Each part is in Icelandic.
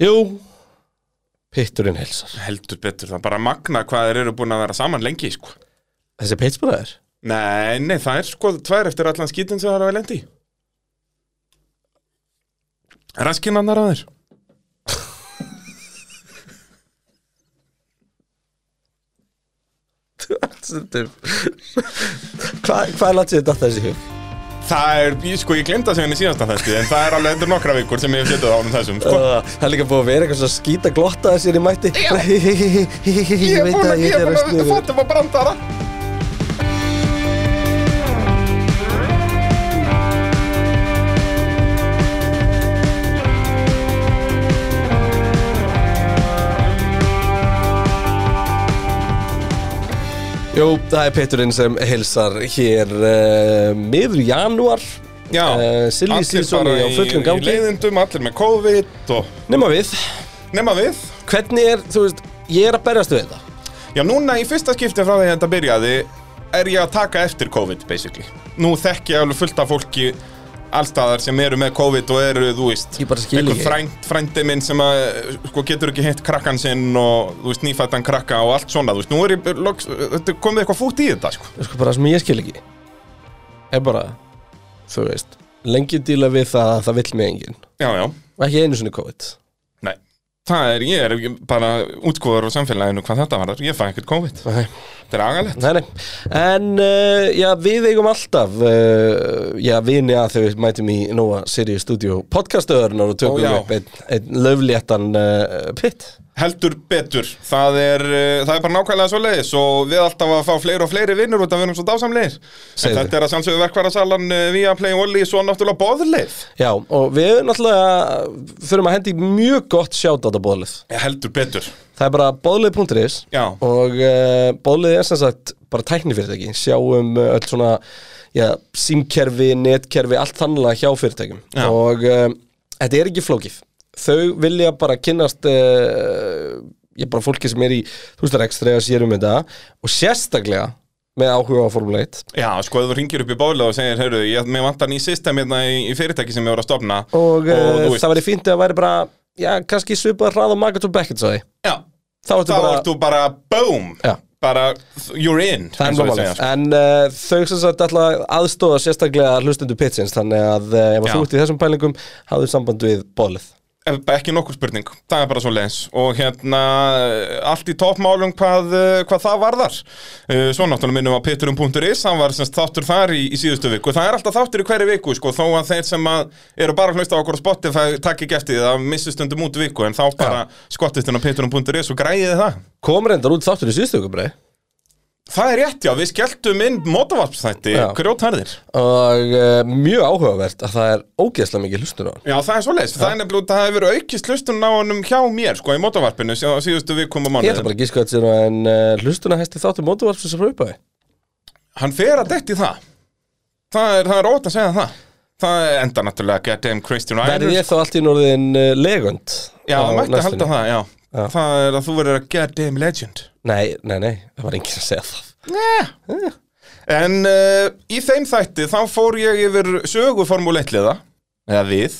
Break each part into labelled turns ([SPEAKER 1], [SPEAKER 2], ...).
[SPEAKER 1] Jú, pitturinn hilsar
[SPEAKER 2] heldur betur, það er bara magna hvað þeir eru búin að vera saman lengi sko.
[SPEAKER 1] Þessi pittsbúræðir
[SPEAKER 2] Nei, nei, það er sko tvær eftir allan skítin sem það er að vera lendi í. Raskinannar að þér
[SPEAKER 1] Hvað hva er látið þetta að þessi hug?
[SPEAKER 2] Það er, ég- sko, ég glemta sem henni síðasta þessi En það er alveg endur nokkra vikur sem ég hef setið á honum þessum sko.
[SPEAKER 1] Uh, það er líka búið að vera eitthvað svona skýta glotta sér í mætti Uh, Ég veit að ég er að snuðu
[SPEAKER 2] fatta hvað brandara
[SPEAKER 1] Jú, það er pitturinn sem hilsar hér uh, miður janúar
[SPEAKER 2] Já,
[SPEAKER 1] Eh, Silly
[SPEAKER 2] allir
[SPEAKER 1] season
[SPEAKER 2] bara
[SPEAKER 1] í- á fullum
[SPEAKER 2] í-
[SPEAKER 1] gangi.
[SPEAKER 2] Í leiðindum, allir með COVID og
[SPEAKER 1] Nefna við,
[SPEAKER 2] nema við
[SPEAKER 1] hvernig er, þú veist, ég er að berjast við þetta
[SPEAKER 2] Já, núna í fyrsta skipti frá því að þetta byrjaði er ég að taka eftir COVID, basically Nú þekki ég alveg fullt af fólki allstaðar sem eru með COVID og eru, þú veist
[SPEAKER 1] Ég bara skil
[SPEAKER 2] einhver
[SPEAKER 1] ekki.
[SPEAKER 2] frænd, frændi minn sem að, sko, getur ekki hitt krakkan sinn og, þú veist, nýfættan krakka og allt svona, þú veist, nú er ég, loks, þetta er komið eitthvað fút í þetta, sko
[SPEAKER 1] Það er sko bara það sem ég skil ekki Er bara, þú veist Lengi díla við það að það vill mig enginn
[SPEAKER 2] Já, já,
[SPEAKER 1] Og ekki einu sinni COVID
[SPEAKER 2] nei Það er, ég er bara útskóður á samfélaginu hvað þetta var, ég fæ ekkert COVID
[SPEAKER 1] Nei,
[SPEAKER 2] Þetta er agalegt
[SPEAKER 1] nei, nei. En, uh, já, við eigum alltaf uh, Já, vini að þau mætum í Nóa Sirius Studio podcastöðurnar og tökum
[SPEAKER 2] Ó, já.
[SPEAKER 1] upp einn ein löfléttan uh, pitt
[SPEAKER 2] Heldur betur, það er, uh, það er bara nákvæmlega svo leiðis og við alltaf að fá fleiri og fleiri vinnur út af við erum svo dásamlegir En
[SPEAKER 1] Segðu.
[SPEAKER 2] þetta er að sannsögðu verkvarasalan uh, via Play Olli svo náttúrulega boðleif
[SPEAKER 1] Já, og við náttúrulega þurfum að hendi í mjög gott sjátt á þetta bóðlið
[SPEAKER 2] Eh, Heldur betur,
[SPEAKER 1] Það er bara boðlið.is
[SPEAKER 2] Já.
[SPEAKER 1] og uh, boðlið er sem sagt bara tæknifyrirtæki, sjáum uh, öll svona já, símkerfi, netkerfi, allt þannlega hjá fyrirtækjum
[SPEAKER 2] Já.
[SPEAKER 1] og uh, þetta er ekki flókið. Þau vilja bara kynnast uh, ég bara fólki sem er í þú veist að ekstra eða sérum um þetta og sérstaklega með áhuga á Formule 1
[SPEAKER 2] já sko ef þú ringir upp í boðleif og segir, heyrðu, ég, mér vantar ný system hérna í, í fyrirtæki sem ég voru að stopna
[SPEAKER 1] og,
[SPEAKER 2] þú
[SPEAKER 1] uh,
[SPEAKER 2] veist,
[SPEAKER 1] það væri fínt að það væri bara, já, kannski svipað hraða Magatú Beckett sagði.
[SPEAKER 2] Já,
[SPEAKER 1] Þá ertu
[SPEAKER 2] þá
[SPEAKER 1] bara,
[SPEAKER 2] ertu bara, boom,
[SPEAKER 1] Já.
[SPEAKER 2] bara, you're in
[SPEAKER 1] Það er
[SPEAKER 2] eins og þeir
[SPEAKER 1] normalið,
[SPEAKER 2] segja, sko.
[SPEAKER 1] en uh, þau sem sagt alltaf aðstóða sérstaklega hlustendur pitsins þannig að uh, ef
[SPEAKER 2] Já.
[SPEAKER 1] að þú ert í þessum pælingum hafðu samband við bólið
[SPEAKER 2] Eh, ekki nokkur spurning, það er bara svo leins og hérna, eh, allt í toppmálum hvað, eh, hvað það varðar Eh, svo náttúrulega minnum að peturum.is hann var semst þáttur þar í, í síðustu viku það er alltaf þáttur í hverju viku, sko, þó að þeir sem að eru bara að hlusta á okkur á Spotify takk ekki eftir því, það missu stundum út viku en þá bara skottist inn á peturum.is og græðið það
[SPEAKER 1] Kom reyndar út þáttur í síðustu ykkur brei
[SPEAKER 2] Það er rétt, já, við skelltum inn mótavarpstætti,
[SPEAKER 1] Já.
[SPEAKER 2] grjótarðir
[SPEAKER 1] og uh, mjög áhugavert að það er ógeðslega mikið hlustur á
[SPEAKER 2] Já, það er svo leis, það er nefnilega, út að það hefur aukist hlustun á honum hjá mér, sko, í mótavarpinu sí- á síðustu vikum og
[SPEAKER 1] Ég ætla
[SPEAKER 2] mánuðum
[SPEAKER 1] bara að gíska að þetta en uh, hlustuna hæsti þáttur mótuvarpsins frá upphæði
[SPEAKER 2] hann fer að detti það það er, það er ótt að segja það það er enda náttúrulega goddamn Christian
[SPEAKER 1] Verði
[SPEAKER 2] Reiner
[SPEAKER 1] ég þá allt í norðin uh, legund á
[SPEAKER 2] já, það mætti að halda
[SPEAKER 1] næstunni?
[SPEAKER 2] það, já. það er að þú verður að goddamn legend
[SPEAKER 1] Nei, nei, nei, það var enginn að segja það
[SPEAKER 2] yeah. en uh, í þeim þætti þá fór ég yfir sögu formúl 1 liða eða við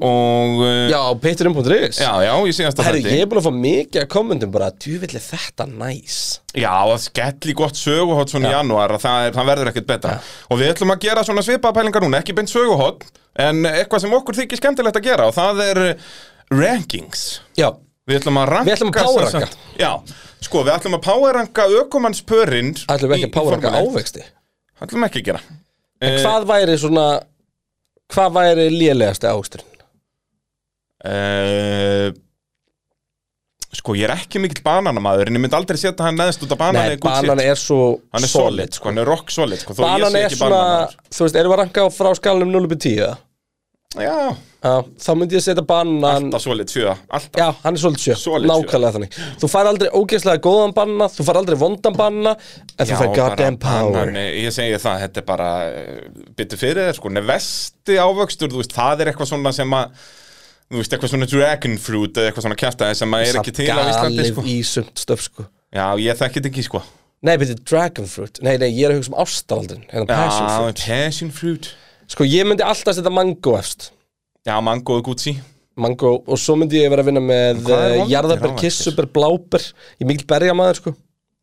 [SPEAKER 2] og uh,
[SPEAKER 1] Já, Patreon.is
[SPEAKER 2] já, já, í síðasta
[SPEAKER 1] Herri,
[SPEAKER 2] þætti
[SPEAKER 1] ég er búin að fá mikið að kommentum bara djúvillig þetta næs nice.
[SPEAKER 2] Já, að skelli gott söguhótt svona í janúar að það, er, það verður ekkert betra og við ætlum að gera svona svipaða pælingar núna, ekki beint söguhótt en eitthvað sem okkur þykir skemmtilegt að gera og það er eh, rankings
[SPEAKER 1] Já,
[SPEAKER 2] Við ætlum að ranka
[SPEAKER 1] Við ætlum að powerranka.
[SPEAKER 2] sem sagt- Já, sko, við ætlum að powerranka ökumannspörinn
[SPEAKER 1] Ætlum við ekki að páraka ávexti
[SPEAKER 2] Ætlum ekki að gera Eh,
[SPEAKER 1] Hvað væri svona Hvað væri lélegasti ávexturinn?
[SPEAKER 2] uh, Sko, ég er ekki mikill bananamaður en ég myndi aldrei setja hann neðst út af banan
[SPEAKER 1] Nei, banan er svo
[SPEAKER 2] Hann er solid, sko, hann er rock solid sko, þó ég
[SPEAKER 1] Banan
[SPEAKER 2] sé
[SPEAKER 1] er
[SPEAKER 2] ekki
[SPEAKER 1] svona,
[SPEAKER 2] bananamaður.
[SPEAKER 1] þú veist, erum við að ranka á frá skalanum 0.10 eða?
[SPEAKER 2] Já,
[SPEAKER 1] Já, þá myndi ég setja banan
[SPEAKER 2] alltaf solid fjöða Alltaf
[SPEAKER 1] Já, hann er solid sjö,
[SPEAKER 2] Solid sjö.
[SPEAKER 1] nákvæmlega þannig Þú fær aldrei ógeðslega góðan banna Þú fær aldrei vondan banna En þú
[SPEAKER 2] Já,
[SPEAKER 1] fær
[SPEAKER 2] bara
[SPEAKER 1] goddamn power
[SPEAKER 2] banan, Ég segi það, þetta er bara byttu fyrir þér, sko, nevesti ávöxtur þú veist, það er eitthvað svona sem að þú veist, eitthvað svona dragon fruit eða eitthvað svona kjartaði sem að er ekki til á Íslandi,
[SPEAKER 1] Galið
[SPEAKER 2] sko
[SPEAKER 1] í sumt stöf, sko
[SPEAKER 2] Já, ég þekki þetta ekki, sko
[SPEAKER 1] Nei, betur dragon fruit Nei, nei, ég er að hugsa um ástaraldin Hérna passion fruit
[SPEAKER 2] Já, passion fruit
[SPEAKER 1] Sko, ég myndi alltaf setja mango efst
[SPEAKER 2] Já, mango og Gucci
[SPEAKER 1] mango og svo myndi ég vera að vinna með
[SPEAKER 2] Hvað er
[SPEAKER 1] eh,
[SPEAKER 2] vondir
[SPEAKER 1] jarðaber,
[SPEAKER 2] ávextir?
[SPEAKER 1] kissuber, bláber ég er mikil berjamaður sko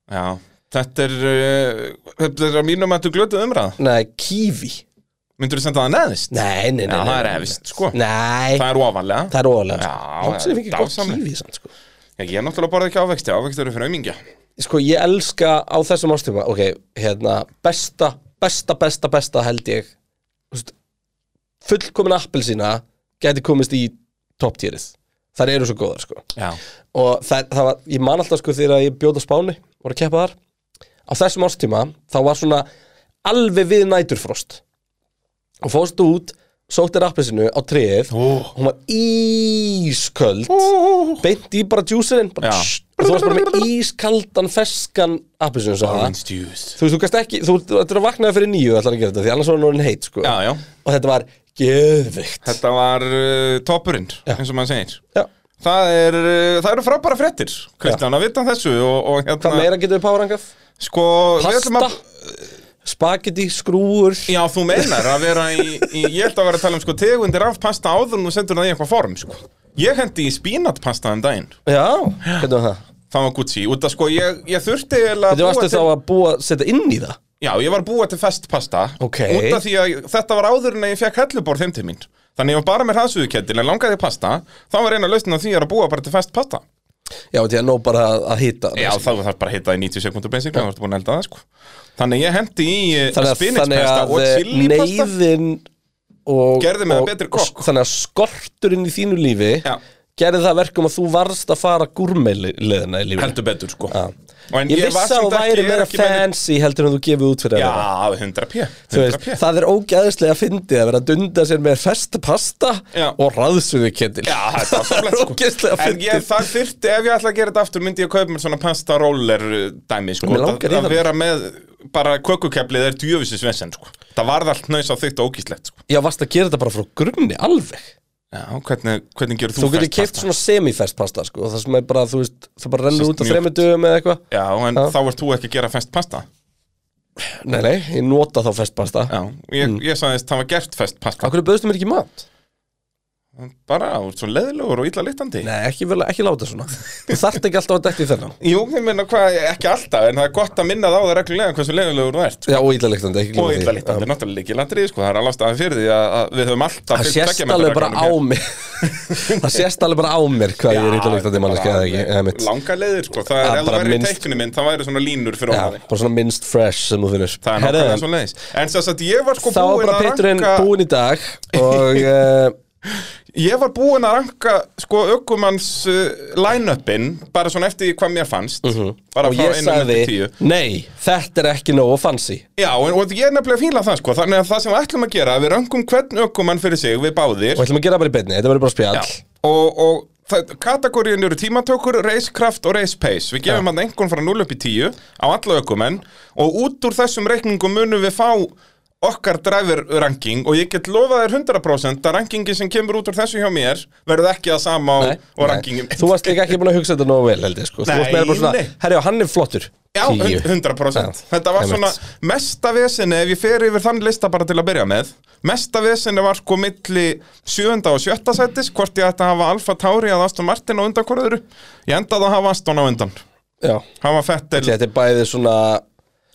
[SPEAKER 2] Já, þetta er, uh, þetta er að mínum að þú glötuð umræða
[SPEAKER 1] Nei, kífi
[SPEAKER 2] Myndur þú senda það neðist?
[SPEAKER 1] Nei, nei, nei,
[SPEAKER 2] Já,
[SPEAKER 1] nei
[SPEAKER 2] það er
[SPEAKER 1] nei,
[SPEAKER 2] efist, sko.
[SPEAKER 1] Nei,
[SPEAKER 2] Það er ofanlega
[SPEAKER 1] það er óalega
[SPEAKER 2] Já,
[SPEAKER 1] sko. Látt sem ég
[SPEAKER 2] það er
[SPEAKER 1] fengi gott
[SPEAKER 2] dásamlegt.
[SPEAKER 1] kífi sann, sko.
[SPEAKER 2] Já, Ég er náttúrulega borðið ekki ávexti, ávexti eru fyrir aumingja
[SPEAKER 1] sko, ég elska á þessum ástíma Ok, hérna, besta, besta, besta, besta held ég þú veist, Fullkomin appelsína Gæti komist í topptýrið Þar eru svo góðar, sko
[SPEAKER 2] Já,
[SPEAKER 1] og það, það var, ég man alltaf sko þegar ég bjóð á Spáni voru að keppa þar á þessum ástíma þá var svona alveg við næturfrost og fórstu út sótti rappisinu á treið
[SPEAKER 2] Ó.
[SPEAKER 1] hún var ísköld beint í bara djúsirinn bara
[SPEAKER 2] Já.
[SPEAKER 1] tss, og þú varst bara með ískaldan feskan appisinu svo það
[SPEAKER 2] orange juice
[SPEAKER 1] þú veist, þú gast ekki, þú þú ættir að vaknaði fyrir nýju ætlar að gera þetta, því annars var hann orðin heit sko.
[SPEAKER 2] Já, já,
[SPEAKER 1] og þetta var geðvikt
[SPEAKER 2] þetta var uh, toppurinn, eins og maður segir
[SPEAKER 1] já,
[SPEAKER 2] Það, er, uh, það eru frábæra fréttir, Kristján, að vita þessu og, og
[SPEAKER 1] hvað
[SPEAKER 2] hérna,
[SPEAKER 1] meira getur við párangað?
[SPEAKER 2] sko, við ætlum
[SPEAKER 1] pasta
[SPEAKER 2] að
[SPEAKER 1] spagetti, skrúur
[SPEAKER 2] Já, þú meinar að vera í, í ég held að vera að tala um sko tegundir af pasta áður en þú sendur það í eitthvað form, sko Ég hendi í spínatpasta um daginn,
[SPEAKER 1] já, hvernig var það?
[SPEAKER 2] það var Gucci, út af sko, ég, ég þurfti eiginlega
[SPEAKER 1] Þetta varstu
[SPEAKER 2] til-
[SPEAKER 1] þá að búa, setja inn í það
[SPEAKER 2] Já, ég var að búa til festpasta
[SPEAKER 1] Ok.
[SPEAKER 2] Út af því að þetta var áður en að ég fekk helluborð heim til mín Þannig ég var bara með hraðsuðukettil en langaði í pasta Þá var eina lausnin að því að búa bara til festpasta
[SPEAKER 1] Já, þetta er nóg bara að- sko. að hýta
[SPEAKER 2] Já, þá var það bara að hita í 90 sekundur basic Það var búin að elda það sko Þannig ég hendi í
[SPEAKER 1] Þannig að, þannig
[SPEAKER 2] spinningspasta
[SPEAKER 1] að eh,
[SPEAKER 2] og chilipasta
[SPEAKER 1] neyðin og,
[SPEAKER 2] Gerði mig að
[SPEAKER 1] og-
[SPEAKER 2] betri
[SPEAKER 1] og-
[SPEAKER 2] kokk.
[SPEAKER 1] Þannig að skorturinn í þínu lífi
[SPEAKER 2] Já.
[SPEAKER 1] gerði það verkum að þú varst að fara gúrmeileðina í lífi
[SPEAKER 2] Heldur betur sko
[SPEAKER 1] Já.
[SPEAKER 2] En
[SPEAKER 1] Ég
[SPEAKER 2] var
[SPEAKER 1] vissi að
[SPEAKER 2] samt
[SPEAKER 1] þú væri
[SPEAKER 2] ekki- ég er
[SPEAKER 1] meira
[SPEAKER 2] ekki með-
[SPEAKER 1] fancy heldur en þú gefið út fyrir
[SPEAKER 2] Já,
[SPEAKER 1] það
[SPEAKER 2] 100p
[SPEAKER 1] Þú veist,
[SPEAKER 2] 100p
[SPEAKER 1] það er ógæðislega fyndið að vera að dunda sér með fest pasta
[SPEAKER 2] Já.
[SPEAKER 1] og raðsuðu kettil
[SPEAKER 2] Já, þetta var samlega sko
[SPEAKER 1] Ógeðslega
[SPEAKER 2] En ég,
[SPEAKER 1] fyndið.
[SPEAKER 2] það þyrfti, ef ég ætla að gera þetta aftur myndi ég að kaupa mér svona pasta roller uh, dæmi sko
[SPEAKER 1] Mig langar í
[SPEAKER 2] Að- Að
[SPEAKER 1] það.
[SPEAKER 2] vera með, bara kökukeplið er djöfisins vesen sko Það varð allt nöys á þygt og ógíslegt sko
[SPEAKER 1] Já, varst að gera þetta bara frá grunni, alveg
[SPEAKER 2] Já, hvernig, hvernig gerur þú
[SPEAKER 1] Þú getur
[SPEAKER 2] fersk
[SPEAKER 1] keift
[SPEAKER 2] pasta?
[SPEAKER 1] svona semifest pasta sko, það sem er bara, þú veist, það bara rennur
[SPEAKER 2] Sest
[SPEAKER 1] út á
[SPEAKER 2] mjúkt.
[SPEAKER 1] þremur dögum eða eitthvað
[SPEAKER 2] Já, en
[SPEAKER 1] Já.
[SPEAKER 2] þá ert þú ekki að gera fest pasta
[SPEAKER 1] Nei, nei, ég nota þá fest pasta
[SPEAKER 2] Já, ég,
[SPEAKER 1] Mm.
[SPEAKER 2] ég sagðist það var gert fest pasta
[SPEAKER 1] Akkur bauðstu mér ekki mat?
[SPEAKER 2] Bara, þú ert svo leðilegur og illa litandi
[SPEAKER 1] Nei, ekki, vel, ekki láta svona Þú þarft ekki alltaf að detti þennan
[SPEAKER 2] Jú, ég meina hvað, ekki alltaf, en það er gott að minna það á það reglulega hversu leðilegur þú ert
[SPEAKER 1] Já, og ítlaliktandi, ekki
[SPEAKER 2] og
[SPEAKER 1] gleyma því.
[SPEAKER 2] illa líkt, þetta er náttúrulega líki landrið sko, það er alveg ástæðan fyrir því að, að við höfum alltaf
[SPEAKER 1] Það
[SPEAKER 2] fylgt
[SPEAKER 1] sést
[SPEAKER 2] tveggja metra
[SPEAKER 1] alveg bara á
[SPEAKER 2] reglunum
[SPEAKER 1] mér Það sést alveg bara á mér hvað ég er ítlaliktandi manneski eða ekki eða mitt.
[SPEAKER 2] langa leiðir sko, það er
[SPEAKER 1] Já,
[SPEAKER 2] alveg
[SPEAKER 1] bara
[SPEAKER 2] verið
[SPEAKER 1] minnst-
[SPEAKER 2] teiknum minn, það væri svona línur fyrir
[SPEAKER 1] Já,
[SPEAKER 2] ofan þig.
[SPEAKER 1] bara svona minnst fresh sem þú finnur
[SPEAKER 2] það er náttúrulega svo leiðis en þess að ég var sko
[SPEAKER 1] Þá var
[SPEAKER 2] búin
[SPEAKER 1] bara
[SPEAKER 2] að
[SPEAKER 1] Peturinn
[SPEAKER 2] ranka
[SPEAKER 1] búinn í dag og uh,
[SPEAKER 2] ég var búin að ranka sko ökumanns uh, line-upin bara svona eftir því hvað mér fannst bara
[SPEAKER 1] Mhm. og
[SPEAKER 2] frá
[SPEAKER 1] ég
[SPEAKER 2] einum eftir
[SPEAKER 1] sagði
[SPEAKER 2] tíu
[SPEAKER 1] Nei, þetta er ekki nógu fancy
[SPEAKER 2] já, en, og ég er nefnilega að fíla það sko þannig að það sem við ætlum að gera, við rangum hvern ökumann fyrir sig, við báðir
[SPEAKER 1] Og ætlum að gera bara í beinni, þetta verður bara spjall
[SPEAKER 2] og, og það, kategoríun eru tímatökur, racekraft og racepace við gefum hann einhvern frá 0 upp í 10 á alla ökumenn og út úr þessum reikningum munum við fá okkar driver ranking og ég get lofað þér 100% að rankingi sem kemur út úr þessu hjá mér verður ekki það sama á,
[SPEAKER 1] Nei,
[SPEAKER 2] og
[SPEAKER 1] nei.
[SPEAKER 2] rankingum
[SPEAKER 1] Þú varst líka ekki búin að hugsa þetta nógu vel held ég sko Þú
[SPEAKER 2] Nei,
[SPEAKER 1] varst meira bara svona,
[SPEAKER 2] nei.
[SPEAKER 1] herjá, hann er flottur
[SPEAKER 2] Já,
[SPEAKER 1] Tíu.
[SPEAKER 2] 100%
[SPEAKER 1] Já,
[SPEAKER 2] Þetta var
[SPEAKER 1] einmitt.
[SPEAKER 2] svona mesta vesinni ef ég fer yfir þann lista bara til að byrja með Mesta vesinni var sko milli 7. og 7. sætis Hvort ég ætti að hafa Alfa Tauri að Aston Martin á undan hvoraður Ég endaði að hafa Aston á undan
[SPEAKER 1] Já,
[SPEAKER 2] Hafa Fettel
[SPEAKER 1] þetta er bæði svona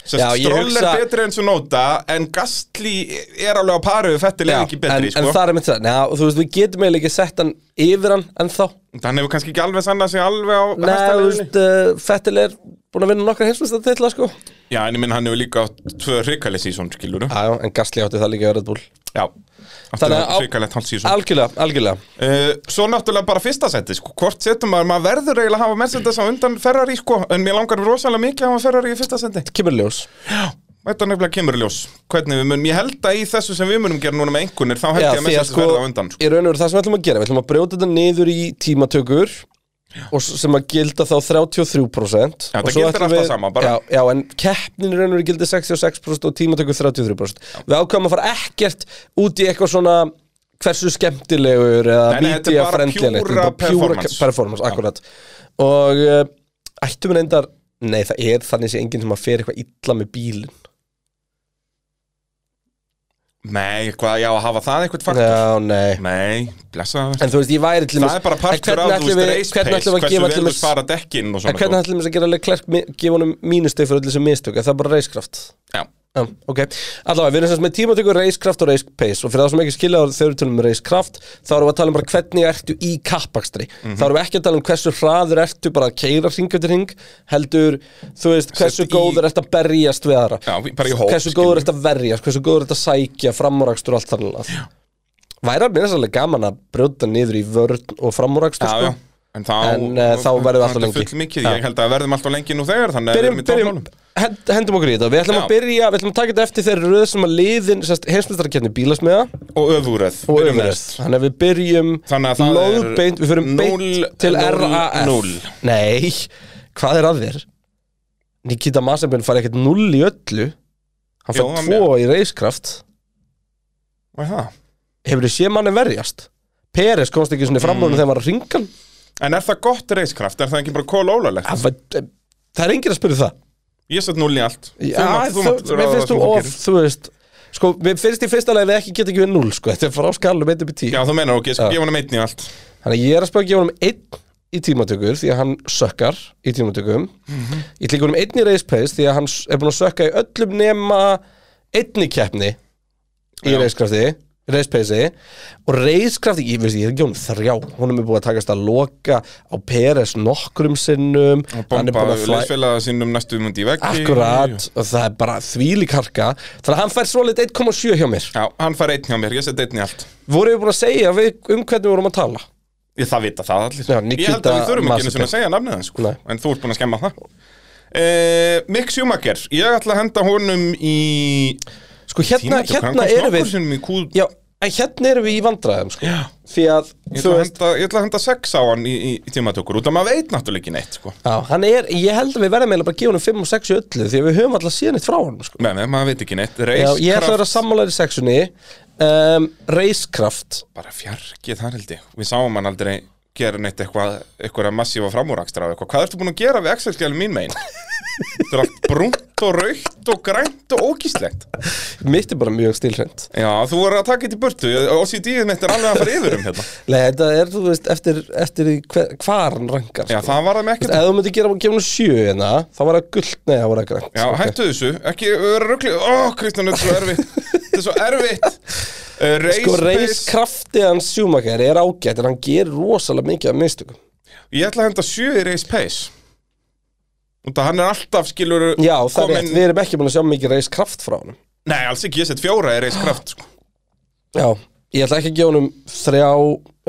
[SPEAKER 2] Sest,
[SPEAKER 1] já, ég
[SPEAKER 2] Stroll
[SPEAKER 1] hugsa-
[SPEAKER 2] er betri enn svo nota En Gastli er alveg á paru við Fettel
[SPEAKER 1] já,
[SPEAKER 2] er ekki betri
[SPEAKER 1] en,
[SPEAKER 2] sko.
[SPEAKER 1] en það er mitt það, Njá, þú veist, við getum eiginlega ekki sett hann yfir hann ennþá
[SPEAKER 2] Hann hefur kannski ekki alveg sannað sig alveg á
[SPEAKER 1] Nei, þú
[SPEAKER 2] hestaleiðinni.
[SPEAKER 1] veist, uh, Fettil er búin að vinna nokkra hinsmesta titla sko Já,
[SPEAKER 2] Já, en ég minn hann hefur líka átt tvö hrikaleg sísón skilur
[SPEAKER 1] já, en Gastli átti það líka að vera þetta
[SPEAKER 2] Já
[SPEAKER 1] Þannig að á-
[SPEAKER 2] Hrikalegt hálf sísón
[SPEAKER 1] Algjörlega, algjörlega
[SPEAKER 2] Uh, svo náttúrulega bara fyrsta seti sko. hvort setum maður, maður verður eiginlega að hafa Mercedes á undan Ferrari sko, en mér langar rosalega mikið að hafa Ferrari í fyrsta seti
[SPEAKER 1] Kemur í ljós
[SPEAKER 2] Þetta nefnilega kemur í ljós, hvernig við munum ég held að í þessu sem við munum gera núna með einhvernir þá held
[SPEAKER 1] Já,
[SPEAKER 2] ég að
[SPEAKER 1] því að
[SPEAKER 2] Mercedes
[SPEAKER 1] sko,
[SPEAKER 2] verður á undan sko.
[SPEAKER 1] í raun og veru það sem við ætlum að gera Við ætlum að brjóta þetta niður í tímatökur og s- sem að gilda þá 33% og
[SPEAKER 2] Já, það
[SPEAKER 1] svo
[SPEAKER 2] gildir
[SPEAKER 1] ætlum
[SPEAKER 2] alltaf
[SPEAKER 1] við-
[SPEAKER 2] sama, bara.
[SPEAKER 1] Já, já en keppnin í raun og veru gildi 66% og tímatökur 33% Við ákvæmum að fara ekkert út í eitthvað svona hversu skemmtilegur eða
[SPEAKER 2] Nei, nei, þetta er
[SPEAKER 1] media
[SPEAKER 2] bara
[SPEAKER 1] friendly
[SPEAKER 2] pjúra performance.
[SPEAKER 1] performance akkurat Og uh, ættum við reyndar Nei, það er þannig sé enginn sem að fer eitthvað illa með bílinn
[SPEAKER 2] Nei, hvað, já, að hafa það einhvern faktor
[SPEAKER 1] Já, nei
[SPEAKER 2] Nei, blessa það
[SPEAKER 1] En þú veist, ég væri til
[SPEAKER 2] Það er bara partur af, þú veist, race pace
[SPEAKER 1] Hvernig ætlum við að
[SPEAKER 2] Hversu
[SPEAKER 1] gefa
[SPEAKER 2] vel
[SPEAKER 1] til
[SPEAKER 2] þú sko.
[SPEAKER 1] dæmis-
[SPEAKER 2] spara dekkin og
[SPEAKER 1] En
[SPEAKER 2] svona
[SPEAKER 1] hvernig ætlum við að gera Leclerc mi- gefa honum mínustau fyrir öll þessum mistök Er það bara reiskraft?
[SPEAKER 2] Já,
[SPEAKER 1] Já, ok Allavega, við erum sem sagt með tímatöku reiskraft og reispace Og fyrir það sem ekki skilja þá þegar við tölum um reiskraft Þá erum við að tala um bara hvernig ertu í kappakstri
[SPEAKER 2] Mhm.
[SPEAKER 1] Þá erum við ekki að tala um hversu hraður ertu bara að keira hring eftir hring Heldur, þú veist, hversu
[SPEAKER 2] í-
[SPEAKER 1] góður ertu að berjast við aðra
[SPEAKER 2] Já, bara í hóp,
[SPEAKER 1] Hversu góður ertu að verjast, hversu góður ertu að sækja Framúrakstur og allt þannig Væri að minna svolítið gaman að brjóta niður í vörn og framúrakstur
[SPEAKER 2] já,
[SPEAKER 1] sko?
[SPEAKER 2] já En þá,
[SPEAKER 1] En, eh, þá verðum við allt of lengi.
[SPEAKER 2] Full mikið,
[SPEAKER 1] Já.
[SPEAKER 2] ég held að verðum alltaf lengi nú þegar Þannig að við
[SPEAKER 1] byrjum,
[SPEAKER 2] erum í
[SPEAKER 1] byrjum,
[SPEAKER 2] tóknálum
[SPEAKER 1] hend, hendum okkur í þetta Við ætlum
[SPEAKER 2] Já.
[SPEAKER 1] að byrja, við ætlum að taka þetta eftir þeirri röð sem að liðin heimsmyndarkjarni bílasmiða
[SPEAKER 2] Og öfugræð
[SPEAKER 1] og öfumröð Þannig að við byrjum
[SPEAKER 2] Þannig að það er
[SPEAKER 1] lóðbeint, við förum beint
[SPEAKER 2] núll,
[SPEAKER 1] til
[SPEAKER 2] núll,
[SPEAKER 1] RAF
[SPEAKER 2] núll.
[SPEAKER 1] Nei, hvað er að þér? Nikita Masabin fari ekkert 0 í öllu Hann
[SPEAKER 2] Jó,
[SPEAKER 1] fær
[SPEAKER 2] hann-
[SPEAKER 1] 2 í reiskraft
[SPEAKER 2] En
[SPEAKER 1] Hefur þið sé manni verjast? Peres komst ekki svona fram mm. þegar hann var að ringa hann
[SPEAKER 2] er það gott reiskraft? Er það ekki bara kól ólalegt?
[SPEAKER 1] Það var- það er enginn að spyrja það
[SPEAKER 2] Ég set núl í allt Þú
[SPEAKER 1] Já,
[SPEAKER 2] mátt-
[SPEAKER 1] þú,
[SPEAKER 2] mátt
[SPEAKER 1] mér finnst
[SPEAKER 2] ráða það
[SPEAKER 1] þú
[SPEAKER 2] sem
[SPEAKER 1] of,
[SPEAKER 2] gerir.
[SPEAKER 1] þú veist Sko, mér finnst í fyrsta lagi við ekki geta ekki við 0 sko, þetta er frá skalum 1 upp í 10
[SPEAKER 2] Já, þú meinar ok, ég skal
[SPEAKER 1] Já.
[SPEAKER 2] gefa hann meitn í allt
[SPEAKER 1] Þannig að ég er að spá að gefa honum 1 í tímatökur því að hann sökkar í tímatökum
[SPEAKER 2] Mhm.
[SPEAKER 1] Ég ætla að gefa honum 1 í race pace því að hann s- er búin að sökka í öllum nema einni keppni í
[SPEAKER 2] Já.
[SPEAKER 1] racecrafti race pace og racecrafti, ég veist, ég er ekki honum þrjá honum er búin að takast að loka á Peres nokkrum sinnum
[SPEAKER 2] Og
[SPEAKER 1] hann er
[SPEAKER 2] bomba
[SPEAKER 1] búin að flæ-
[SPEAKER 2] leysfélaga sínum næstu mundi í veggi
[SPEAKER 1] Akkurat, og það er bara þvílík harka Þannig að hann fær svolít 1,7 hjá mér
[SPEAKER 2] Já, hann fær einn hjá mér, ég set einn í allt
[SPEAKER 1] Voru við búin að segja við, um hvernig við vorum að tala
[SPEAKER 2] Ég það vita það allir
[SPEAKER 1] Já,
[SPEAKER 2] Ég held
[SPEAKER 1] Nikita
[SPEAKER 2] að við þurfum ekki einu sinni
[SPEAKER 1] Mazepin.
[SPEAKER 2] að segja nafnið hans sko.
[SPEAKER 1] Nei.
[SPEAKER 2] En þú ert búin að skemma það uh, Mick Schumacher Ég ætla að henda honum í
[SPEAKER 1] Sko hérna,
[SPEAKER 2] Tímatöku, hann
[SPEAKER 1] hérna
[SPEAKER 2] komst
[SPEAKER 1] erum
[SPEAKER 2] nokkrum
[SPEAKER 1] við
[SPEAKER 2] sinnum í kúð-
[SPEAKER 1] Já, en hérna erum við í vandræðum sko.
[SPEAKER 2] Já.
[SPEAKER 1] Því að,
[SPEAKER 2] Ég
[SPEAKER 1] þú
[SPEAKER 2] ætla að
[SPEAKER 1] veist
[SPEAKER 2] henda- ég ætla að henda sex á hann í, í, í tímatökur Út af maður veit náttúrulega ekki neitt sko.
[SPEAKER 1] Já, hann er, ég held að við verðum eiginlega bara að gefa honum 5 og 6 í öllu Því að við höfum alltaf síðan eitt frá honum sko.
[SPEAKER 2] Nei, nei, maður veit ekki neitt
[SPEAKER 1] Já,
[SPEAKER 2] Reiskraft,
[SPEAKER 1] ég ætla að vera sammálaður í sexunni um, Reiskraft
[SPEAKER 2] bara fjarkið þar held ég Við sáum hann aldrei gera neitt eitthvað Eitthvað massífa framúrakstra á eitthvað Hvað ertu búin að gera við Excel-skjálum mín megin? Þetta er allt brúnt og raukt og grænt og ógíslegt
[SPEAKER 1] Mitt er bara mjög stílhreint
[SPEAKER 2] Já, þú voru að taka þetta í burtu OCD-ið mitt er alveg að fara yfir um hérna
[SPEAKER 1] Nei, þetta er, þú veist, eftir, eftir því hver, hvar hann rankar
[SPEAKER 2] Já, það var það
[SPEAKER 1] Þú
[SPEAKER 2] með ekkert
[SPEAKER 1] veist, ef þú myndir gera gefa hún sjö hérna þá var það gullt, nei, það var það grænt
[SPEAKER 2] Já, hættu þessu, ekki vera ruggli Ó, Kristján, þetta er svo erfitt Þetta er svo erfitt uh, Race,
[SPEAKER 1] sko, reis
[SPEAKER 2] pace.
[SPEAKER 1] kraftið hans sjúmakar er ágætt en hann gerir rosalega mikið af mistökum
[SPEAKER 2] Ég ætla að henda sjö í race pace Og það hann er alltaf skilur
[SPEAKER 1] já, það er rétt, við erum ekki búin að sjá mikið reis kraft frá honum
[SPEAKER 2] Nei, alls ekki, ég sett fjóra í race kraft sko.
[SPEAKER 1] já, ég ætla ekki að gefa honum þrjá,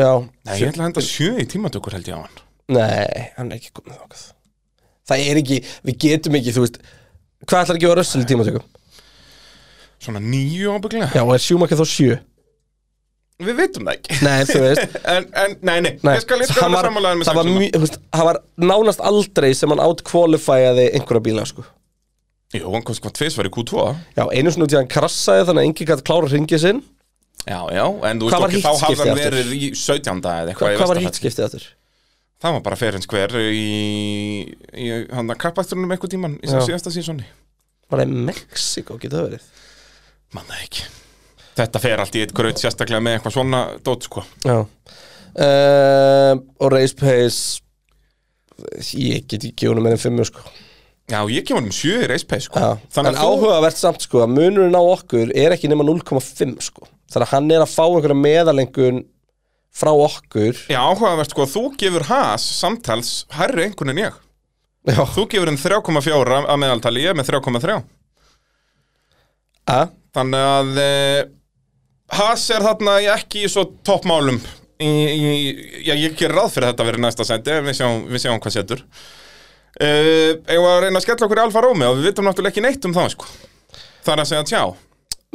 [SPEAKER 1] já
[SPEAKER 2] Nei, ég ætla að henda sjö í tímatökur held ég á hann
[SPEAKER 1] nei, hann er ekki komið þákað það er ekki, við getum ekki, þú veist hvað ætlar að gefa rössil í tímatökum
[SPEAKER 2] Svona nýju ábygglega
[SPEAKER 1] já, og er sjúmakar þá sjö
[SPEAKER 2] Við veitum það ekki
[SPEAKER 1] nei, þú veist
[SPEAKER 2] En, en, nei, nei,
[SPEAKER 1] Nei,
[SPEAKER 2] ég skal eitthvað
[SPEAKER 1] hann var,
[SPEAKER 2] vera samanlega með
[SPEAKER 1] það, var
[SPEAKER 2] sexuna.
[SPEAKER 1] mjö, þú veist, það var nánast aldrei sem hann outqualifæði einhverja bíla sko.
[SPEAKER 2] Jú, hann komst hvað tvisvar í Q2
[SPEAKER 1] Já, einu sinni út í að hann krassaði þannig að enginn gætt klára hringið sinn
[SPEAKER 2] Já, já, en þú
[SPEAKER 1] Hvað
[SPEAKER 2] veist
[SPEAKER 1] var
[SPEAKER 2] okkur, þá
[SPEAKER 1] hitt
[SPEAKER 2] hafði hann
[SPEAKER 1] skiptið aftur?
[SPEAKER 2] verið í 17.
[SPEAKER 1] Hva,
[SPEAKER 2] eða eitthvað í
[SPEAKER 1] Hvað var
[SPEAKER 2] versta falli.
[SPEAKER 1] hittskiptið aftur?
[SPEAKER 2] Það var bara ferins hver í, í hann að kappætturunum einhver tíman í
[SPEAKER 1] Já.
[SPEAKER 2] síðasta sísóni.
[SPEAKER 1] Var það í Mexiko, getur það verið?
[SPEAKER 2] Mann það ekki. Þetta fer allt í eitt gröð sérstaklega með eitthvað svona dót sko.
[SPEAKER 1] Já uh, Og Race Pace Ég get ekki gefið honum meira en fimmu sko
[SPEAKER 2] Já, ég kemur um sjö í reispeis sko.
[SPEAKER 1] Já. En
[SPEAKER 2] Þannig að þú,
[SPEAKER 1] áhugavert samt sko að munurinn á okkur er ekki nema 0,5 sko Þannig að hann er að fá einhverja meðalengun frá okkur
[SPEAKER 2] já, áhugavert sko, þú gefur Haas samtals hærri einhvern en ég.
[SPEAKER 1] Já,
[SPEAKER 2] Þú gefur hann 3,4 að meðaltali, ég er með 3,3.
[SPEAKER 1] a?
[SPEAKER 2] Þannig að e, Haas er þarna ekki í svo toppmálum í, í, Já, ég ger ráð fyrir að þetta verið næsta sendi en Við sjáum, við sjáum hvað setur uh, Ég var að reyna að skella okkur í Alfa Romeo Við vitum náttúrulega ekki neitt um það sko. Það er að segja tjá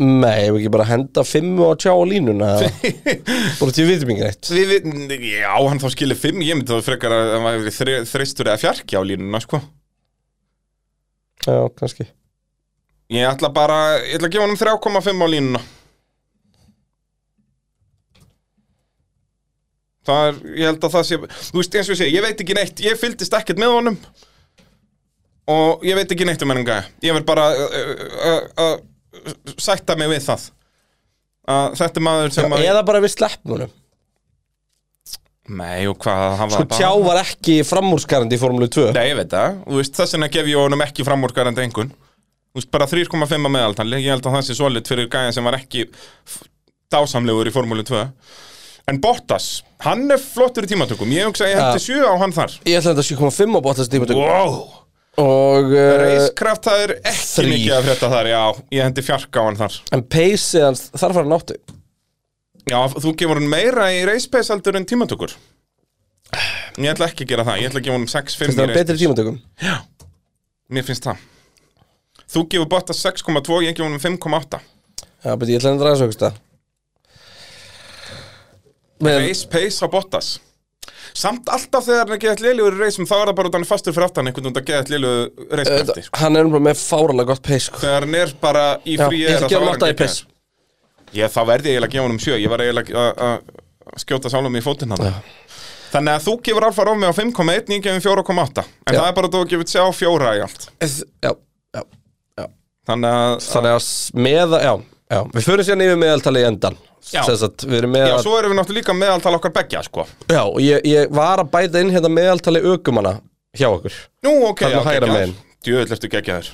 [SPEAKER 1] Nei, ef ekki bara henda fimmu og tjá á línuna Bara til vitum yngi neitt
[SPEAKER 2] Við, við, Já, hann þá skilir fimm Ég myndi þá frekar að hann væri þre, þreistur eða fjarki á línuna sko.
[SPEAKER 1] Já, kannski
[SPEAKER 2] Ég ætla bara, ég ætla að gefa honum 3,5 á línuna Það er, ég held að það sé Þú veist, eins og ég sé, ég veit ekki neitt Ég fylgdist ekkert með honum Og ég veit ekki neitt um hennan gæja Ég verð bara uh, uh, uh, uh, Sætta mig við það að þetta er maður sem að...
[SPEAKER 1] eða bara við sleppum honum
[SPEAKER 2] Nei, og hvað, hann var
[SPEAKER 1] sko tjá var ekki framúrskarandi í Formule 2
[SPEAKER 2] Nei, ég veit það, þú veist, þess vegna gef ég honum ekki framúrgarandi engun Þú veist, bara 3,5 að meðaltali Ég held að það sé svolít fyrir gæðin sem var ekki f- dásamlegur í Formúlu 2 En Bottas, hann er flottur í tímatökum Ég hugsa að ég hendi 7 á hann þar
[SPEAKER 1] ég ætla þetta 7.5 um á bóttastíma
[SPEAKER 2] Wow,
[SPEAKER 1] og uh,
[SPEAKER 2] reiskraft, það er ekki
[SPEAKER 1] Þrír.
[SPEAKER 2] mikið að frétta þar Já, ég hendi fjarka á hann þar
[SPEAKER 1] en pace eða þarf að fara náttu
[SPEAKER 2] Já, þú gefur hann meira í reispeis heldur en tímatökur Ég ætla ekki að gera það, ég ætla að gefa honum 6-5
[SPEAKER 1] það er betri í tímatökum
[SPEAKER 2] Mér finnst það Þú gefur Bottas 6,2, ég gefur honum 5,8
[SPEAKER 1] já, beti, ég ætla þetta að sögsta með
[SPEAKER 2] Pace, pace á Bottas Samt alltaf þegar hann er geðað lélugur í reisum þá er það bara út hann er fastur fyrir aftan einhvern veginn að geðað lélugur reiskrafti sko.
[SPEAKER 1] hann er bara með fáralega gott pace sko.
[SPEAKER 2] Þegar hann er bara í
[SPEAKER 1] já,
[SPEAKER 2] fríi
[SPEAKER 1] ég ætla
[SPEAKER 2] er
[SPEAKER 1] að gera
[SPEAKER 2] þá er
[SPEAKER 1] náttu í
[SPEAKER 2] hann geggjaður.
[SPEAKER 1] pace
[SPEAKER 2] Ég þá verði ég eiginlega að gefa honum 7 Ég var eiginlega að- að að skjóta sálum í fótinn hann Þannig að þú gefur Alfa Rómi á 5,1 ég gefum 4,8 En
[SPEAKER 1] Já.
[SPEAKER 2] það er bara að þú gefur sér á 4 í allt
[SPEAKER 1] já, já, já
[SPEAKER 2] Þannig að, að
[SPEAKER 1] þannig að s- með já, já, við förum síðan yfir meðaltalið í endan
[SPEAKER 2] Já.
[SPEAKER 1] Sess að við erum með
[SPEAKER 2] Já,
[SPEAKER 1] að,
[SPEAKER 2] svo erum við náttúrulega líka meðaltal okkar beggja sko.
[SPEAKER 1] já, og ég, ég var að bæta inn hérna meðaltalið aukumanna hjá okkur
[SPEAKER 2] Nú, ok,
[SPEAKER 1] Þarna
[SPEAKER 2] já,
[SPEAKER 1] hægra
[SPEAKER 2] geggjaður.
[SPEAKER 1] megin.
[SPEAKER 2] Djöfull ertu geggjaður.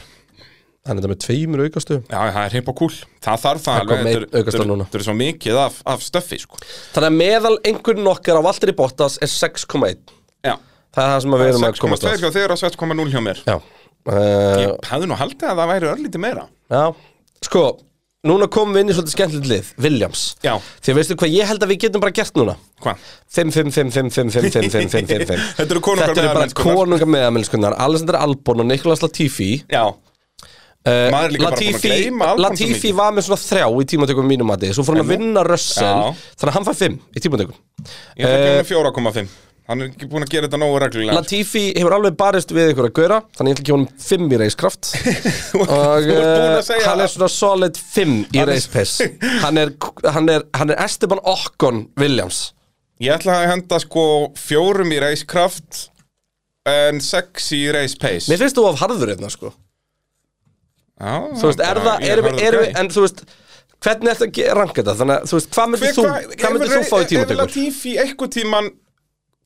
[SPEAKER 1] hann er þetta með tveimur aukastu
[SPEAKER 2] Já, það er himp og kúl Það þarf það
[SPEAKER 1] kom
[SPEAKER 2] alveg,
[SPEAKER 1] einn
[SPEAKER 2] þetta er-
[SPEAKER 1] aukastaf
[SPEAKER 2] þetta er-
[SPEAKER 1] núna.
[SPEAKER 2] þetta er svo mikið af, af stöffi sko.
[SPEAKER 1] þannig að meðal einhvern okkar á Valtteri Bottas er 6,1
[SPEAKER 2] Já,
[SPEAKER 1] það er það sem að við erum að komast
[SPEAKER 2] 6,2
[SPEAKER 1] að
[SPEAKER 2] hjá þér og 6,0 hjá mér
[SPEAKER 1] já, uh,
[SPEAKER 2] Ég hefði nú haldið að það væri örlítið meira
[SPEAKER 1] já, sko núna komum við inn í svolítið skemmtilegt lið Williams,
[SPEAKER 2] Já,
[SPEAKER 1] því að veistu hvað ég held að við getum bara gert núna
[SPEAKER 2] hvað?
[SPEAKER 1] 5, 5, 5, 5, 5, 5, 5, 5, 5, 5, 5
[SPEAKER 2] Þetta eru konungar
[SPEAKER 1] Þetta eru bara
[SPEAKER 2] meðalmennskunnar.
[SPEAKER 1] konunga meðamennskunnar Alexander Albon og Nikolas Latifi
[SPEAKER 2] Já,
[SPEAKER 1] Eh,
[SPEAKER 2] Maður er líka bara búinn að
[SPEAKER 1] Latifi,
[SPEAKER 2] gleyma Albon svo
[SPEAKER 1] Latifi
[SPEAKER 2] mikið.
[SPEAKER 1] var með svona þrjá í tímatökum mínum að þið Svo fór hann að vinna Russell
[SPEAKER 2] Já.
[SPEAKER 1] Þannig að hann fær fimm í tímatökum
[SPEAKER 2] ég ætla ekki með 4,5 Hann er ekki búin að gera þetta nógu reglulega
[SPEAKER 1] Latifi hefur alveg barist við ykkur að gauðra Þannig ég ætla ekki honum fimm í reiskraft
[SPEAKER 2] Þú ert
[SPEAKER 1] Og
[SPEAKER 2] þú ert búin
[SPEAKER 1] eh,
[SPEAKER 2] að segja
[SPEAKER 1] hann er svona solid 5 í race pace hann er, hann, er, hann er Esteban Okkon Williams
[SPEAKER 2] Ég ætla að henda sko fjórum í reiskraft En sex í reis pace
[SPEAKER 1] Mér finnst þú of harður hérna sko Þú veist, er það, erum við, erum við, en þú veist Hvernig ertu að ge- ranka þetta? Þannig að, þú veist, hvað myndir þú, hvað myndir þú fá í
[SPEAKER 2] Hefur
[SPEAKER 1] tímatökur?
[SPEAKER 2] Latifi eitthvað tíman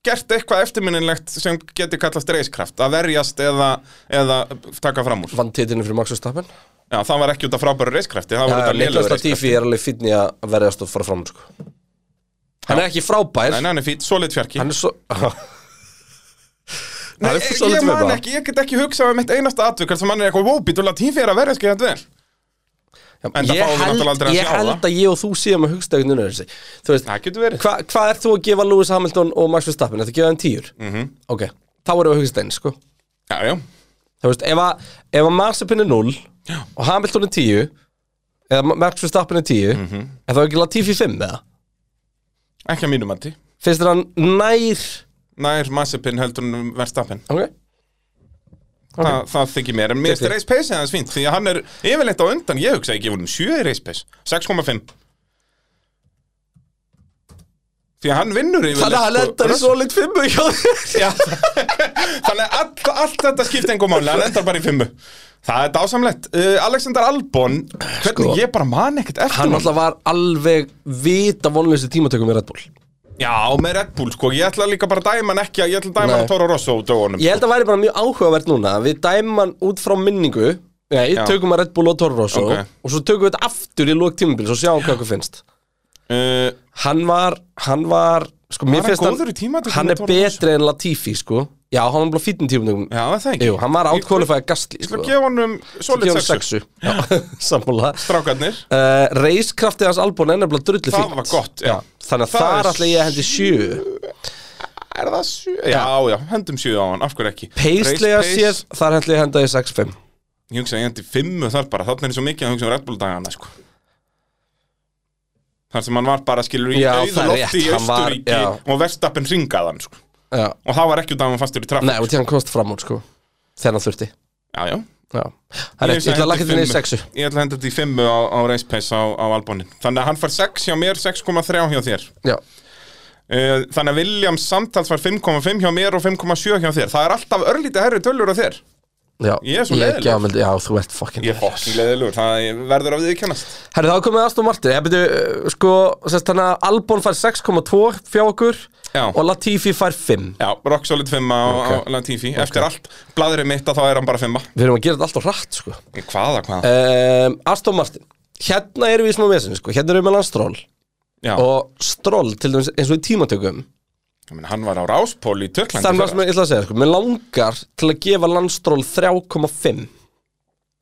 [SPEAKER 2] gert eitthvað eftirminnilegt sem getur kallast reiskraft að verjast eða, eða taka fram úr
[SPEAKER 1] Vann titinu fyrir Max Verstappen
[SPEAKER 2] Já, það var ekki út af frábæru reiskrafti það var út af
[SPEAKER 1] Niklas
[SPEAKER 2] lélugur
[SPEAKER 1] Latifi
[SPEAKER 2] reiskrafti
[SPEAKER 1] er alveg fínn í að verðast og fara fram úr, sko. Hann er ekki frábær
[SPEAKER 2] Nei, nei, hann er fýtt, svo lit fjarki
[SPEAKER 1] Hann er svo
[SPEAKER 2] Nei,
[SPEAKER 1] Hann er
[SPEAKER 2] ég,
[SPEAKER 1] svo
[SPEAKER 2] ég
[SPEAKER 1] lítið með
[SPEAKER 2] man
[SPEAKER 1] það.
[SPEAKER 2] ekki, ég get ekki hugsað um eitt einasta atvikar sem hann er eitthvað Wow, býtu Latifi er að verja skeiðan vel
[SPEAKER 1] Já,
[SPEAKER 2] En það
[SPEAKER 1] ég
[SPEAKER 2] fáum við
[SPEAKER 1] held-
[SPEAKER 2] náttúrulega aldrei að
[SPEAKER 1] Ég
[SPEAKER 2] sjá það.
[SPEAKER 1] held að ég og þú séum að hugsta einhvern veginn Þú veist,
[SPEAKER 2] Það getur verið
[SPEAKER 1] Hva- Hvað ert þú að gefa Lewis Hamilton og Max Verstappen? Þetta gefa þeim tíur? -hmm. Ok, þá erum við að hugsa stein, sko
[SPEAKER 2] Já, já,
[SPEAKER 1] Þú veist, ef að, ef að Mazepin er 0 Já. og Hamilton er 10 eða Ma- Max Verstappen er 10 mm -hmm. er þá ekki Latifi 5 eða?
[SPEAKER 2] ekki að mínum andi
[SPEAKER 1] Finnst þér hann nær?
[SPEAKER 2] Nær Massipin heldur hann verðstappin
[SPEAKER 1] Ok,
[SPEAKER 2] Þa, Það þykir mér, en mér
[SPEAKER 1] Þykir.
[SPEAKER 2] er reis pace aðeins fínt Því að hann er yfirleitt á undan, ég hugsa ekki Ég sjö í reis pace, 6,5 Því að hann vinnur yfirleitt
[SPEAKER 1] þannig að hann
[SPEAKER 2] sko,
[SPEAKER 1] endar í
[SPEAKER 2] Russell.
[SPEAKER 1] solid 5 hjá þér
[SPEAKER 2] Já. Þannig að allt, allt þetta skipti engum máli, hann endar bara í fimmu Það er dásamlegt uh, Alexander Albon, hvernig
[SPEAKER 1] Sko.
[SPEAKER 2] ég bara man ekkert eftir
[SPEAKER 1] Hann
[SPEAKER 2] honum.
[SPEAKER 1] alltaf var alveg vita vonleysi tímatökum í Red Bull
[SPEAKER 2] Já, með Red Bull sko, ég ætla líka bara að dæma hann ekki Ég ætla að dæma
[SPEAKER 1] Nei.
[SPEAKER 2] hann Toro Rosso út á honum
[SPEAKER 1] Ég held að það væri bara mjög áhugavert núna að Við dæmum hann út frá minningu Nei,
[SPEAKER 2] Já.
[SPEAKER 1] tökum að Red Bull og Toro Rosso
[SPEAKER 2] Ok.
[SPEAKER 1] og svo tökum við þetta aftur í lók tímabils og sjáum hvað okkur finnst
[SPEAKER 2] uh,
[SPEAKER 1] hann var, hann var sko, mér
[SPEAKER 2] hann
[SPEAKER 1] finnst
[SPEAKER 2] góður í tímatökum
[SPEAKER 1] hann
[SPEAKER 2] með
[SPEAKER 1] er
[SPEAKER 2] Toro Rosso?
[SPEAKER 1] betri en Latifi sko. já, hann var bara fýtn tímatökum
[SPEAKER 2] Já, það er ekki
[SPEAKER 1] Jú, hann var
[SPEAKER 2] Ég-
[SPEAKER 1] átkólifæði gastli
[SPEAKER 2] Ég ætla
[SPEAKER 1] sko.
[SPEAKER 2] að gefa honum
[SPEAKER 1] Svo
[SPEAKER 2] solid
[SPEAKER 1] hann
[SPEAKER 2] 6
[SPEAKER 1] sexu Já, sammála
[SPEAKER 2] Strákarnir
[SPEAKER 1] uh, reiskraftið hans albún er nefnilega drullu fínt
[SPEAKER 2] Það var gott, já.
[SPEAKER 1] þannig að
[SPEAKER 2] Það
[SPEAKER 1] þar
[SPEAKER 2] er
[SPEAKER 1] ætla ég að hendi sjö
[SPEAKER 2] Er það 7? Já, já, hendum 7 á hann, af hverju ekki
[SPEAKER 1] peislega
[SPEAKER 2] Race
[SPEAKER 1] séð, þar ætla ég að henda ég 6-5
[SPEAKER 2] Ég hugsa að ég hendi 5 þar bara Þannig er svo mikið að hugsa um Red Bull dagana sko. Þar sem hann var bara skilur í
[SPEAKER 1] Já,
[SPEAKER 2] auðu
[SPEAKER 1] það er
[SPEAKER 2] lofti
[SPEAKER 1] rétt,
[SPEAKER 2] í
[SPEAKER 1] hann var-
[SPEAKER 2] Austuríki
[SPEAKER 1] já.
[SPEAKER 2] Og verstappin ringað hann sko.
[SPEAKER 1] já,
[SPEAKER 2] Og það var ekki út af hann fastur í traff
[SPEAKER 1] nei, og til hann komst fram úr sko, þegar hann þurfti
[SPEAKER 2] Já, já
[SPEAKER 1] já, það er rétt, ég ætla að laka þetta niður 6
[SPEAKER 2] Ég ætla að henda þetta í 5 á, á race pace á, á Albonin Þannig að hann fær 6 hjá mér, 6,3 hjá þér
[SPEAKER 1] já,
[SPEAKER 2] Eh, Þannig að Williams samtals var 5,5 hjá mér og 5,7 hjá þér Það er alltaf örlítið herri tölur á þér
[SPEAKER 1] Já,
[SPEAKER 2] Ég er svo leiðilegur.
[SPEAKER 1] gjafmildi- Já, þú ert fucking
[SPEAKER 2] Ég er fokking leðilugur, það verður að við kennast
[SPEAKER 1] Herri, þá er komið Aston Martin Ég byrju, uh, sko, sérst þannig að Albon fær 6,2 fjá okkur
[SPEAKER 2] Já.
[SPEAKER 1] Og Latifi fær 5
[SPEAKER 2] Já, Rock Solid 5 á,
[SPEAKER 1] Ok.
[SPEAKER 2] á Latifi Eftir allt, bladrið mitt að þá er hann bara Eh, 5
[SPEAKER 1] Við erum að gera þetta alltaf hratt, sko
[SPEAKER 2] Hvaða, hvaða?
[SPEAKER 1] um, Aston Martin Hérna erum við í smá vesinu, sko Hérna erum við með Stról
[SPEAKER 2] Já,
[SPEAKER 1] Og Stról, til dæmis eins og í tímatökum
[SPEAKER 2] ég meina, hann var á Ráspól í Töklandi
[SPEAKER 1] Þannig var sem ég ætla að segja, sko Mér langar til að gefa Landstról 3,5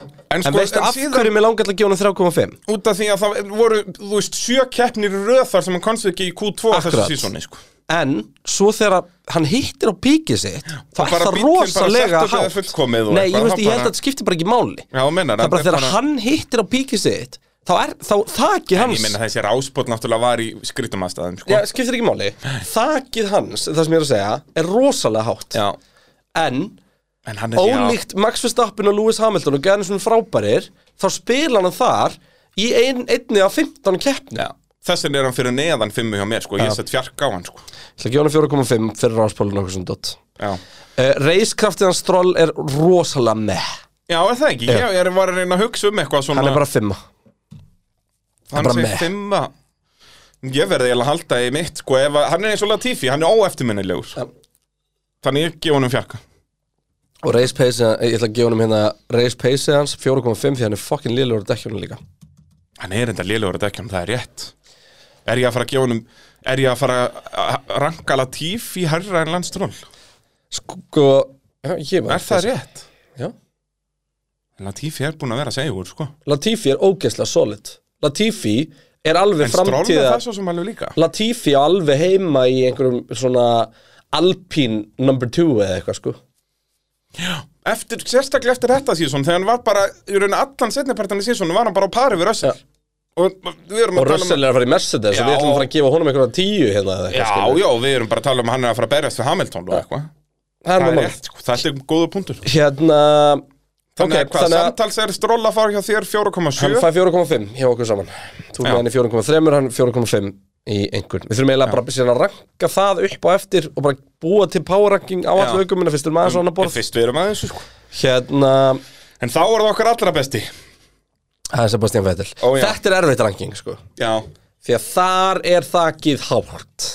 [SPEAKER 2] En,
[SPEAKER 1] En
[SPEAKER 2] sko,
[SPEAKER 1] veistu
[SPEAKER 2] en
[SPEAKER 1] af
[SPEAKER 2] síðan,
[SPEAKER 1] hverju mér langar til að gefa hann 3,5?
[SPEAKER 2] út af því að það voru, þú veist, sjö keppnir í röð þar sem hann komst ekki í Q2 Akkurat.
[SPEAKER 1] Akkurat.
[SPEAKER 2] þessu sísoni, sko
[SPEAKER 1] En svo þegar hann hittir á píkið sitt Það er
[SPEAKER 2] bara
[SPEAKER 1] það
[SPEAKER 2] bíllinn bara
[SPEAKER 1] rosalega
[SPEAKER 2] setupið er
[SPEAKER 1] hátt
[SPEAKER 2] fullkomið og
[SPEAKER 1] Nei, ég
[SPEAKER 2] eitthvað,
[SPEAKER 1] veist,
[SPEAKER 2] það
[SPEAKER 1] ég held
[SPEAKER 2] bara-
[SPEAKER 1] að þetta skiptir bara ekki máli
[SPEAKER 2] Já, þú meinar
[SPEAKER 1] Það er bara
[SPEAKER 2] en
[SPEAKER 1] þegar hann hittir á píkið sitt Þá er, þá, þakið
[SPEAKER 2] Ég
[SPEAKER 1] hans
[SPEAKER 2] meina þessi Ráspól náttúrulega var í skrítum aðstæðum, sko
[SPEAKER 1] Já, skiptir ekki máli Þakið hans, það sem ég er að segja, er rosalega hátt
[SPEAKER 2] Já.
[SPEAKER 1] En,
[SPEAKER 2] En hann er
[SPEAKER 1] ólíkt Max Verstappen og Lewis Hamilton og Gernson frábærir Þá spila hann þar í ein, einni af 15 keppni
[SPEAKER 2] Já, þessin er hann fyrir neðan fimmu hjá mér sko, ég sett fjark á hann sko
[SPEAKER 1] Það ekki honum 4,5 fyrir ráspólun okkur sem dott
[SPEAKER 2] Já,
[SPEAKER 1] uh, Reiskraftið hans stroll er rosalega meh
[SPEAKER 2] Já er það ekki, ég, ég var að reyna að hugsa um eitthvað svona
[SPEAKER 1] Hann er bara 5
[SPEAKER 2] hann
[SPEAKER 1] bara
[SPEAKER 2] segir
[SPEAKER 1] með.
[SPEAKER 2] fimma Ég verði eiginlega að halda í mitt sko, ef að, hann er eins og Latifi, hann er óeftirminnilegur
[SPEAKER 1] Já.
[SPEAKER 2] Þannig ég gef honum fjarka
[SPEAKER 1] Og race pace, ég ætla að gefa honum hérna Race pace hans 4,5 því hann er fucking liðlegur á dekkjónu líka
[SPEAKER 2] Hann er enda lélugur að dekkja hann, það er rétt Er ég að fara að gefa honum Er ég að fara að að ranka Latifi herra en landstról?
[SPEAKER 1] Sko, já, ég var
[SPEAKER 2] Er það rétt?
[SPEAKER 1] Já.
[SPEAKER 2] Latifi er búin að vera að segja úr sko
[SPEAKER 1] Latifi er ógeðslega solid Latifi er alveg
[SPEAKER 2] En stról með
[SPEAKER 1] framtíða
[SPEAKER 2] það svo sem alveg líka
[SPEAKER 1] Latifi er alveg heima í einhverjum svona Alpine number 2 eða eitthvað sko
[SPEAKER 2] eftir, sérstaklega eftir þetta sísón þegar hann var bara, í rauninni allan setnipartan í sísónu var hann bara á pari við Russell
[SPEAKER 1] Já.
[SPEAKER 2] og við erum
[SPEAKER 1] Og
[SPEAKER 2] að tala
[SPEAKER 1] Russell
[SPEAKER 2] um
[SPEAKER 1] er að fara í Mercedes og
[SPEAKER 2] Já.
[SPEAKER 1] við ætlum að fara að gefa honum einhverja 10 hérna eða eitthvað
[SPEAKER 2] já,
[SPEAKER 1] skilur.
[SPEAKER 2] já, við erum bara að tala um að hann er að fara að berjast við Hamilton og eitthvað
[SPEAKER 1] Það
[SPEAKER 2] það
[SPEAKER 1] er
[SPEAKER 2] er
[SPEAKER 1] nú mál
[SPEAKER 2] rétt, sko, þetta er góða punktur þannig
[SPEAKER 1] Hérna,
[SPEAKER 2] að
[SPEAKER 1] Ok,
[SPEAKER 2] hvað,
[SPEAKER 1] þannig að-
[SPEAKER 2] samtals er stróla að fara hjá þér 4,7
[SPEAKER 1] Hann fær 4,5 hjá okkur saman Þú með
[SPEAKER 2] Já.
[SPEAKER 1] hann í 4,3, hann 4,5 í einhvern Við þurfum eiginlega bara síðan að ranka það upp á eftir og bara búa til power ranking á
[SPEAKER 2] Já.
[SPEAKER 1] allu aukumina fyrst um aðeins svona borð
[SPEAKER 2] fyrst við erum að þessu sko
[SPEAKER 1] Hérna,
[SPEAKER 2] en þá er það okkar allra besti
[SPEAKER 1] það er Sebastian Vettel
[SPEAKER 2] Ó, já.
[SPEAKER 1] Þetta er erfitt ranking sko
[SPEAKER 2] já,
[SPEAKER 1] Því að þar er þakið hátt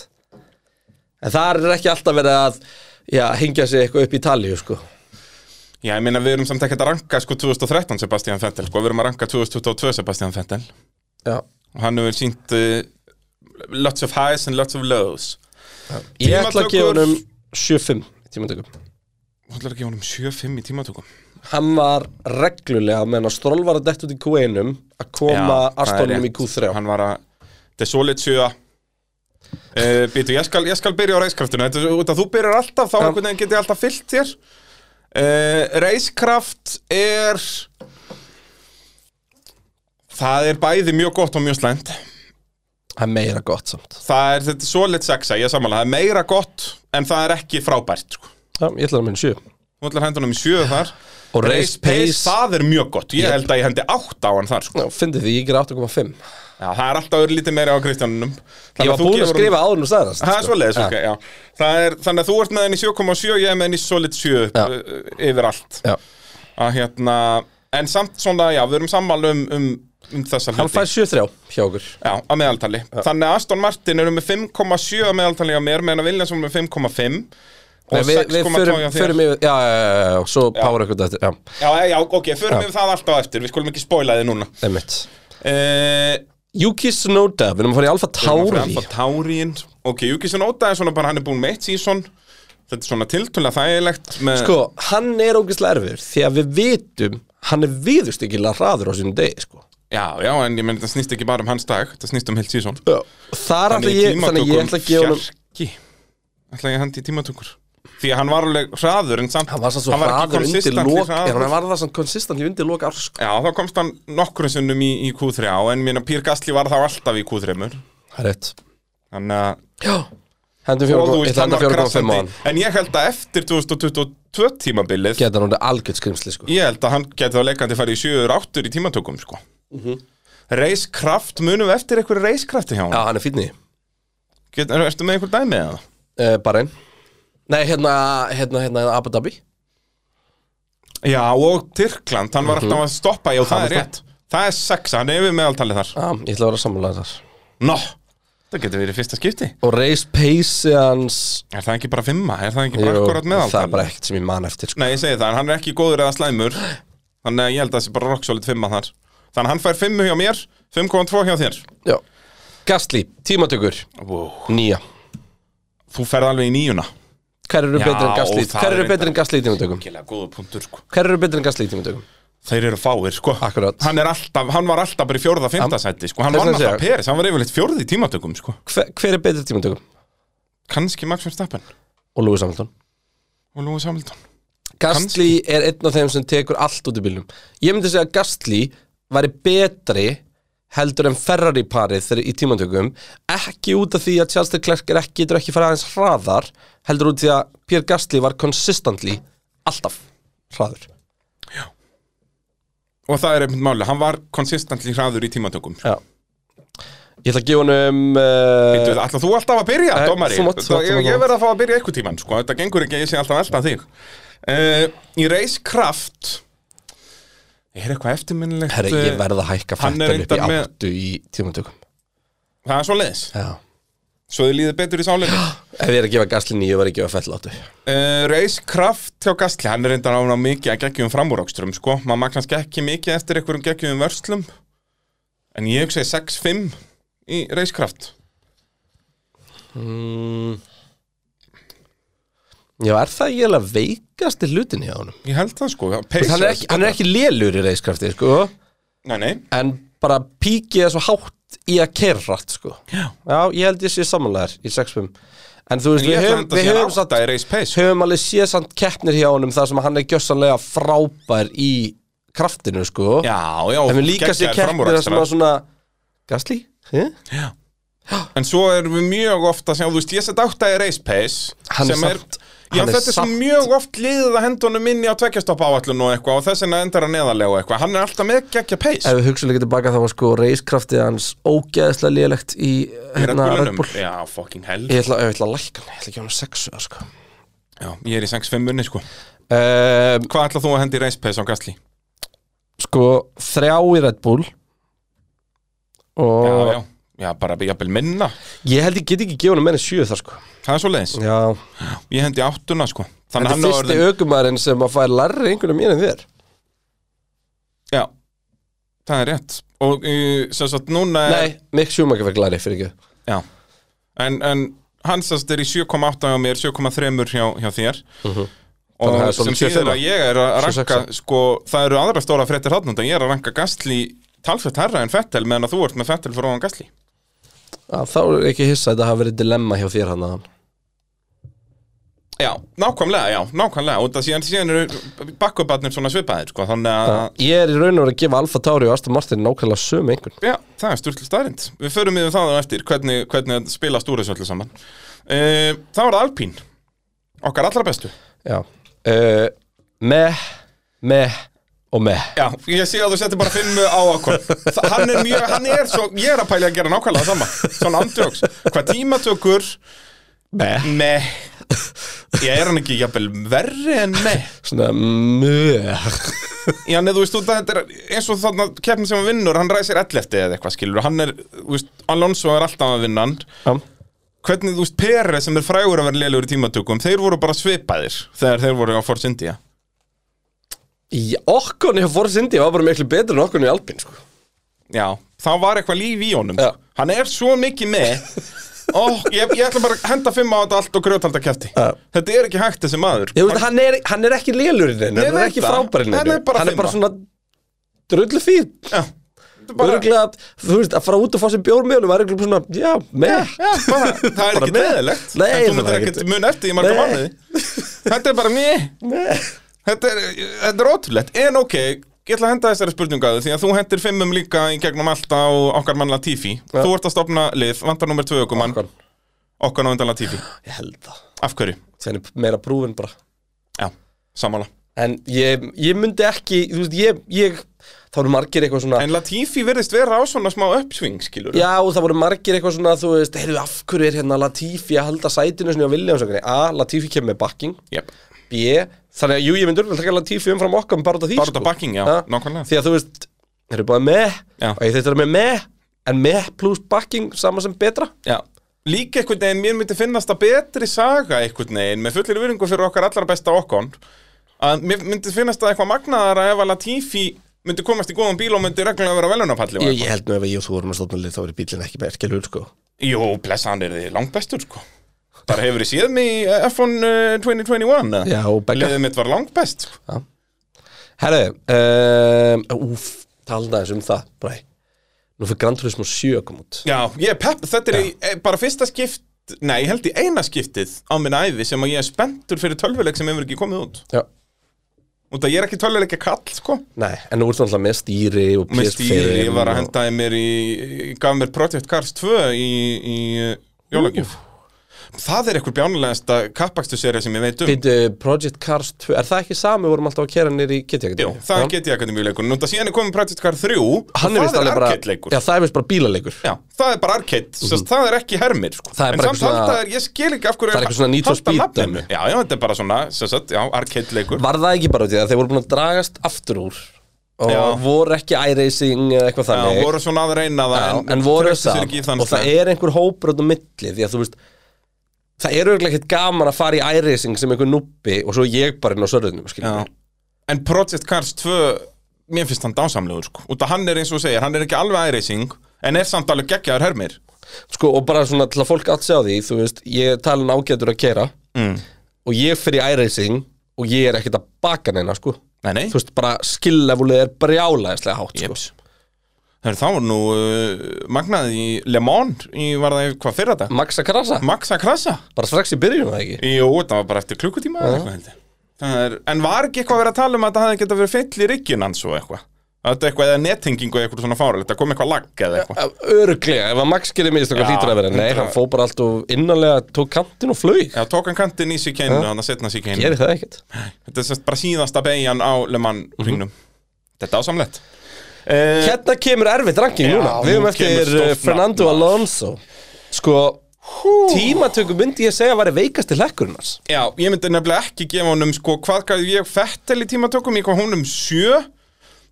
[SPEAKER 1] En þar er ekki alltaf verið að já, hingja sig eitthvað upp í talíu sko
[SPEAKER 2] já ég meina við erum samt ekkert að ranka sko 2013 Sebastian Vettel sko, við erum að ranka 2022 Sebastian Vettel
[SPEAKER 1] Já
[SPEAKER 2] og hann hefur sínt uh, lots of highs and lots of lows
[SPEAKER 1] Ég ætla að gefa honum
[SPEAKER 2] Tímatökur.
[SPEAKER 1] 7-5 í tímatökum
[SPEAKER 2] hún ætlar að gefa honum 7-5 í tímatökum
[SPEAKER 1] hann var reglulega meðan að Stroll var að detta út í Q1-um að koma
[SPEAKER 2] Já, það er
[SPEAKER 1] Astonum í
[SPEAKER 2] rétt.
[SPEAKER 1] Q3
[SPEAKER 2] Hann var að, þetta er solid 7 uh, Býtu, ég skal, ég skal byrja á reiskraftinu Þetta er út að þú byrjar alltaf Þá einhvern veginn get ég alltaf fyllt þér uh, Reiskraft er Það er bæði mjög gott og mjög slæmt
[SPEAKER 1] það er meira gott samt
[SPEAKER 2] Það er þetta er solid 6 Ég sammála, það er meira gott En það er ekki frábært sko.
[SPEAKER 1] já, ég ætla að minn 7
[SPEAKER 2] Þú ætlar að henda honum í 7 þar
[SPEAKER 1] og race pace,
[SPEAKER 2] það er mjög gott Ég
[SPEAKER 1] Ég-
[SPEAKER 2] held að ég hendi 8 á hann þar sko.
[SPEAKER 1] já, fyndi því, ég ger 8,5
[SPEAKER 2] Já, það er alltaf örlítið meira á Kristjánunum
[SPEAKER 1] ég var búin að skrifa áður nú staðast
[SPEAKER 2] Það er svoleiðis, ok, já Það er, Þannig að þú ert með henni 7,7 Ég er með henni solid 7
[SPEAKER 1] Já.
[SPEAKER 2] uh, yfir allt
[SPEAKER 1] já.
[SPEAKER 2] að, hérna, En samt svona, já, við erum sammála um, um, um þessa
[SPEAKER 1] hann
[SPEAKER 2] hluti
[SPEAKER 1] fær 7-3 hjá okkur
[SPEAKER 2] Já, að meðaltali Þannig að Aston Martin eru með 5,7 að meðaltali á mér Meðan að Viljansson með 5,5
[SPEAKER 1] Nei,
[SPEAKER 2] Og
[SPEAKER 1] við, við
[SPEAKER 2] 6,2
[SPEAKER 1] förum,
[SPEAKER 2] hjá þér
[SPEAKER 1] förum yfir, já, já, já, já, já, svo power ekkert eftir, já,
[SPEAKER 2] Já, já, ok, förum við það alltaf eftir Við skulum ekki spoila þið núna
[SPEAKER 1] einmitt
[SPEAKER 2] uh,
[SPEAKER 1] Yuki Tsunoda, við erum að fara í Alfa Tauri
[SPEAKER 2] Alfa Tárin Ok, Júkisson Óta er svona bara, hann er búin með eitt sísón Þetta er svona tiltölulega þægilegt með...
[SPEAKER 1] sko, hann er ógeðslega erfur því að við vitum, hann er viðustykilega hraður á sínum degi, sko
[SPEAKER 2] Já, já, en ég menn þetta snýst ekki bara um hans dag Þetta snýst um heilt sísón
[SPEAKER 1] þar ætla ég, þannig ég ætla að gefa honum
[SPEAKER 2] fjarki Ætla ég að hendi í tímatökur Því að hann var alveg hraður en samt
[SPEAKER 1] hann var sann svo
[SPEAKER 2] ekki
[SPEAKER 1] hraður undir
[SPEAKER 2] consistently
[SPEAKER 1] lok
[SPEAKER 2] hraður.
[SPEAKER 1] en hann var það sann konsistant í undir lok árs sko.
[SPEAKER 2] Já, þá komst hann nokkur sinnum í, í Q3 á En minna Pír Gasli var þá alltaf í Q3
[SPEAKER 1] það er rétt
[SPEAKER 2] Þannig að
[SPEAKER 1] hendur
[SPEAKER 2] og þú
[SPEAKER 1] 4,5
[SPEAKER 2] veist,
[SPEAKER 1] ég henda
[SPEAKER 2] hann var
[SPEAKER 1] 4,5 á
[SPEAKER 2] krassandi
[SPEAKER 1] hann
[SPEAKER 2] En ég held að eftir 2022 tímabilið
[SPEAKER 1] geta hann orðið algjörð skrimsli sko
[SPEAKER 2] Ég held að hann geti þá leikandi farið í 7 áttur í tímatökum sko. Reiskraft, munum við eftir einhverju reiskrafti hjá
[SPEAKER 1] Mhm. já
[SPEAKER 2] hann?
[SPEAKER 1] hann er fínni
[SPEAKER 2] Get, er, Ertu með einhver dæmi eða?
[SPEAKER 1] Eh, uh, bara einn nei hérna hérna hérna, hérna Abu Dhabi
[SPEAKER 2] Já, og Tyrkland, hann var
[SPEAKER 1] Mhm.
[SPEAKER 2] alltaf að stoppa Já, það er rétt, það er sexa, hann er yfir meðaltalið þar
[SPEAKER 1] Já, Ah, ég ætla að vera sammálaðið þar
[SPEAKER 2] Nó, það getur verið fyrsta skipti
[SPEAKER 1] Og Reis Pace hans
[SPEAKER 2] Er það ekki bara fimma, er það ekki bara
[SPEAKER 1] Jú,
[SPEAKER 2] akkurat
[SPEAKER 1] Það er
[SPEAKER 2] meðaltalið?
[SPEAKER 1] bara ekkert sem ég man eftir sko.
[SPEAKER 2] Nei, ég segi það, en hann er ekki góður eða slæmur Þannig að ég held að það sé bara rock solid fimma þar Þannig að hann fær fimmu hjá mér, 5,2 hjá þér
[SPEAKER 1] Já. Gastli, tímatökur,
[SPEAKER 2] wow.
[SPEAKER 1] nýja
[SPEAKER 2] Þú ferð alveg í níuna
[SPEAKER 1] Hver eru
[SPEAKER 2] Já,
[SPEAKER 1] betri en Gastli
[SPEAKER 2] það
[SPEAKER 1] Hver
[SPEAKER 2] er
[SPEAKER 1] eru
[SPEAKER 2] reyndar-
[SPEAKER 1] betri en Gastli í tímatökum?
[SPEAKER 2] Gila, góða punktur, sko
[SPEAKER 1] Hver eru betri en Gastli í tímatökum?
[SPEAKER 2] Þeir eru fáir, sko
[SPEAKER 1] Akkurat.
[SPEAKER 2] hann, er alltaf, hann var alltaf bara í fjórða, fymta sæti, sko Hann
[SPEAKER 1] Þess
[SPEAKER 2] vann
[SPEAKER 1] vegna
[SPEAKER 2] alltaf
[SPEAKER 1] segja-
[SPEAKER 2] Peris, hann var yfirleitt fjórði í tímatökum, sko
[SPEAKER 1] Hver, hver er betri í tímatökum?
[SPEAKER 2] Kanski Max Verstappen
[SPEAKER 1] Og Lúi Samhaldun
[SPEAKER 2] og Lúi Samildon
[SPEAKER 1] Gastli er einn af þeim sem tekur allt út í bílnum Ég myndi segja að Gastli væri betri heldur en Ferrari parið þegar í tímantökum ekki út af því að Charles de Klerk er ekki getur ekki farið aðeins hraðar heldur út af því að Pierre Gastli var consistently alltaf hraður
[SPEAKER 2] Og það er einmitt máli, hann var konsistentli hraður í tímatökum
[SPEAKER 1] Já Ég ætla að gefa honum
[SPEAKER 2] Þú
[SPEAKER 1] uh,
[SPEAKER 2] veit, ætla þú alltaf að byrja,
[SPEAKER 1] Eh,
[SPEAKER 2] dómari
[SPEAKER 1] þú mátt, þú mátt,
[SPEAKER 2] Ég,
[SPEAKER 1] þú mátt.
[SPEAKER 2] ég verð að fá að byrja eitthvað tíman, sko Þetta gengur ekki, ég sé alltaf alltaf þig uh, Í reiskraft Er eitthvað eftirminnilegt eh,
[SPEAKER 1] Herra, ég verð að hækka
[SPEAKER 2] hann er
[SPEAKER 1] fættan upp í
[SPEAKER 2] reyndar með-
[SPEAKER 1] áttu í tímantökum
[SPEAKER 2] Það er svo leiðis,
[SPEAKER 1] Já
[SPEAKER 2] svo þið líður betur í sálinni
[SPEAKER 1] Ef ég er að gefa Gastli nýju, var ég að gefa fell áttu
[SPEAKER 2] Uh, Reis Kraft hjá Gastli, hann er reyndar á hann mikið að geggjum framúráksturum sko, maður maður kannski ekki mikið eftir einhverjum geggjum vörslum en ég hugsaði 6-5 í Reis Kraft
[SPEAKER 1] Mm. Já, er það ég alveg veikast í hlutin hjá honum?
[SPEAKER 2] ég held það sko,
[SPEAKER 1] Þú veist, Hann er ekki, hann er ekki lélur í reiskrafti, sko
[SPEAKER 2] Nei, nei,
[SPEAKER 1] En bara píkið er svo hátt í að kerra rætt, sko Já. ég held ég sé samanlegar í 6-5 En þú veist,
[SPEAKER 2] en ég
[SPEAKER 1] við
[SPEAKER 2] held að
[SPEAKER 1] höfum,
[SPEAKER 2] þetta
[SPEAKER 1] við
[SPEAKER 2] sé
[SPEAKER 1] höfum, satt,
[SPEAKER 2] átta í Reis Pace sko.
[SPEAKER 1] höfum alveg séð samt keppnir hjá honum þar sem hann er gjössanlega frábær í kraftinu, sko
[SPEAKER 2] Já, já,
[SPEAKER 1] En við líka sé
[SPEAKER 2] geggjaðir
[SPEAKER 1] keppnir þar sem
[SPEAKER 2] framúrakstrar.
[SPEAKER 1] að svona Gasli? Hæ?
[SPEAKER 2] En svo erum við mjög ofta sem, þú veist, ég set átta í Reis Pace
[SPEAKER 1] Hann er
[SPEAKER 2] sem er,
[SPEAKER 1] samt-
[SPEAKER 2] já,
[SPEAKER 1] hann er
[SPEAKER 2] þetta er svo
[SPEAKER 1] samt-
[SPEAKER 2] mjög oft liðið að hendunum inn í á tveggjastoppa áallun og eitthvað og þess vegna endar hann neðarlega og eitthvað, hann er alltaf með geggja pace
[SPEAKER 1] Ef við hugsaum líka tilbaka þá var sko reiskraftið hans ógeðslega lélegt í
[SPEAKER 2] Í Red
[SPEAKER 1] hérna Red
[SPEAKER 2] Bullunum.
[SPEAKER 1] Bull
[SPEAKER 2] Já, fucking hell
[SPEAKER 1] Ég ætla, ég ætla að lækka hann, ég ætla að gefa hann sexu sko.
[SPEAKER 2] Já, ég er í 6-5 munni sko
[SPEAKER 1] Um,
[SPEAKER 2] Hvað ætlað þú að hendi í reispeis á Gastli?
[SPEAKER 1] sko, þrjá í Red Bull
[SPEAKER 2] Já,
[SPEAKER 1] og
[SPEAKER 2] já, já, bara jafnvel minna
[SPEAKER 1] ég held ég get ekki gefa hann meira en sjö þar sko
[SPEAKER 2] Það er svo leiðis,
[SPEAKER 1] Já,
[SPEAKER 2] ég hendi áttuna sko
[SPEAKER 1] þetta
[SPEAKER 2] Þannig
[SPEAKER 1] er
[SPEAKER 2] hann
[SPEAKER 1] fyrsti
[SPEAKER 2] orðin,
[SPEAKER 1] orðin... sem að færa larri einhvern mér en þér
[SPEAKER 2] já Það er rétt Og uh, sem sagt núna er
[SPEAKER 1] Nei, Mick Schumacher fyrir larri fyrir ekki
[SPEAKER 2] Já En, en hann sem sagt er í 7,8 hjá mér 7,3 hjá, hjá þér
[SPEAKER 1] Mhm. Þannig að það
[SPEAKER 2] Og
[SPEAKER 1] er
[SPEAKER 2] sem
[SPEAKER 1] svolítið
[SPEAKER 2] þýðir
[SPEAKER 1] 7,5.
[SPEAKER 2] að ég er að ranka
[SPEAKER 1] 7,6.
[SPEAKER 2] Sko, það eru aðra stóra fréttir hann Þannig ég er að ranka Gastli talsvett herra en Fettel meðan að þú ert með Fettel fyrir ofan Gastli
[SPEAKER 1] Já, Þá er ekki hissa að þetta hafa verið dilemma hjá þér hann að
[SPEAKER 2] Já, nákvæmlega, já, nákvæmlega og það síðan, síðan eru bakkubarnir svona svipaðir sko, þannig að
[SPEAKER 1] Ég er í raun og verið að gefa Alfa Tauri og Aston Martin nákvæmlega sömu einhvern
[SPEAKER 2] Já, það er stúrtli staðrind. Við förum yfir það á eftir, hvernig, hvernig að spilast úr þessu öllu saman. Uh, það var það Alpín, okkar allra bestu.
[SPEAKER 1] Já uh, Meh, meh og meh
[SPEAKER 2] Já, ég sé að þú settir bara fimmu á okkur. Þa- Hann er mjög, hann er svo, ég er að pæla að gera nákvæmlega það sama, svona andjóks. Hvað tímatökur,
[SPEAKER 1] Meh
[SPEAKER 2] meh, ég er hann ekki jafnvel verri en meh.
[SPEAKER 1] Svona meh
[SPEAKER 2] Já, neðu, veist, þú, þetta er eins og þarna keppin sem hann vinnur, hann ræsir 11 eða eitthvað skilur, hann er, þú veist, Alonso er alltaf að vinna hann.
[SPEAKER 1] Já
[SPEAKER 2] hvernig þú veist Pere sem er frægur að vera lélugur í tímatökum þeir voru bara svipaðir þegar þeir voru á Force India
[SPEAKER 1] Í okkurni hjá Force India var bara miklu betur en okkurni í Alpine sko.
[SPEAKER 2] já, þá var eitthvað líf í honum
[SPEAKER 1] Já.
[SPEAKER 2] hann er svo mikið með og ég, ég ætla bara að henda fimm á þetta allt og grjótalda kæfti
[SPEAKER 1] Já.
[SPEAKER 2] þetta er ekki hægt þessi maður
[SPEAKER 1] Ég veist, hann, er, hann er ekki lélurinn hann
[SPEAKER 2] Ég
[SPEAKER 1] er
[SPEAKER 2] veit
[SPEAKER 1] ekki
[SPEAKER 2] það.
[SPEAKER 1] frábærinn
[SPEAKER 2] Hann er bara
[SPEAKER 1] hann er bara
[SPEAKER 2] fimma.
[SPEAKER 1] svona drullu fín
[SPEAKER 2] já, Þetta er bara,
[SPEAKER 1] Öruglega, þú veist, að fara út og fá sér bjórmjölum var öruglega svona, já, með
[SPEAKER 2] já, bara, það er
[SPEAKER 1] Bara
[SPEAKER 2] ekki
[SPEAKER 1] með.
[SPEAKER 2] neðilegt
[SPEAKER 1] Nei,
[SPEAKER 2] en þú
[SPEAKER 1] það
[SPEAKER 2] myndir
[SPEAKER 1] er
[SPEAKER 2] ekkert
[SPEAKER 1] ekki-
[SPEAKER 2] mun eftir í marga
[SPEAKER 1] Nei.
[SPEAKER 2] mánuði þetta er bara mjög
[SPEAKER 1] með
[SPEAKER 2] Þetta er, þetta er ótrúlegt, en ok, ég ætla að henda þessari spurningaðu því að þú hendir fimmum líka í gegnum allta og okkar mann Latifi
[SPEAKER 1] Ja.
[SPEAKER 2] Þú ert að stopna lið, vantar nummer tvö okkur mann,
[SPEAKER 1] Okkar.
[SPEAKER 2] okkar náðundan Latifi
[SPEAKER 1] Ég held það
[SPEAKER 2] Af hverju?
[SPEAKER 1] Þannig er meira prúfin bara
[SPEAKER 2] Já, samála
[SPEAKER 1] En ég, ég myndi ekki, þú veist, ég, ég Það voru margir eitthvað svona
[SPEAKER 2] En Latifi verðist vera á svona smá uppsving, skilur
[SPEAKER 1] Já, og það voru margir eitthvað svona, þú veist, heyrðu, af hverju er hérna Latifi að halda sætinu sinni á Viljámsökunni? A, Latifi kemur með backing
[SPEAKER 2] yep.
[SPEAKER 1] B Þannig að jú, ég myndi örgulega taka alveg tífi umfram okkar bara út af því
[SPEAKER 2] Bara út af backing, já,
[SPEAKER 1] Ha?
[SPEAKER 2] nákvæmlega
[SPEAKER 1] Því að þú veist, þeir eru bara með
[SPEAKER 2] Já.
[SPEAKER 1] og ég þetta er með með en með plus backing sama sem betra
[SPEAKER 2] Já Líka einhvern veginn, mér myndi finnast það betri saga einhvern veginn, með fullir viðringu fyrir okkar allra besta okkon að mér myndi finnast það eitthvað magnaðara ef að Latifi myndi komast í góðan bíl og myndi reglulega vera velunapalli
[SPEAKER 1] Ég, ég held nú ef ég og þú vorum að stofna lið þá verið bílinn ekki merkjulur sko
[SPEAKER 2] Jú, blessa hann er þið langt bestur sko Bara hefur þið séð mig í F1 uh, 2021 eða?
[SPEAKER 1] Já, og Begga.
[SPEAKER 2] Liðið mitt var langt best sko.
[SPEAKER 1] Herðu, um, úf, talna eins um það Bræ. Nú fyrir Gran Turismo 7 að koma út
[SPEAKER 2] Já, ég er pepp, þetta er í, eh, bara fyrsta skipt Nei, ég held í eina skiptið á minna æfi sem að ég er spenntur fyrir tölvuleik sem hefur ekki komið út
[SPEAKER 1] Já.
[SPEAKER 2] Út að ég er ekki tölvuleikja kall sko
[SPEAKER 1] Nei, en nú ertu alltaf með stýri og
[SPEAKER 2] Með stýri, ég var að
[SPEAKER 1] og-
[SPEAKER 2] hendaði mér í, ég gaf mér Project Cars 2 í, í eh, jólagjöf Það er eitthvað bjánulegasta kappakstusserja sem ég veit um
[SPEAKER 1] Bíddu, Project Cars 2, er það ekki sami við vorum alltaf að kera nýri í GTA?
[SPEAKER 2] Jú, það get ég akademíuleikun Núnda síðan er komið Project Cars 3
[SPEAKER 1] Hann
[SPEAKER 2] og
[SPEAKER 1] er vist
[SPEAKER 2] Það
[SPEAKER 1] alveg
[SPEAKER 2] er
[SPEAKER 1] bara,
[SPEAKER 2] arcade-leikur
[SPEAKER 1] já það er vist bara bílaleikur
[SPEAKER 2] Já, það er bara arcade, mm það er ekki hermir sko.
[SPEAKER 1] Það er
[SPEAKER 2] En
[SPEAKER 1] bara
[SPEAKER 2] samt
[SPEAKER 1] eitthvað svona-
[SPEAKER 2] halda er, ég skil ekki af hverju
[SPEAKER 1] Það er eitthvað svona Need for
[SPEAKER 2] halda
[SPEAKER 1] Speed
[SPEAKER 2] nafninu.
[SPEAKER 1] dæmi.
[SPEAKER 2] Já, já, þetta er bara svona, sem sagt, já, arcade leikur
[SPEAKER 1] Var það ekki bara út í það, þeir voru búin að dragast aftur úr og
[SPEAKER 2] Já.
[SPEAKER 1] voru ekki iRacing eða eitthvað
[SPEAKER 2] Já,
[SPEAKER 1] þannig
[SPEAKER 2] voru svona að reyna það
[SPEAKER 1] Já, en voru
[SPEAKER 2] treystu sér
[SPEAKER 1] það
[SPEAKER 2] ekki í
[SPEAKER 1] og það
[SPEAKER 2] stað.
[SPEAKER 1] er einhver hópur út á milli því að þú veist það er auðvitað ekkert gaman að fara í iRacing sem einhver núbbi og svo ég bara inn á sörðunum
[SPEAKER 2] Já.
[SPEAKER 1] skilur
[SPEAKER 2] En Project Cars 2 Mér finnst hann dásamlegur sko Út að hann er eins og þú segir, hann er ekki alveg iRacing En er samt alveg geggjaður hermir
[SPEAKER 1] sko og bara svona til að fólk allt segja því þú veist ég er talin ágætur að kera
[SPEAKER 2] mm.
[SPEAKER 1] og ég fer í iRacing og ég er ekkert að baka neina sko
[SPEAKER 2] Nei, nei,
[SPEAKER 1] þú veist bara skillefulið er brjálæðislega hátt sko.
[SPEAKER 2] Jeps. Heru, það var nú uh, Magnað í Le Mans í, Var það í- hvað fyrir þetta?
[SPEAKER 1] Maxa krasa,
[SPEAKER 2] Max að krasa?
[SPEAKER 1] bara strax í byrjun var það ekki
[SPEAKER 2] Jú, það var bara eftir klukkutíma eða eitthvað held ég. Það er, En var ekki eitthvað að vera að tala um að þetta hefði getað verið fyll í riggjun hans og eitthvað Þetta er eitthvað eða nettingingu eitthvað svona fáralegt Það kom eitthvað lagg eða eitthvað
[SPEAKER 1] Öruglega, ef að Max gerir minnst okkar
[SPEAKER 2] Já,
[SPEAKER 1] hlýtur að vera Nei,
[SPEAKER 2] hundrað.
[SPEAKER 1] hann fó bara allt og innanlega tók kantinn og flög
[SPEAKER 2] Já, tók hann kantinn í sig keinu, hann að setna sig keinu
[SPEAKER 1] Gerir það ekkert
[SPEAKER 2] Þetta er semst bara síðasta beigjan á Le Mans ringnum Þetta er ásamlegt uh,
[SPEAKER 1] Mhm. Hérna kemur erfitt ranking
[SPEAKER 2] Já,
[SPEAKER 1] núna Við
[SPEAKER 2] nú
[SPEAKER 1] erum
[SPEAKER 2] kemur
[SPEAKER 1] eftir
[SPEAKER 2] stórt
[SPEAKER 1] eh,
[SPEAKER 2] nafn,
[SPEAKER 1] Fernando
[SPEAKER 2] maður.
[SPEAKER 1] Alonso Sko, tímatöku myndi ég segja að væri veikasti hlekkurinn hans
[SPEAKER 2] Já, ég myndi nefnilega ekki gefa honum sko, hvað gaf ég fettel í tímatökum, ég gaf honum sjö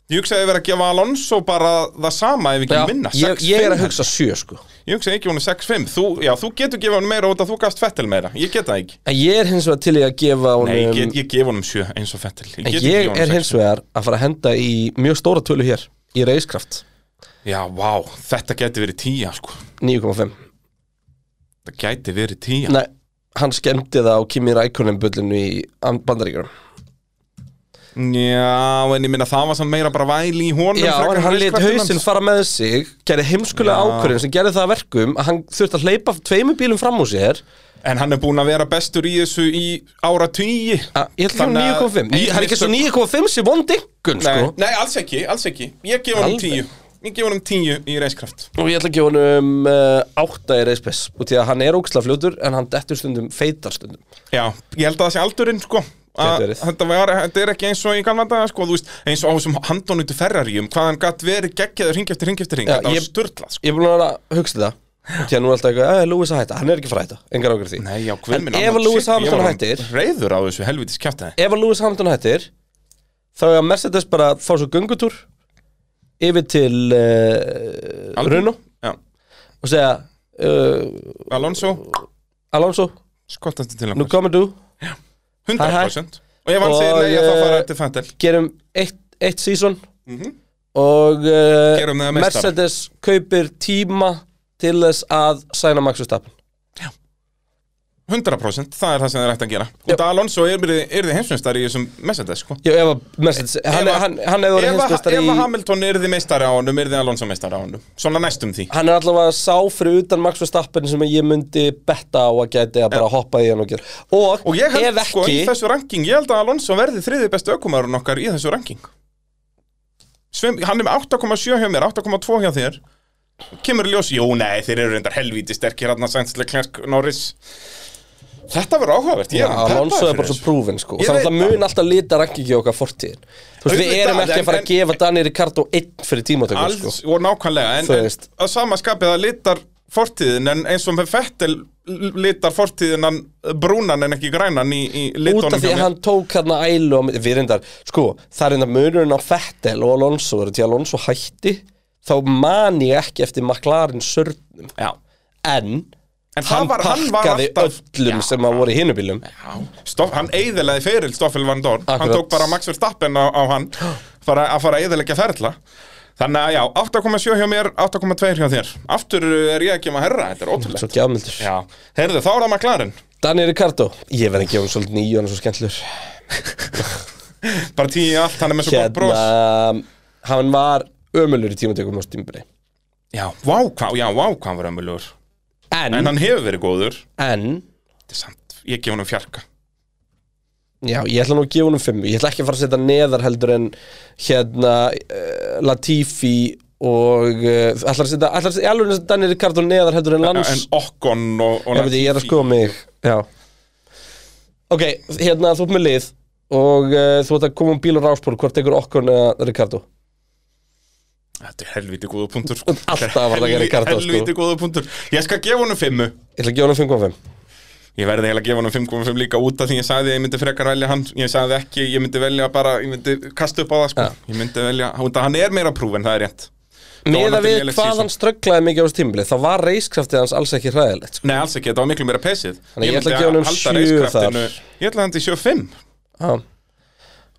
[SPEAKER 2] Ég hugsaði að vera að gefa Alonso bara það sama ef ekki vinna
[SPEAKER 1] ég,
[SPEAKER 2] 6-5.
[SPEAKER 1] ég er að hugsa sjö sko
[SPEAKER 2] Ég hugsaði ekki um honum 6-5 þú, Já, þú getur gefa honum meira út að þú gafst fettel meira Ég get það ekki
[SPEAKER 1] En ég er hins vegar til í að gefa honum
[SPEAKER 2] Nei, ég, get, ég gef honum 7 eins og fettel Ég,
[SPEAKER 1] En
[SPEAKER 2] get ekki
[SPEAKER 1] ég
[SPEAKER 2] gefið honum
[SPEAKER 1] er
[SPEAKER 2] sex.
[SPEAKER 1] hins vegar að fara að henda í mjög stóra tölu hér Í reiskraft,
[SPEAKER 2] Já, vá, þetta gæti verið 10 sko
[SPEAKER 1] 9,5
[SPEAKER 2] Þetta gæti verið 10
[SPEAKER 1] Nei, hann skemmti það á Kimi Rækonin bullinu í bandaríkjörum
[SPEAKER 2] Já, en ég minna það var samt meira bara væli í honum
[SPEAKER 1] Já,
[SPEAKER 2] frekar
[SPEAKER 1] en
[SPEAKER 2] en
[SPEAKER 1] hann let
[SPEAKER 2] ristkvartinn
[SPEAKER 1] hausinn
[SPEAKER 2] hans.
[SPEAKER 1] fara með sig gerði heimskulega
[SPEAKER 2] Já.
[SPEAKER 1] ákvörðin sem gerði það að verkum að hann þurfti að hleypa tveimu bílum fram úr sér
[SPEAKER 2] En hann er búinn að vera bestur í þessu í ára tugi
[SPEAKER 1] að, ég ætla að
[SPEAKER 2] Þannig að-
[SPEAKER 1] gefa honum 9,5 Í- hann er ekki svo 9,5 sem von dinkun
[SPEAKER 2] nei,
[SPEAKER 1] sko.
[SPEAKER 2] nei, alls ekki, alls ekki Ég gef honum
[SPEAKER 1] Alveg.
[SPEAKER 2] 10 Ég gef honum 10 í reiskraft
[SPEAKER 1] og ég ætla að gefa honum uh, 8 í reispes og því að hann er óksla fljótur en hann dettur stundum feitar stundum
[SPEAKER 2] Já, ég held að það sé aldurinn sko
[SPEAKER 1] Gæti
[SPEAKER 2] Að
[SPEAKER 1] verið.
[SPEAKER 2] Þetta, var, þetta er ekki eins og í gamla daga sko, þú veist, eins og á þessum handónutu ferraríum hvað hann gatt verið geggjaður hring eftir hring eftir hring
[SPEAKER 1] Já,
[SPEAKER 2] þetta var
[SPEAKER 1] ég-
[SPEAKER 2] sturla sko.
[SPEAKER 1] ég er búin að vera að hugsa þetta og því að nú er alltaf eitthvað, eh, Lewis að hætta, hann er ekki að fara að hætta engar ákvörð því
[SPEAKER 2] Nei, já, guð
[SPEAKER 1] en
[SPEAKER 2] minn
[SPEAKER 1] ef
[SPEAKER 2] almáttugur,
[SPEAKER 1] að Lewis
[SPEAKER 2] shit, ég var
[SPEAKER 1] Hamilton
[SPEAKER 2] orðinn
[SPEAKER 1] hættir
[SPEAKER 2] reiður á þessu helvitis kjáttæði
[SPEAKER 1] ef að Lewis Hamilton hættir þá er að Mercedes bara að fá svo göngutúr yfir til uh, Runo
[SPEAKER 2] Já,
[SPEAKER 1] og segja uh,
[SPEAKER 2] Alonso,
[SPEAKER 1] Alonso,
[SPEAKER 2] skottast til
[SPEAKER 1] nú
[SPEAKER 2] hann
[SPEAKER 1] komur þú
[SPEAKER 2] 100% Og ef hann
[SPEAKER 1] Og,
[SPEAKER 2] segir nei, þá fara
[SPEAKER 1] eh,
[SPEAKER 2] eftir fændel
[SPEAKER 1] gerum eitt, eitt season og uh,
[SPEAKER 2] Mhm. Gerum það meistara.
[SPEAKER 1] Mercedes kaupir tíma til þess að sæna Max Verstappen
[SPEAKER 2] 100% það er það sem það er hægt að gera Út að Alonso er, er, er þið heimsumstari í þessum Mercedes sko.
[SPEAKER 1] Já, ef að Mercedes, hann,
[SPEAKER 2] að-
[SPEAKER 1] hann, hann hefur
[SPEAKER 2] Eh, Ef
[SPEAKER 1] verið
[SPEAKER 2] að-
[SPEAKER 1] hinsmestari
[SPEAKER 2] ef
[SPEAKER 1] í
[SPEAKER 2] að Hamilton er þið meistari á honum er þið Alonso meistari á honum Svona næstum því
[SPEAKER 1] Hann er allavega sá fyrir utan Max Verstappen sem ég myndi betta á að gæti að bara hoppa í hann og gera Og,
[SPEAKER 2] Og ég held
[SPEAKER 1] ef
[SPEAKER 2] sko í
[SPEAKER 1] ekki,
[SPEAKER 2] þessu ranking Ég held að Alonso verði þriði bestu ökumarun okkar í þessu ranking Svim, Hann er með 8,7 hjá mér 8,2 hjá þér Kemur í ljós, jú nei þeir eru reyndar helvíti sterkir Hanna Sainzle, Klerk, Norris Þetta verður áhugavert Ég
[SPEAKER 1] Já,
[SPEAKER 2] er alveg peppaður
[SPEAKER 1] Alonso er
[SPEAKER 2] fyrir
[SPEAKER 1] bara svo
[SPEAKER 2] þessu.
[SPEAKER 1] prúfin sko.
[SPEAKER 2] Ég
[SPEAKER 1] Þannig að
[SPEAKER 2] veit
[SPEAKER 1] það mun alltaf lita rankingi okkar fortíðin Þú veist, við
[SPEAKER 2] Auðvitað,
[SPEAKER 1] erum ekki að fara
[SPEAKER 2] en-
[SPEAKER 1] að gefa Dani Ricardo einn fyrir tímatökum
[SPEAKER 2] Alls,
[SPEAKER 1] sko.
[SPEAKER 2] og nákvæmlega, en,
[SPEAKER 1] Þú
[SPEAKER 2] en
[SPEAKER 1] veist.
[SPEAKER 2] að sama skapið að litar fortíðin en eins og með Fettel litar fortíðinan brúnan en ekki grænan í, í
[SPEAKER 1] Út af
[SPEAKER 2] litónum
[SPEAKER 1] því að hann tók hérna ælu og, við reyndar, sko, það er reyndar munurinn á Fettel og Alonso, er því að Alonso hætti þá man ég ekki eftir McLaren sörnum,
[SPEAKER 2] Já.
[SPEAKER 1] en,
[SPEAKER 2] En það var- hann var
[SPEAKER 1] pakkaði
[SPEAKER 2] alltaf-
[SPEAKER 1] öllum sem að voru í hinubílum
[SPEAKER 2] Stoff, hann eiðilaði feril Stoffel Van Dorn hann
[SPEAKER 1] Akkurat.
[SPEAKER 2] tók bara Max Verstappen á, á hann fara, að fara að eiðilegja ferla þannig að já, 8,7 hjá mér 8,2 hjá þér, aftur er ég ekki um að herra þetta er ótrúlega
[SPEAKER 1] Svo gjafmildur
[SPEAKER 2] já, heyrðu, þá er það McLaren
[SPEAKER 1] Daniel Ricardo, ég verði að gefa hann svolítið nýju hann er svo skemmtlur
[SPEAKER 2] bara tíu í allt, hann er með svo gott brós
[SPEAKER 1] Hérna, hann var ömulur í tímatökum á stímbri
[SPEAKER 2] já, vá, hvað, já, vá, hvað hann var ömulur
[SPEAKER 1] En,
[SPEAKER 2] en hann hefur verið góður
[SPEAKER 1] en,
[SPEAKER 2] þetta er samt, ég gef hann um fjarka
[SPEAKER 1] já, ég ætla nú að gefa hann um fimm Ég ætla ekki að fara að setja neðar heldur en hérna uh, Latifi og uh, ætla að setja, ætla að setja, alveg að setja Daniel Ricardo neðar heldur en
[SPEAKER 2] Já,
[SPEAKER 1] Lans
[SPEAKER 2] en Okkon og, og
[SPEAKER 1] Ég veit, ég er að skoða mig Já Ok, hérna þú ert með lið og uh, þú ert að koma um bíl og ráspor hvort tekur okkur neða Ricardo
[SPEAKER 2] þetta er helviti góða punktur sko.
[SPEAKER 1] Alltaf var það að gera Ricardo, sko.
[SPEAKER 2] helviti góða punktur ég skal gefa hann um fimmu
[SPEAKER 1] Ég ætla að gefa hann um 5.5
[SPEAKER 2] Ég verði eiginlega að gefa hann um 5.5 líka út af því ég sagði að ég myndi frekar velja hann Ég sagði ekki, ég myndi velja bara, ég myndi kasta upp á það sko
[SPEAKER 1] Ja.
[SPEAKER 2] Ég myndi velja, út af hann er meira prúf en það er rétt
[SPEAKER 1] Miða
[SPEAKER 2] Donald
[SPEAKER 1] við
[SPEAKER 2] Ellis
[SPEAKER 1] hvað
[SPEAKER 2] season.
[SPEAKER 1] hann strögglaði mikið á þessu tímabili þá var reiskraftið hans alls ekki hræðilegt sko.
[SPEAKER 2] Nei, alls ekki, þetta var miklu meira pesið
[SPEAKER 1] Þannig ég ætla að
[SPEAKER 2] myndi
[SPEAKER 1] gefa honum
[SPEAKER 2] halda
[SPEAKER 1] sjö
[SPEAKER 2] racekraftinu- Ég ætla að hann til 7.5
[SPEAKER 1] Já.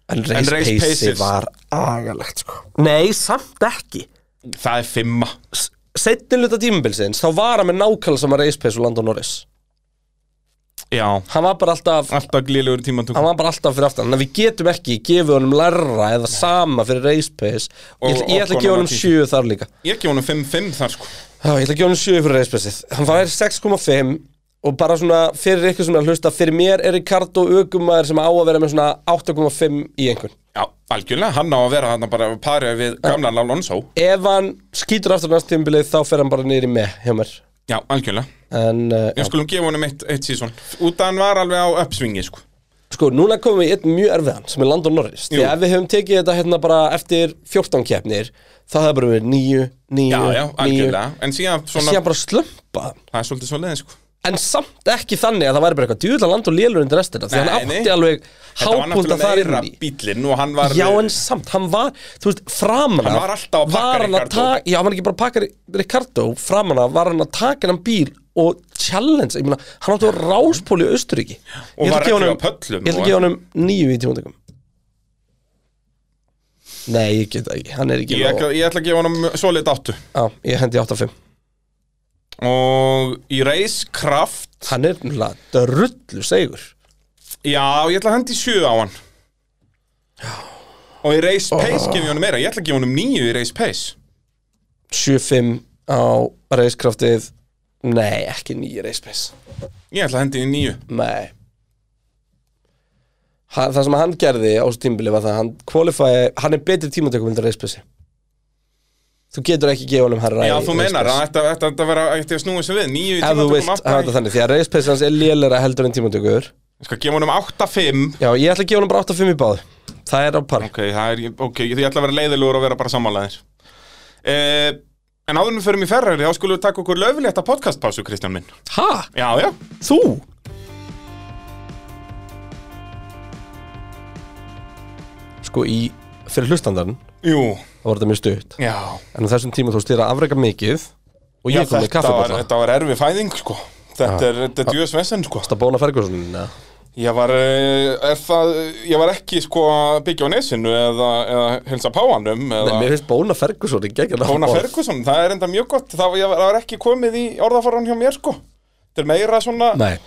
[SPEAKER 1] En
[SPEAKER 2] En race
[SPEAKER 1] reispeysi
[SPEAKER 2] paces.
[SPEAKER 1] var agalegt sko. Nei, samt ekki
[SPEAKER 2] Það er 5
[SPEAKER 1] Settin luta tímabilsins þá var hann með nákvæmlega sama reispeysi og Landon Norris
[SPEAKER 2] Já,
[SPEAKER 1] Hann var bara alltaf
[SPEAKER 2] alltaf glílugur tímantum
[SPEAKER 1] Hann var bara alltaf fyrir aftan Þannig að við getum ekki gefið honum lærra eða sama fyrir reispeysi Ég, ætla- ég ætla
[SPEAKER 2] Og-
[SPEAKER 1] að gefa
[SPEAKER 2] og
[SPEAKER 1] honum
[SPEAKER 2] Latifi.
[SPEAKER 1] 7 þar líka
[SPEAKER 2] Ég gefa hann um 5.5 þar sko
[SPEAKER 1] Já, ég ætla að um gefa hann 7 fyrir reisbessið Hann var 6,5 og bara svona fyrir ykkur sem er að hlusta Fyrir mér er Ricardo aukumæður sem á að vera með svona 8,5 í einhvern
[SPEAKER 2] Já, algjörlega, hann á að vera hann bara parið við gamlan Alonso
[SPEAKER 1] Ef hann skýtur aftur næst tímbilið þá fer hann bara niður í með hjá mér
[SPEAKER 2] Já, algjörlega
[SPEAKER 1] En uh,
[SPEAKER 2] Ég
[SPEAKER 1] já.
[SPEAKER 2] skulum gefa hann um eitt, eitt sísón Út af hann var alveg á uppsvingi sko
[SPEAKER 1] sko, núna komum við í einn mjög erfiðan sem er Landon Norris Því
[SPEAKER 2] Jú.
[SPEAKER 1] ef við höfum tekið þetta hérna bara eftir 14 keppnir þá hefði bara verið 9, 9,
[SPEAKER 2] Já, já,
[SPEAKER 1] 9
[SPEAKER 2] algjörlega En síðan svona,
[SPEAKER 1] Síðan bara slumpa
[SPEAKER 2] það er svolítið svolítið sko
[SPEAKER 1] En samt ekki þannig að það væri bara eitthvað djúðlega land og lélur undir restina Því hann
[SPEAKER 2] Nei, nei.
[SPEAKER 1] átti alveg
[SPEAKER 2] Þetta var
[SPEAKER 1] hápunta
[SPEAKER 2] náttúrulega
[SPEAKER 1] þar
[SPEAKER 2] meira
[SPEAKER 1] inn í
[SPEAKER 2] bílinn og hann var
[SPEAKER 1] Já en samt, hann var, þú veist, framan af
[SPEAKER 2] Hann var alltaf að pakka
[SPEAKER 1] var hann
[SPEAKER 2] Ricardo.
[SPEAKER 1] ta- Já, hann var ekki bara að pakka Ri- Ricardo Framan af var hann að taka hann bíl Og challenge, ég meina, hann átti að ráspóli í Austuríki
[SPEAKER 2] Og var ekki á pöllum
[SPEAKER 1] Ég ætla
[SPEAKER 2] og-
[SPEAKER 1] að gefa honum nýju í tímundegum Nei, ég get það ekki, hann er ekki
[SPEAKER 2] Ég ætla, ég ætla að gefa honum svolít áttu
[SPEAKER 1] á, ég hendi 8-5
[SPEAKER 2] Og í reiskraft
[SPEAKER 1] Hann er náttúrulega drullu segur
[SPEAKER 2] Já, ég ætla að hendi sjö á hann Og í reis pace gef ég honum meira Ég ætla að gefa honum nýju í reis pace
[SPEAKER 1] 7-5 á reiskraftið Nei, ekki nýju reispace
[SPEAKER 2] Ég ætla að hendi í nýju
[SPEAKER 1] Nei ha, Það sem hann gerði á þessu tímbili var það að hann qualify, hann er betri tímatökum heldur reispace Þú getur ekki gefa honum herra
[SPEAKER 2] Já,
[SPEAKER 1] í
[SPEAKER 2] þú meinar að
[SPEAKER 1] race pace.
[SPEAKER 2] þetta- þetta þetta vera ætti að snúi sig við Nýju í
[SPEAKER 1] Ef þú
[SPEAKER 2] tíma
[SPEAKER 1] vilt hafa þetta þannig, því að reispace hans er lélera heldur en tímatökur
[SPEAKER 2] Ég skal gefa honum 8-5
[SPEAKER 1] Já, ég ætla að gefa honum bara 8-5 í báðu Það er á par
[SPEAKER 2] Ok, það er, ok, ég ætla að vera leiðilegur og vera bara sammálaðir uh, En áðurum við förum í ferrari, þá skulum við taka okkur löfulétta podcastpásu, Kristján minn
[SPEAKER 1] Ha?
[SPEAKER 2] Já, já,
[SPEAKER 1] Þú? Sko í, fyrir hlustandarn
[SPEAKER 2] jú,
[SPEAKER 1] þá var þetta mjög stutt
[SPEAKER 2] já
[SPEAKER 1] En á þessum tíma tókst þér að afreka mikið Og
[SPEAKER 2] Já,
[SPEAKER 1] ég kom með
[SPEAKER 2] þetta, var,
[SPEAKER 1] kaffibólla
[SPEAKER 2] þetta var erfi fæðing, sko Þetta er, þetta er djöðsvesen, sko
[SPEAKER 1] Þetta bóna Fergusonin eða?
[SPEAKER 2] Ég var, eh, er það, ég var ekki, sko, að byggja á nesinu eða, eða hilsa páanum
[SPEAKER 1] Nei,
[SPEAKER 2] eða
[SPEAKER 1] mér finnst Bóna Ferguson ekki ekki
[SPEAKER 2] Hóna Ferguson, það er enda mjög gott Það var, ég var- það var ekki komið í orðafaran hjá mér, sko Þetta er meira svona
[SPEAKER 1] Nei
[SPEAKER 2] Ég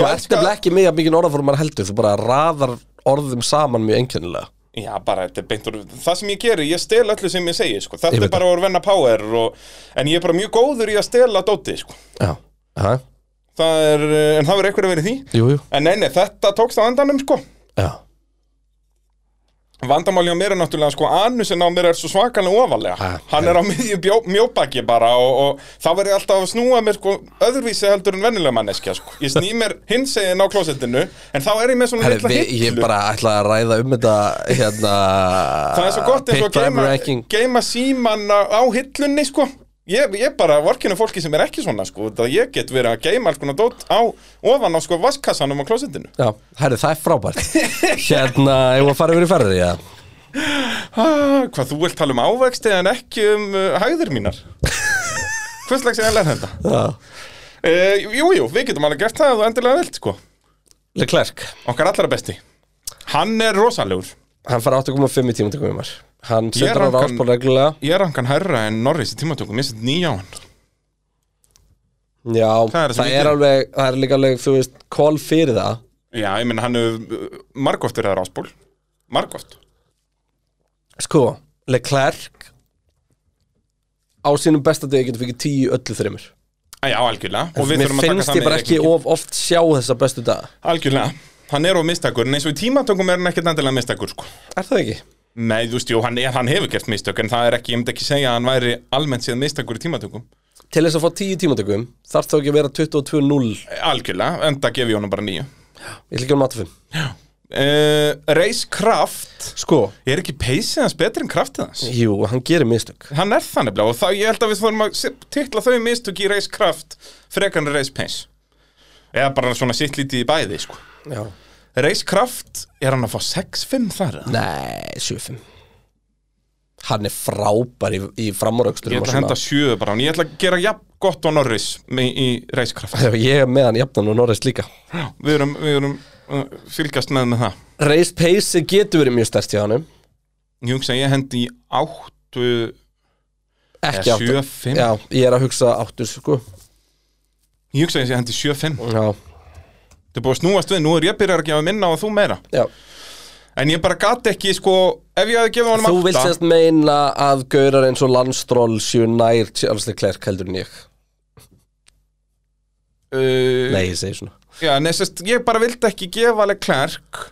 [SPEAKER 1] Þú ert
[SPEAKER 2] elska-
[SPEAKER 1] nefnilega ekki mega mikið orðaformar heldur Þú bara raðar orðum saman mjög einkennilega
[SPEAKER 2] Já, bara þetta er beintur, það sem ég geri, ég stel öllu sem ég segi, sko,
[SPEAKER 1] Ég
[SPEAKER 2] þetta
[SPEAKER 1] veit
[SPEAKER 2] er bara að venna power og, en ég er bara mjög góður í að stela dóti, sko,
[SPEAKER 1] Já Aha.
[SPEAKER 2] það er, eh, en það verður eitthvað að vera í því,
[SPEAKER 1] Jú, jú
[SPEAKER 2] en nei, nei, þetta tókst á endanum, sko,
[SPEAKER 1] Já
[SPEAKER 2] vandamáli á mér er náttúrulega, sko, anusinn á mér er svo svakalega ofalega,
[SPEAKER 1] Ha,
[SPEAKER 2] hann er á miðju bjó, mjóbaki bara og, og þá verður ég alltaf að snúa mér, sko, öðruvísi heldur en vennilega manneskja, sko, ég sný mér hinsegin á klósettinu, en þá er ég með svona
[SPEAKER 1] Herri,
[SPEAKER 2] litla
[SPEAKER 1] við, ég
[SPEAKER 2] hillu.
[SPEAKER 1] bara ætla að ræða um þetta hérna
[SPEAKER 2] Það er svo gott eins og
[SPEAKER 1] Pit
[SPEAKER 2] að
[SPEAKER 1] driver
[SPEAKER 2] geima,
[SPEAKER 1] ranking
[SPEAKER 2] geima síman á, á hillunni sko Ég, ég bara vorkinu fólki sem er ekki svona sko, það ég get verið að geima alls konar dót á, ofan á sko vaskassanum á klósindinu
[SPEAKER 1] Já, herri, það er frábært Hérna, ég var að fara yfir í ferri, já
[SPEAKER 2] ah, Hvað þú vilt tala um ávexti en ekki um uh, hæðir mínar Hvers slags er enlega þetta?
[SPEAKER 1] Já,
[SPEAKER 2] Uh, jú, jú, við getum alveg gert það að þú endilega vilt sko
[SPEAKER 1] Leclerc
[SPEAKER 2] Okkar allra besti Hann er rosalegur
[SPEAKER 1] Hann fær 8,5 í tímatökum í maður Hann setur á
[SPEAKER 2] rankan-
[SPEAKER 1] ráspól reglulega
[SPEAKER 2] Ég er hann hærra en Norris í tímatökum, ég set nýja á hann
[SPEAKER 1] Já,
[SPEAKER 2] Það
[SPEAKER 1] það,
[SPEAKER 2] er það sem ég
[SPEAKER 1] er
[SPEAKER 2] geri.
[SPEAKER 1] alveg, það er líka alveg, þú veist, call fyrir það
[SPEAKER 2] Já, ég meina hann hefur uh, margóft verið að ráspól Margóft
[SPEAKER 1] Sko, Leclerc á sínum besta degi getur fikið 10 í öllu þreymur
[SPEAKER 2] Ah, Já, algjörlega Og við
[SPEAKER 1] Mér
[SPEAKER 2] þurfum að taka
[SPEAKER 1] finnst
[SPEAKER 2] það
[SPEAKER 1] ég
[SPEAKER 2] með
[SPEAKER 1] bara
[SPEAKER 2] í
[SPEAKER 1] ekki
[SPEAKER 2] reikninginn.
[SPEAKER 1] of oft sjá þessa bestu daga
[SPEAKER 2] Algjörlega, hann er á mistakur en eins og í tímatökum er hann ekkert endilega mistakur sko.
[SPEAKER 1] Er það ekki?
[SPEAKER 2] Nei, þú veist, jú, hann, er, hann hefur gert mistök en það er ekki, ég myndi ekki segja að hann væri almennt séð mistakur í tímatökum
[SPEAKER 1] Til þess að fá 10 í tímatökum þarf þá ekki að vera 22-0 Ég
[SPEAKER 2] Algjörlega, enda gef ég honum bara nýju
[SPEAKER 1] ætla ekki um 85
[SPEAKER 2] uh, Reis Kraft
[SPEAKER 1] Sko,
[SPEAKER 2] Er ekki peysið hans betri en kraftið hans?
[SPEAKER 1] jú, hann gerir mistök
[SPEAKER 2] Hann er þannig blá og þá ég held að við þurfum að se- titla þau mistök í Reis Kraft frekar en Reis Peys Eða bara svona sitt lítið í bæði sko.
[SPEAKER 1] Já.
[SPEAKER 2] Reis Kraft, er hann að fá 6-5 þar? eða?
[SPEAKER 1] Nei, 7-5 Hann er frábær í, í framúrökstur
[SPEAKER 2] Ég ætla að henda sjöðu bara á hann Ég ætla að gera jafn gott á Norris í, í reiskraft
[SPEAKER 1] Ég er með hann jafnan og Norris líka
[SPEAKER 2] Við erum, við erum uh, fylgjast með með það
[SPEAKER 1] Race pace getur verið mjög stærst hjá hann
[SPEAKER 2] Ég hugsa að ég hendi í áttu
[SPEAKER 1] Ekki
[SPEAKER 2] Eða
[SPEAKER 1] áttu.
[SPEAKER 2] sjö, fimm?
[SPEAKER 1] Já, ég er að hugsa áttu sko
[SPEAKER 2] Ég hugsa að ég hendi í 7-5
[SPEAKER 1] Já,
[SPEAKER 2] Þetta er búið að snúast við, nú er ég byrjar að gefa minna og þú meira
[SPEAKER 1] já
[SPEAKER 2] En ég bara gat ekki, sko, ef ég hefði gefið honum
[SPEAKER 1] Þú
[SPEAKER 2] átta
[SPEAKER 1] vilt sérst meina að gaurar eins og landstról séu nær Charles Leclerc heldur en ég
[SPEAKER 2] uh,
[SPEAKER 1] Nei, ég segi svona
[SPEAKER 2] Já, nei, sérst, ég bara vildi ekki gefa alveg klærk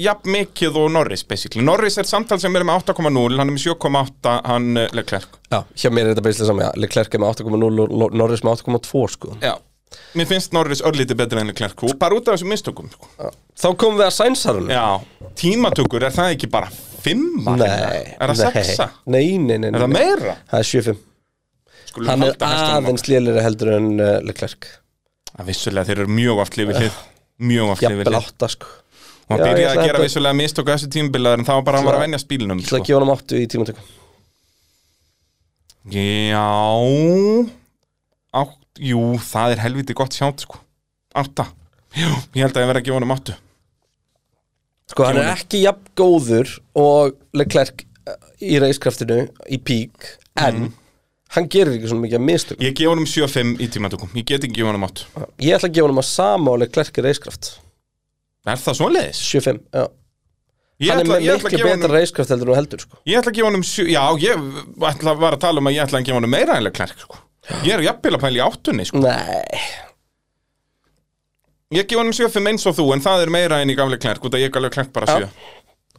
[SPEAKER 2] Jafn mikið og Norris, basically Norris er samtal sem er með 8,0 Hann er með 7,8, hann eh, leik klærk
[SPEAKER 1] Já, hjá mér er þetta beislega saman, já Leclerc er með 8,0 og Lo- Norris með 8,2 sko
[SPEAKER 2] Já Mér finnst Norris örlítið betri enn Leclerc og bara út af þessum mistökum sko.
[SPEAKER 1] Þá komum við að sænsarunum
[SPEAKER 2] Já, tímatökur, er það ekki bara fimma?
[SPEAKER 1] Nei,
[SPEAKER 2] Er það
[SPEAKER 1] nei.
[SPEAKER 2] sexa?
[SPEAKER 1] Nei, nei, nei, nei
[SPEAKER 2] Er það meira?
[SPEAKER 1] Það er 7-5
[SPEAKER 2] Skulum
[SPEAKER 1] Hann er
[SPEAKER 2] halda hestunum
[SPEAKER 1] aðeins léliri heldur en uh, Leclerc
[SPEAKER 2] okkar. Það vissulega, þeir eru mjög oft lifið hlið Mjög oft lifið
[SPEAKER 1] Jafnvel
[SPEAKER 2] hlið
[SPEAKER 1] 8 sko
[SPEAKER 2] Og
[SPEAKER 1] Já, ég
[SPEAKER 2] hann byrjaði
[SPEAKER 1] ætla
[SPEAKER 2] að gera
[SPEAKER 1] þetta-
[SPEAKER 2] vissulega mistöku þessu tímabilaður en það var bara að hann var að venja spílnum
[SPEAKER 1] Það
[SPEAKER 2] sko.
[SPEAKER 1] gefa honum 8 í tímatökum
[SPEAKER 2] Já Átt, Jú, það er helviti gott sjátt sko. Átta Jú, ég held að ég verði að gefa honum áttu
[SPEAKER 1] Sko hann er
[SPEAKER 2] honum.
[SPEAKER 1] ekki jafn góður og Leclerc eh, í reiskraftinu í pík en
[SPEAKER 2] Mm.
[SPEAKER 1] hann gerir ekki svona mikið að mistök
[SPEAKER 2] Ég gefa honum 7-5 í tímatökum Ég get ekki gefa honum áttu
[SPEAKER 1] Ég ætla að gefa hann að sama og Leclerc í reiskraft
[SPEAKER 2] Er það svoleiðis?
[SPEAKER 1] 7-5, já
[SPEAKER 2] Ég
[SPEAKER 1] Hann er
[SPEAKER 2] ætla-
[SPEAKER 1] með
[SPEAKER 2] ég ætla að
[SPEAKER 1] miklu
[SPEAKER 2] gefa honum-
[SPEAKER 1] betra reiskraft heldur en þú heldur sko
[SPEAKER 2] Ég ætla að gefa honum sjö, já, ég ætla var að tala um að ég ætla að gefa honum meira en Leclerc sko. Ég er jafnvel að pæla í áttunni sko.
[SPEAKER 1] Nei,
[SPEAKER 2] Ég gefa honum sjö fimm eins og þú, en það er meira en í gamle Leclerc út að ég gaf Leclerc bara sjö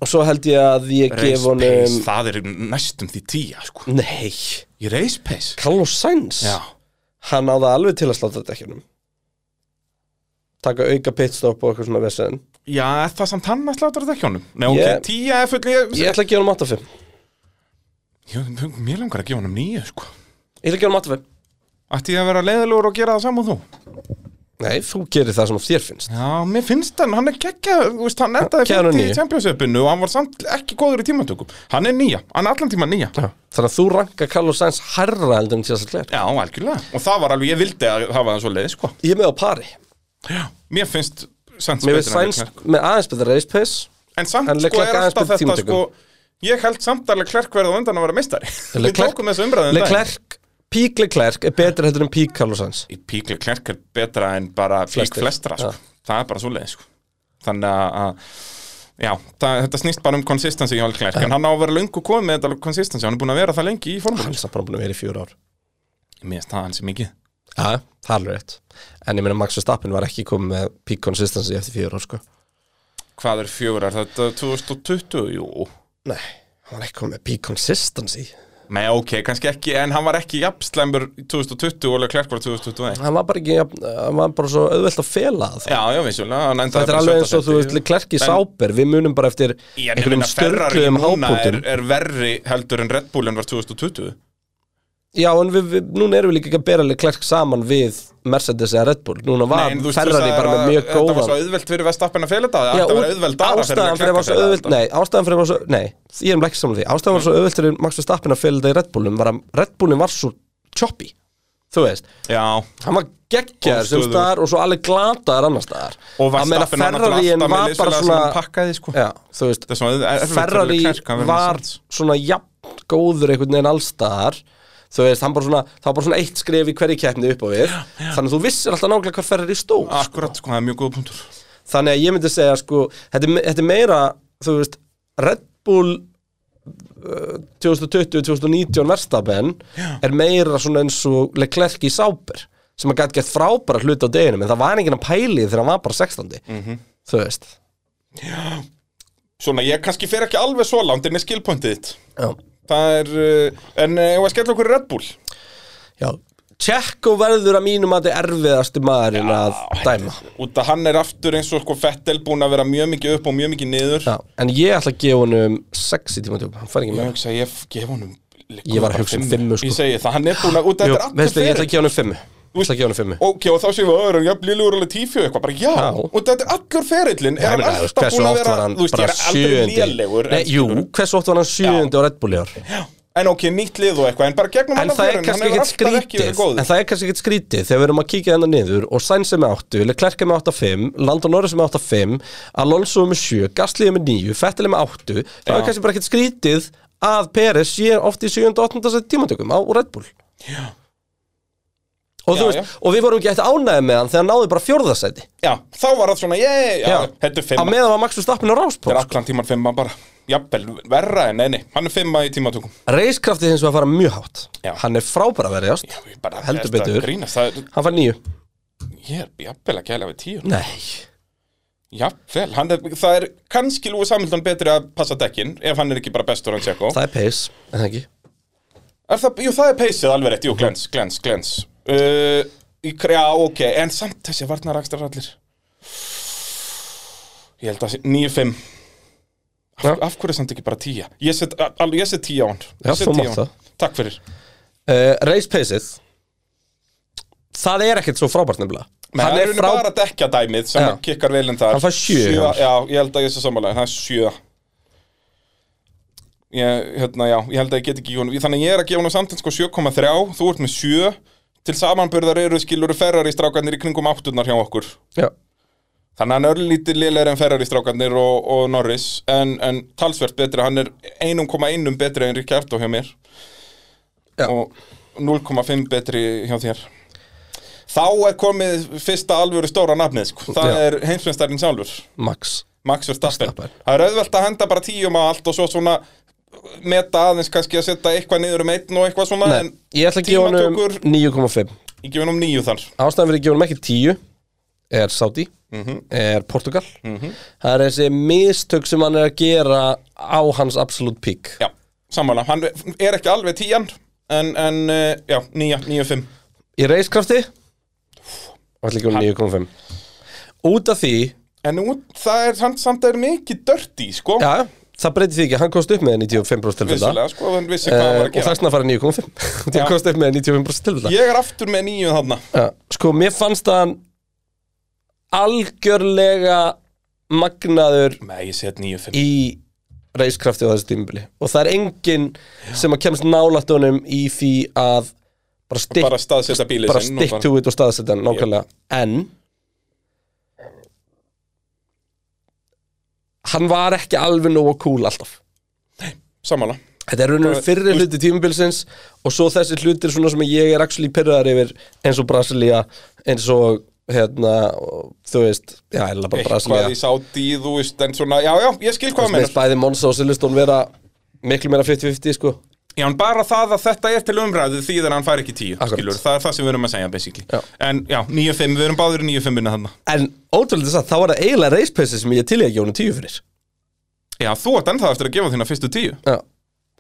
[SPEAKER 1] og svo held ég að ég
[SPEAKER 2] Race
[SPEAKER 1] gef honum
[SPEAKER 2] pace, það er næstum því tíja sko.
[SPEAKER 1] Nei,
[SPEAKER 2] Í race pace
[SPEAKER 1] Carlos Sainz
[SPEAKER 2] Já,
[SPEAKER 1] Hann á það alveg til að sláta dekkjunum Taka auka pitstop og eitthvað svona vesen
[SPEAKER 2] já er það samt hann að slátur þetta ekki honum? Nei, ok,
[SPEAKER 1] Ég-
[SPEAKER 2] tíja er full ég,
[SPEAKER 1] Ég ætla að gefa hann 8-5
[SPEAKER 2] ég, Mér langar að gefa honum níu sko.
[SPEAKER 1] Ég ætla að gefa hann 8-5
[SPEAKER 2] Ætti ég að vera leiðilegur og gera það saman þú?
[SPEAKER 1] Nei, þú gerir það sem þér finnst
[SPEAKER 2] Já, mér finnst hann, hann er geggja veist, Hann endaði
[SPEAKER 1] Gefa honum
[SPEAKER 2] 50 í
[SPEAKER 1] níu.
[SPEAKER 2] Champions-upinu og hann var samt ekki góður í tímatökum Hann er nýja, hann er allan tíma nýja
[SPEAKER 1] Þannig að þú ranka Carlos Sainz hærra heldur en Charles Leclerc
[SPEAKER 2] Já, algjörlega. Og það var alveg, ég vildi að hafa það svo leið, sko.
[SPEAKER 1] Ég er með á pari
[SPEAKER 2] Já. Mér finnst Sainz
[SPEAKER 1] Mér veist
[SPEAKER 2] betur en
[SPEAKER 1] Sainz
[SPEAKER 2] Leclerc.
[SPEAKER 1] með aðeins betur race pace
[SPEAKER 2] En samt,
[SPEAKER 1] en
[SPEAKER 2] sko,
[SPEAKER 1] Leclerc
[SPEAKER 2] er
[SPEAKER 1] aðeins
[SPEAKER 2] alltaf
[SPEAKER 1] betur
[SPEAKER 2] þetta, sko,
[SPEAKER 1] tímatökum.
[SPEAKER 2] ég held samt að Leclerc verði á undan að vera meistari. Við
[SPEAKER 1] Leclerc-
[SPEAKER 2] tókum þessu um umræðum
[SPEAKER 1] Leclerc, pík Leclerc er betur heldur en pík Carlos Sainz
[SPEAKER 2] Í pík Leclerc er betra en bara pík
[SPEAKER 1] Flestir.
[SPEAKER 2] flestra, sko. Það er bara svo leið, sko. Þannig að- að, já, það, þetta snýst bara um konsistensi hjá Leclerc. En hann á að vera löngu komið með þetta konsistensi. Hann er búin að vera það lengi í
[SPEAKER 1] Hann
[SPEAKER 2] formúlum.
[SPEAKER 1] er samt bara búin að vera í fjóra ár
[SPEAKER 2] Mér finnst það alls mikið.
[SPEAKER 1] Já, það er alveg rétt En ég meina Max Verstappen var ekki komið með pík consistency eftir fjóra ár sko
[SPEAKER 2] Hvað er fjórar? Þetta er 2020? Jú.
[SPEAKER 1] Nei, hann var ekki komið með pík consistency
[SPEAKER 2] Nei, ok, kannski ekki, en hann var ekki jafnslæmur í 2020 og Leclerc var 2021
[SPEAKER 1] Hann var bara ekki, jafn- hann var bara svo auðvelt að fela það
[SPEAKER 2] Já, já, vissulega, hann endaði
[SPEAKER 1] Þetta er
[SPEAKER 2] bara
[SPEAKER 1] alveg
[SPEAKER 2] sjötta
[SPEAKER 1] eins og þú
[SPEAKER 2] sæti.
[SPEAKER 1] veist Leclerc í
[SPEAKER 2] En-
[SPEAKER 1] sáber Við munum bara eftir
[SPEAKER 2] Ég er nefnir
[SPEAKER 1] einhverjum
[SPEAKER 2] að Ferrari
[SPEAKER 1] störgluðum
[SPEAKER 2] núna er,
[SPEAKER 1] hápunktum
[SPEAKER 2] er verri heldur en Red Bull en var 2020
[SPEAKER 1] Já, en við, við, núna erum við líka ekki að bera Leclerc saman við Mercedes eða Red Bull Núna var
[SPEAKER 2] Nei, en þú veist, þú
[SPEAKER 1] Ferrari
[SPEAKER 2] sagðir
[SPEAKER 1] bara með
[SPEAKER 2] að
[SPEAKER 1] mjög
[SPEAKER 2] Þetta var
[SPEAKER 1] góðan
[SPEAKER 2] svo auðvelt fyrir Vestappen að fela þetta
[SPEAKER 1] Já,
[SPEAKER 2] Þetta var
[SPEAKER 1] út-
[SPEAKER 2] auðvelt aðra
[SPEAKER 1] ástæðan fyrir að var svo
[SPEAKER 2] sko.
[SPEAKER 1] auðveld Nei, ástæðan fyrir að var svo Nei, ég er um ekki saman því Ástæðan var svo auðveld fyrir Max Verstappen að fyrir þetta í Red Bullum var að Red Bullum var svo choppy Þú veist,
[SPEAKER 2] Já,
[SPEAKER 1] hann var geggjaður sem
[SPEAKER 2] Óstöðugur.
[SPEAKER 1] staðar og svo alveg glataður annar staðar
[SPEAKER 2] og
[SPEAKER 1] Að meina
[SPEAKER 2] Vestappen var náttúrulega
[SPEAKER 1] Ferrarien var bara
[SPEAKER 2] alltaf með liðsfélaga sem hann
[SPEAKER 1] svona
[SPEAKER 2] pakkaði sko
[SPEAKER 1] Já, þú veist
[SPEAKER 2] Þetta er svona erfitt fyrir
[SPEAKER 1] Ferrari
[SPEAKER 2] Leclerc að vera með
[SPEAKER 1] var
[SPEAKER 2] sens.
[SPEAKER 1] svona jafn góður einhvern veginn allstaðar þú veist, hann bara svona, það var bara svona eitt skref í hverju keppni upp á við þannig að þú vissir alltaf nákvæmlega hvað Ferrari stóð
[SPEAKER 2] Akkurat, sko, það er mjög góð punktur
[SPEAKER 1] þannig að ég myndi segja sko, þetta, er me- þetta er meira þú veist, Red Bull uh, 2020-2019 verstabenn er meira svona eins og Leclerc í Sáber sem að gæti gett frábæra hluti á deginum en það var enginn að pæli því þegar hann var bara 16
[SPEAKER 2] Mhm.
[SPEAKER 1] þú veist
[SPEAKER 2] Svona, ég kannski fer ekki alveg svo langt en með skilpunktið þitt
[SPEAKER 1] já,
[SPEAKER 2] Það er, uh, en uh, ég var að skella okkur í Red Bull
[SPEAKER 1] já. Tjekko verður að mínum að þetta erfiðasti maðurinn að dæma
[SPEAKER 2] Út að hann er aftur eins og sko Fettel búin að vera mjög mikið upp og mjög mikið niður
[SPEAKER 1] já, en ég ætla að gefa honum 6 í tíma tjópa, hann fær ekki
[SPEAKER 2] Ég
[SPEAKER 1] með
[SPEAKER 2] hugsa, ég gef honum liggur
[SPEAKER 1] Ég var að
[SPEAKER 2] bara
[SPEAKER 1] hugsa um
[SPEAKER 2] fimmu.
[SPEAKER 1] fimmu, sko.
[SPEAKER 2] Ég segi það, hann er búin að, út að
[SPEAKER 1] Jú,
[SPEAKER 2] þetta er
[SPEAKER 1] veistu,
[SPEAKER 2] alltaf
[SPEAKER 1] ég ætla að gefa honum 5 ég ætla að gefa honum 5
[SPEAKER 2] Ok, og þá séum við öðrum, já, Lillur alveg tífjöð eitthvað, bara já,
[SPEAKER 1] Já.
[SPEAKER 2] og þetta er allur ferillin,
[SPEAKER 1] Ég
[SPEAKER 2] er hann
[SPEAKER 1] meina, þú veist,
[SPEAKER 2] alltaf
[SPEAKER 1] hversu
[SPEAKER 2] búin að
[SPEAKER 1] oft
[SPEAKER 2] vera,
[SPEAKER 1] var hann
[SPEAKER 2] þú veist, ég
[SPEAKER 1] bara
[SPEAKER 2] er aldrei
[SPEAKER 1] sjöundi
[SPEAKER 2] lélegur,
[SPEAKER 1] Nei,
[SPEAKER 2] en
[SPEAKER 1] jú,
[SPEAKER 2] skilurðu.
[SPEAKER 1] hversu oft var hann sjöundi á Red Bull í ár
[SPEAKER 2] en ok, nýtt lið og eitthvað, en bara gegnum
[SPEAKER 1] En
[SPEAKER 2] alla
[SPEAKER 1] það er
[SPEAKER 2] ferillin,
[SPEAKER 1] kannski
[SPEAKER 2] hann hefur
[SPEAKER 1] ekkert
[SPEAKER 2] alltaf ekki verið
[SPEAKER 1] skrítið
[SPEAKER 2] góð.
[SPEAKER 1] En það er kannski ekkert skrítið Þegar við erum að kíkja þennan niður Og Sainz er með 8 Leclerc er með 8.5 Lando Norris er með 8.5 Alonso er með 7 Gasly er með 9 Vettel er með 8 Það er
[SPEAKER 2] Já.
[SPEAKER 1] kannski bara ekkert skrítið Að Peres sé oft í 7. og 8. sæti tímatökum Á Red Bull Og,
[SPEAKER 2] Já,
[SPEAKER 1] þú veist,
[SPEAKER 2] já.
[SPEAKER 1] og við vorum ekki eftir ánæði með hann þegar hann náði bara fjórðasæti
[SPEAKER 2] Já, þá var það svona, ég, já, þetta er
[SPEAKER 1] Að
[SPEAKER 2] fimma,
[SPEAKER 1] meðan var Max Verstappen á
[SPEAKER 2] þetta er
[SPEAKER 1] ráspók
[SPEAKER 2] allan tíman fimma bara, jafnvel, verra en neini, hann er fimma í tímatökum.
[SPEAKER 1] Reiskraftið hins vegar fara mjög hátt
[SPEAKER 2] Já.
[SPEAKER 1] Hann er frábæra verjast
[SPEAKER 2] Já, ég bara,
[SPEAKER 1] Heldur
[SPEAKER 2] þetta
[SPEAKER 1] betur.
[SPEAKER 2] Grínast, það er,
[SPEAKER 1] Hann fær nýju
[SPEAKER 2] ég er jafnvel að gæla við tíu.
[SPEAKER 1] Nei
[SPEAKER 2] Jafnvel, hann er, það er kannski Lúi Samhildon betri að passa dekkin, ef hann er ekki bara bestur hann Tjekko.
[SPEAKER 1] Það er pace, en það ekki
[SPEAKER 2] Er það, jú, það er peysið alveg rétt, jú, glens, glens, glens uh, í, Já, ok, en samt þessi varnarakstar allir Ég held að sé, 9-5 af,
[SPEAKER 1] Já.
[SPEAKER 2] af hverju er samt ekki bara 10? Ég set, al, ég set 10 á hann
[SPEAKER 1] Já,
[SPEAKER 2] Ég set
[SPEAKER 1] þú
[SPEAKER 2] 10 á
[SPEAKER 1] mátt
[SPEAKER 2] hann.
[SPEAKER 1] það.
[SPEAKER 2] Takk fyrir
[SPEAKER 1] uh, Race pace-ið Það er ekkert svo frábært nefnilega
[SPEAKER 2] Men
[SPEAKER 1] Hann
[SPEAKER 2] það er
[SPEAKER 1] er
[SPEAKER 2] frá...
[SPEAKER 1] frá
[SPEAKER 2] bara að dekja dæmið sem
[SPEAKER 1] Já.
[SPEAKER 2] já. kikkar vel en þar
[SPEAKER 1] Hann fær sjö hjá
[SPEAKER 2] Sjö,
[SPEAKER 1] hann.
[SPEAKER 2] Já, ég held að ég sé samanlega, það er 7 Ég, hérna, já, ég held að ég get ekki í honum Þannig að ég er að gefa honum samtins sko 7,3 Þú ert með 7 Til samanburðar eru skilur ferrari strákarnir í kringum átturnar hjá okkur
[SPEAKER 1] Já,
[SPEAKER 2] Þannig að hann er örlítið liðlegar en Ferrari strákarnir og, og Norris en, en talsvert betri, hann er 1,1 betri en Ríkja Ertó hjá mér
[SPEAKER 1] Já.
[SPEAKER 2] og 0,5 betri hjá þér Þá er komið fyrsta alvöru stóra nafnið sko. það
[SPEAKER 1] Já.
[SPEAKER 2] er heimsmyndstarinn sjálfur
[SPEAKER 1] Max
[SPEAKER 2] Max Verstappen
[SPEAKER 1] Verstappen.
[SPEAKER 2] Það er auðvelt að henda bara tíum á allt og svo svona meta aðeins kannski að setja eitthvað niður um einn og eitthvað svona
[SPEAKER 1] Nei,
[SPEAKER 2] en
[SPEAKER 1] ég ætla að gefa honum
[SPEAKER 2] tímatökur-
[SPEAKER 1] 9,5
[SPEAKER 2] ég gef hann um nýju þar
[SPEAKER 1] Ástæðan fyrir að gefa honum ekki 10 Er Saudi,
[SPEAKER 2] Mhm.
[SPEAKER 1] er Portugal Það er þessi mistök sem hann er að gera á hans absolute peak
[SPEAKER 2] Já, samanlega, hann er ekki alveg tíjan en, en eh, já, nýja, nýju fimm
[SPEAKER 1] Í reiskrafti Það ætla að gefa honum 9,5 Út af því,
[SPEAKER 2] En út, það er, hann, samt er mikið dörti, sko
[SPEAKER 1] já, það breytir því ekki Hann komst upp með 95% til þetta
[SPEAKER 2] Vissulega, sko, hann vissi hvað hann
[SPEAKER 1] uh,
[SPEAKER 2] var að
[SPEAKER 1] Og
[SPEAKER 2] gera
[SPEAKER 1] þessna fara 9,5 Því
[SPEAKER 2] Já.
[SPEAKER 1] hann komst upp með 95% til þetta
[SPEAKER 2] Ég er aftur með nýju þarna
[SPEAKER 1] Já, sko, mér fannst að hann algjörlega magnaður
[SPEAKER 2] Nei, ég set nýju fimm
[SPEAKER 1] í reiskrafti á þessu tímabili og það er enginn sem að kemst nálætt honum í því að bara stick,
[SPEAKER 2] Bara staðsetta bílið
[SPEAKER 1] bara
[SPEAKER 2] sinn og
[SPEAKER 1] stick to it og staðsetja hann nákvæmlega en hann var ekki alveg nógu cool alltaf
[SPEAKER 2] Samanlega
[SPEAKER 1] Þetta er raunum fyrri hluti tímabilsins og svo þessi hlutir svona sem ég er actually pyrraðar yfir eins og Brasilia eins og hérna og, þú veist, já, eða bara Brasilia
[SPEAKER 2] Eitthvað í sáti, þú veist, en svona Já, já, ég skil hvað að
[SPEAKER 1] með
[SPEAKER 2] meina
[SPEAKER 1] bæði Monsa og Silveston vera miklu meira 50-50 sko
[SPEAKER 2] Já, en bara það að þetta er til umræðu því að hann fær ekki tíu
[SPEAKER 1] Akkurat.
[SPEAKER 2] Skilur, það er það sem við erum að segja, basically
[SPEAKER 1] Já.
[SPEAKER 2] En já, nýju fimm, við erum báður í nýju fimmina þarna
[SPEAKER 1] en ótrúlega þess að þá var það eiginlega reispeysi sem ég til ég að gefa honum tíu fyrir
[SPEAKER 2] Já, þú ert ennþá eftir að gefa þína fyrstu tíu
[SPEAKER 1] já.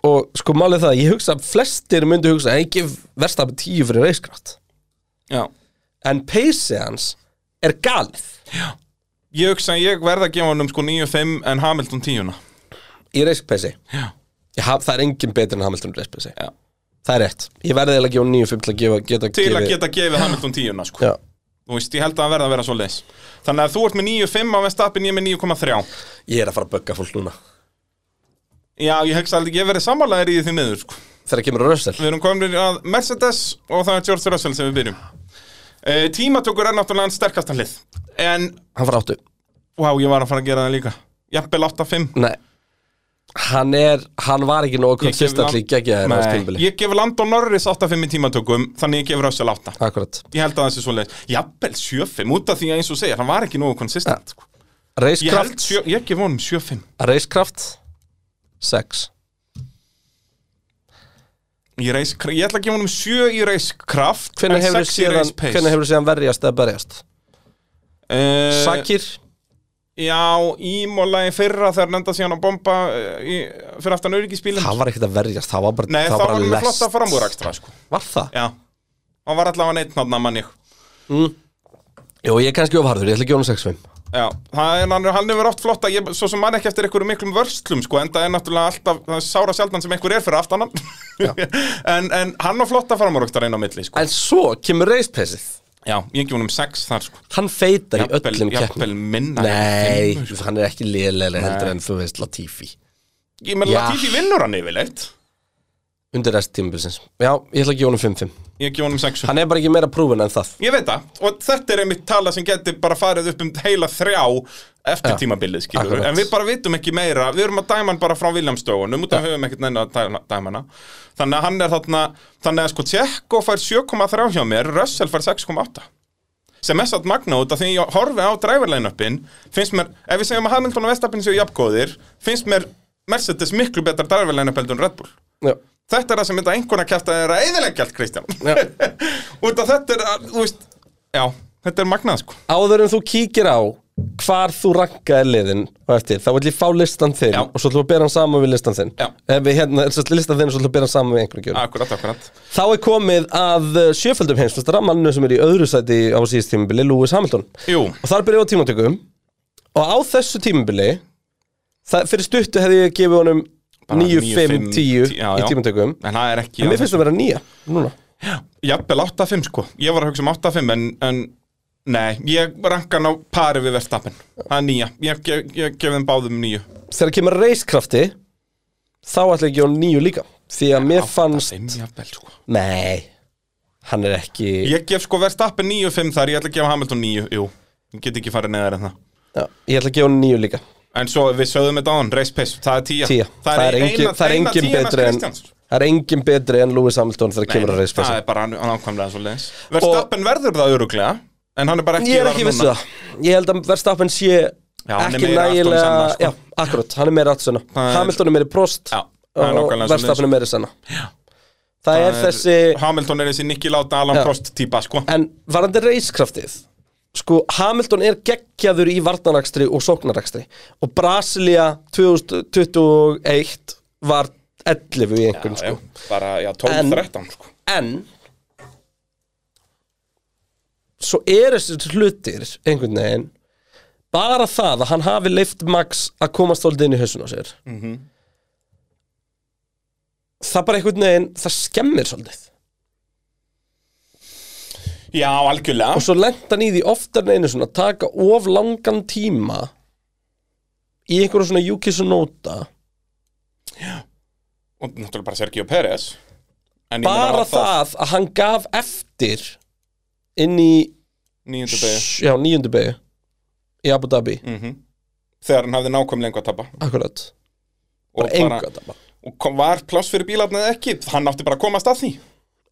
[SPEAKER 1] og sko málið það, að ég hugsa að flestir myndu hugsa að ég gef verstafn tíu fyrir reiskraft
[SPEAKER 2] Já
[SPEAKER 1] en peysi hans er galið
[SPEAKER 2] Ég hugsa að ég verð að gefa hann um sko nýju fimm en Hamilton tíuna
[SPEAKER 1] í reispeysi
[SPEAKER 2] Já
[SPEAKER 1] Ég haf- það er enginn betur en Hamilton í reispeysi
[SPEAKER 2] Já.
[SPEAKER 1] það er rétt Ég verði eiginlega að gefa 9.5 til að gefa, geta
[SPEAKER 2] til að
[SPEAKER 1] gefið-
[SPEAKER 2] geta gefið Hamilton 10 sko.
[SPEAKER 1] Já,
[SPEAKER 2] Þú veist, ég held að það verða að vera svo leis Þannig að þú ert með 9,5 á Vestappin, ég er með 9,3
[SPEAKER 1] ég er að fara að bögga fólk núna
[SPEAKER 2] Já, ég hugsa aldrei, ég verði sammálaðir í því miður sko.
[SPEAKER 1] Þegar kemur Russell
[SPEAKER 2] Við erum komin að Mercedes og það er George Russell sem við byrjum e, Tímatökur er náttúrulega hans sterkasta hlið En,
[SPEAKER 1] Hann fara áttu
[SPEAKER 2] vá, ég var að fara að gera það líka Jafnvel 8,5
[SPEAKER 1] Nei Hann er, hann var ekki nógu
[SPEAKER 2] Ég gef
[SPEAKER 1] konsistantli
[SPEAKER 2] Land-
[SPEAKER 1] geggja þér á
[SPEAKER 2] Nei,
[SPEAKER 1] stimbili
[SPEAKER 2] Ég gef Landon Norris 8,5 í tímatökum Þannig ég gef Russell 8
[SPEAKER 1] Akkurat
[SPEAKER 2] Ég held að það sé svo leis Jafnvel 7,5 út af því að eins og segir, hann var ekki nógu konsistent sko. Ég, held
[SPEAKER 1] Racecraft,
[SPEAKER 2] sjö, ég gef honum 7,5
[SPEAKER 1] Racecraft 6
[SPEAKER 2] Ég, reis, ég ætla að gefa honum 7 í reiskraft
[SPEAKER 1] Hvernig hefur síðan, hvenær hefurðu síðan verjast eða berjast?
[SPEAKER 2] uh,
[SPEAKER 1] Sakir,
[SPEAKER 2] Já, Ímola í fyrra þegar nefnda síðan að bomba eh, í, fyrir aftan öryggisbílinn
[SPEAKER 1] það var ekkert að verjast Það var bara,
[SPEAKER 2] Nei,
[SPEAKER 1] það
[SPEAKER 2] það var hann með
[SPEAKER 1] lest.
[SPEAKER 2] flotta framúrakstra sko.
[SPEAKER 1] Var það?
[SPEAKER 2] Já, hann var allavega neitt náttúrulega manni
[SPEAKER 1] Jú, ég er kannski ofharður, ég ætla að gefa hann 6.5
[SPEAKER 2] Já, það er, hann, hann hefur oft flotta ég, Svo sem mann ekki eftir einhverjum miklum vörslum sko, En það er náttúrulega alltaf, það er sára sjaldan sem einhver er fyrir aftan hann en, en hann á flotta framúrakstra inn á milli sko.
[SPEAKER 1] En svo kemur racepaceið
[SPEAKER 2] Já, ég gef honum 6 þar sko.
[SPEAKER 1] Hann feitar í
[SPEAKER 2] Jafnvel-
[SPEAKER 1] öllum keppnum
[SPEAKER 2] Jafnvel minna
[SPEAKER 1] Nei, hann er ekki liðlega heldur en þú veist Latifi
[SPEAKER 2] Ég menn
[SPEAKER 1] Já.
[SPEAKER 2] Latifi vinnur hann yfirleitt
[SPEAKER 1] Undir rest tímabilsins Já, ég ætla að gefa honum 5-5
[SPEAKER 2] Ég gef honum 6
[SPEAKER 1] Hann er bara ekki meira prúfin en það
[SPEAKER 2] Ég veit það, og þetta er einmitt tala sem getur bara farið upp um heila þrjá eftir
[SPEAKER 1] Já,
[SPEAKER 2] tímabilið, skilur
[SPEAKER 1] akkurat.
[SPEAKER 2] En við bara vitum ekki meira, við erum að dæma hann bara frá Williamsdóunum út af höfum ekkert neina að dæma- dæma hana Þannig að hann er þarna, þannig að sko Tjekko fær 7,3 hjá mér, Russell fær 6,8 sem er satt magna út af því ég horfi á driverline-upin finnst mér, ef við segjum að Hamilton og Vestapin séu jafngóðir, finnst mér Mercedes miklu betra driverline-up heldur en Red Bull
[SPEAKER 1] Já,
[SPEAKER 2] þetta er það sem þetta einhverna kæft að er að eðilegja allt Kristján
[SPEAKER 1] Já.
[SPEAKER 2] út af þetta er, að, þú veist já, þetta er magnað sko
[SPEAKER 1] áður en þú kíkir á hvar þú rankaði liðin og eftir, þá vill ég fá listan þinn
[SPEAKER 2] Já.
[SPEAKER 1] og svo ætlum við að bera hann saman við listan þinn
[SPEAKER 2] Já.
[SPEAKER 1] Ef við hérna, svo ætlum listan þinn og svo ætlum við að bera hann saman við einhverjum gjörum
[SPEAKER 2] akkurat, akkurat
[SPEAKER 1] Þá er komið að uh, sjöföldum heimsmestara mannu sem er í öðru sæti á síðist tímabili Lewis Hamilton
[SPEAKER 2] jú,
[SPEAKER 1] og þar byrjaði á tímatökum og á þessu tímabili það, fyrir stuttu hefði ég gefið honum
[SPEAKER 2] Bara
[SPEAKER 1] 9, 5,
[SPEAKER 2] 5,
[SPEAKER 1] 10
[SPEAKER 2] já,
[SPEAKER 1] í
[SPEAKER 2] já.
[SPEAKER 1] tímatökum
[SPEAKER 2] en það er ekki
[SPEAKER 1] en mér finnst það vera nýja núna
[SPEAKER 2] jafnvel 8-5 sko, ég var að hugsa um 8-5 en, en nei, ég ranka hann á pari við Verstappen, það er nýja ég, ég, ég gef þeim báðum nýju
[SPEAKER 1] þegar kemur reiskrafti þá ætla ég að gefa honum nýju líka því að mér fannst
[SPEAKER 2] 8-5 jafnvel sko
[SPEAKER 1] nei, hann er ekki ég,
[SPEAKER 2] ég gef sko Verstappen 9-5 þar, ég ætla að gefa Hamilton 9 jú, ég get ekki farið neðar en það
[SPEAKER 1] já, ég ætla að gefa honum nýju líka
[SPEAKER 2] En svo við sögðum þetta á hann, race pace, það er tíja
[SPEAKER 1] tíja, það, er engin, það er engin betri en það er engin betri en Lewis Hamilton þegar kemur að
[SPEAKER 2] Það
[SPEAKER 1] reiskrafti
[SPEAKER 2] er bara nákvæmlega svo leiðis Verstappen verður það öruglega En hann er bara ekki
[SPEAKER 1] ég er ekki vissu það, ég held að Verstappen sé
[SPEAKER 2] Já, hann er
[SPEAKER 1] ekki
[SPEAKER 2] meira
[SPEAKER 1] nægilega
[SPEAKER 2] Ayrton Senna, sko.
[SPEAKER 1] já, akkurat, hann er meira aftur senna
[SPEAKER 2] Það er-
[SPEAKER 1] Hamilton er meiri prost
[SPEAKER 2] Já, það er
[SPEAKER 1] og
[SPEAKER 2] nákvæmlega svoleiðis.
[SPEAKER 1] Verstappen er meiri senna það, er þessi
[SPEAKER 2] Hamilton er þessi Nicky Láta Alan
[SPEAKER 1] Já.
[SPEAKER 2] Prost típa sko
[SPEAKER 1] en varandi reiskraftið sko Hamilton er geggjaður í varnarakstri og sóknarakstri og Brasilia 2021 var 11 í einhvern
[SPEAKER 2] Já,
[SPEAKER 1] sko
[SPEAKER 2] Bara, já,
[SPEAKER 1] En-
[SPEAKER 2] 12-13 sko
[SPEAKER 1] en svo er þessi hlutir einhvern veginn bara það að hann hafi leift Max að komast þóldið inn í hausuna sér það bara einhvern veginn það skemmir svolítið
[SPEAKER 2] Já, algjörlega
[SPEAKER 1] og svo lenda hann í því oftar en einu svona að taka of langan tíma í einhverju svona Yuki Sonota
[SPEAKER 2] Og náttúrulega bara Sergio Perez En ég meina,
[SPEAKER 1] bara
[SPEAKER 2] var
[SPEAKER 1] það að hann gaf eftir inn í
[SPEAKER 2] Níundu degi Mhm.
[SPEAKER 1] já, níundu beigju í Abu Dhabi,
[SPEAKER 2] Þegar hann hafði nákvæmlega lengu að tappa
[SPEAKER 1] akkurat
[SPEAKER 2] Og,
[SPEAKER 1] bara engu að tapa
[SPEAKER 2] og kom, var pláss fyrir bílarni eða ekki Hann átti bara að komast að því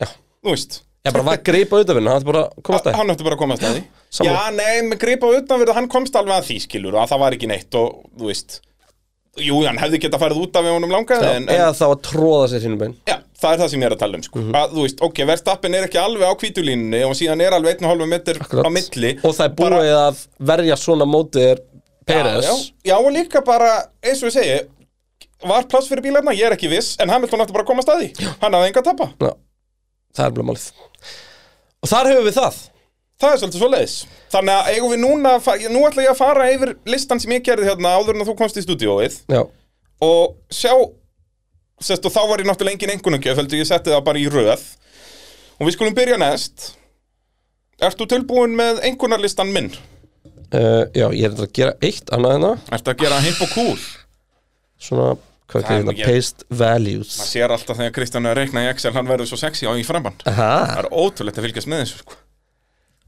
[SPEAKER 1] Já.
[SPEAKER 2] Þú veist
[SPEAKER 1] ég bara var að gripa auðvitað hann ætti bara að komast að
[SPEAKER 2] Hann ætti bara að komast að því
[SPEAKER 1] sammála.
[SPEAKER 2] Já, nei, með gripa á utanverðu, hann komst alveg að því skilur og að það var ekki neitt og, þú veist Jú, hann hefði geta farið út af ef honum langaði en, en,
[SPEAKER 1] eða Mhm. þá að tróða sér hinnum bein
[SPEAKER 2] Já, það er það sem ég er að tala um sko. að, Þú veist, ok, verðstappin er ekki alveg á kvítulínunni og síðan er alveg 1,5 metr á milli
[SPEAKER 1] og það er búið
[SPEAKER 2] Bara-
[SPEAKER 1] að verja svona mótið er Peres
[SPEAKER 2] já, já, og líka bara, eins og ég segi Var pláss fyrir bílarna, ég er ekki viss En Hamilton átti bara að komast að því Hann hafði enga að tappa
[SPEAKER 1] Já, það er blá málið og þar höfum við það
[SPEAKER 2] Það er svolítið svoleiðis Þannig að eigum við núna, að fa- nú ætla ég að fara yfir listan sem ég gerði hérna áður en að þú komst í stúdíóið
[SPEAKER 1] já
[SPEAKER 2] og sjá sest, og þá var ég náttúrulega engin engunugjöf heldur ég setti það bara í röð og við skulum byrja næst Ertu tilbúin með engunarlistan minn?
[SPEAKER 1] uh, Já, ég er þetta að gera eitt annað en það
[SPEAKER 2] Ertu að gera hip og cool?
[SPEAKER 1] Svona, hvað
[SPEAKER 2] Það er
[SPEAKER 1] er þetta?
[SPEAKER 2] mikið.
[SPEAKER 1] Paste values
[SPEAKER 2] Það sér alltaf þegar Kristján er að reikna í Excel, hann verður svo sexy á í framann. Það
[SPEAKER 1] Aha,
[SPEAKER 2] er ótrúlegt að fylgjast með þessu, sko.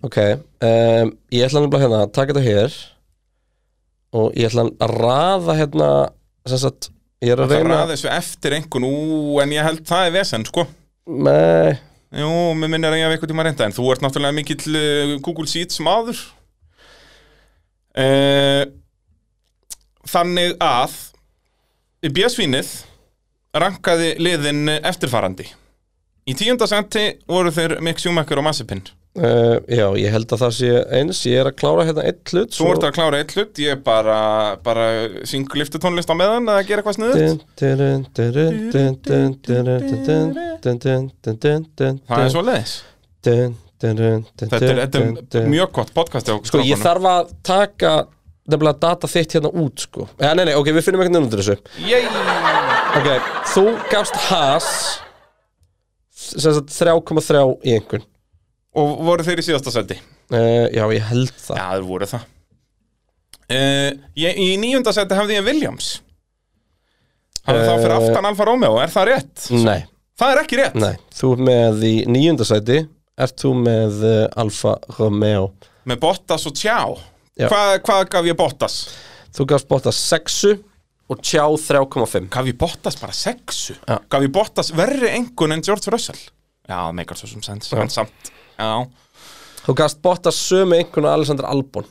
[SPEAKER 1] ok um, Ég ætla nefnilega hérna að taka þetta hér Og ég ætla að raða hérna Sem sagt, ég er að
[SPEAKER 2] Það er
[SPEAKER 1] reyna
[SPEAKER 2] að þessu eftir einhvern, ú, en ég held það er vesen, sko.
[SPEAKER 1] Nei,
[SPEAKER 2] Jú, mér minnir að ég hef eitthvað tíma reynda, en þú ert náttúrulega mikill eh, Google Sheets maður. Eh, Þannig að BS-vínið rankaði liðin eftirfarandi. Í tíunda senti voru þeir Mick Schumacher og Massipin.
[SPEAKER 1] uh, já, ég held að það sé eins Ég er að klára hérna eitt hlut
[SPEAKER 2] Svo ertu að klára eitt hlut, ég bara, bara syng liftutónlist á meðan eða gera eitthvað sniðut. Það er
[SPEAKER 1] Þetta
[SPEAKER 2] svo leiðis Þetta er, þetta er mjög gott podcast hjá
[SPEAKER 1] Sko, ég
[SPEAKER 2] strákunum.
[SPEAKER 1] þarf að taka nefnilega data þitt hérna út, sko. Ja, nei, nei, ok, við finnum eitthvað undir þessu.
[SPEAKER 2] Yay!
[SPEAKER 1] Ok, þú gafst Haas sem sagt 3,3 í einhvern.
[SPEAKER 2] Og voru þeir í síðasta seti Já,
[SPEAKER 1] Uh, já, ég held það.
[SPEAKER 2] þeir voru það uh, ég, Í níunda seti hefði ég Williams Hann
[SPEAKER 1] Eh.
[SPEAKER 2] er það fyrir aftan Alfa Romeo, er það rétt?
[SPEAKER 1] Nei,
[SPEAKER 2] Það er ekki rétt
[SPEAKER 1] nei. Þú ert með í níunda sæti, ert þú með uh, Alfa Romeo.
[SPEAKER 2] Með Bottas og Tjá
[SPEAKER 1] Já.
[SPEAKER 2] Hvað, hvað gaf ég Bottas?
[SPEAKER 1] Þú gafst Bottas 6 og Tjá 3,5.
[SPEAKER 2] Gaf ég Bottas bara sexu?
[SPEAKER 1] Já.
[SPEAKER 2] Gaf ég Bottas verri engun en George Russell? Já, það meikar svo sem sens, en samt Já.
[SPEAKER 1] Þú gafst Bottas sömu einhvern og Alexander Albon.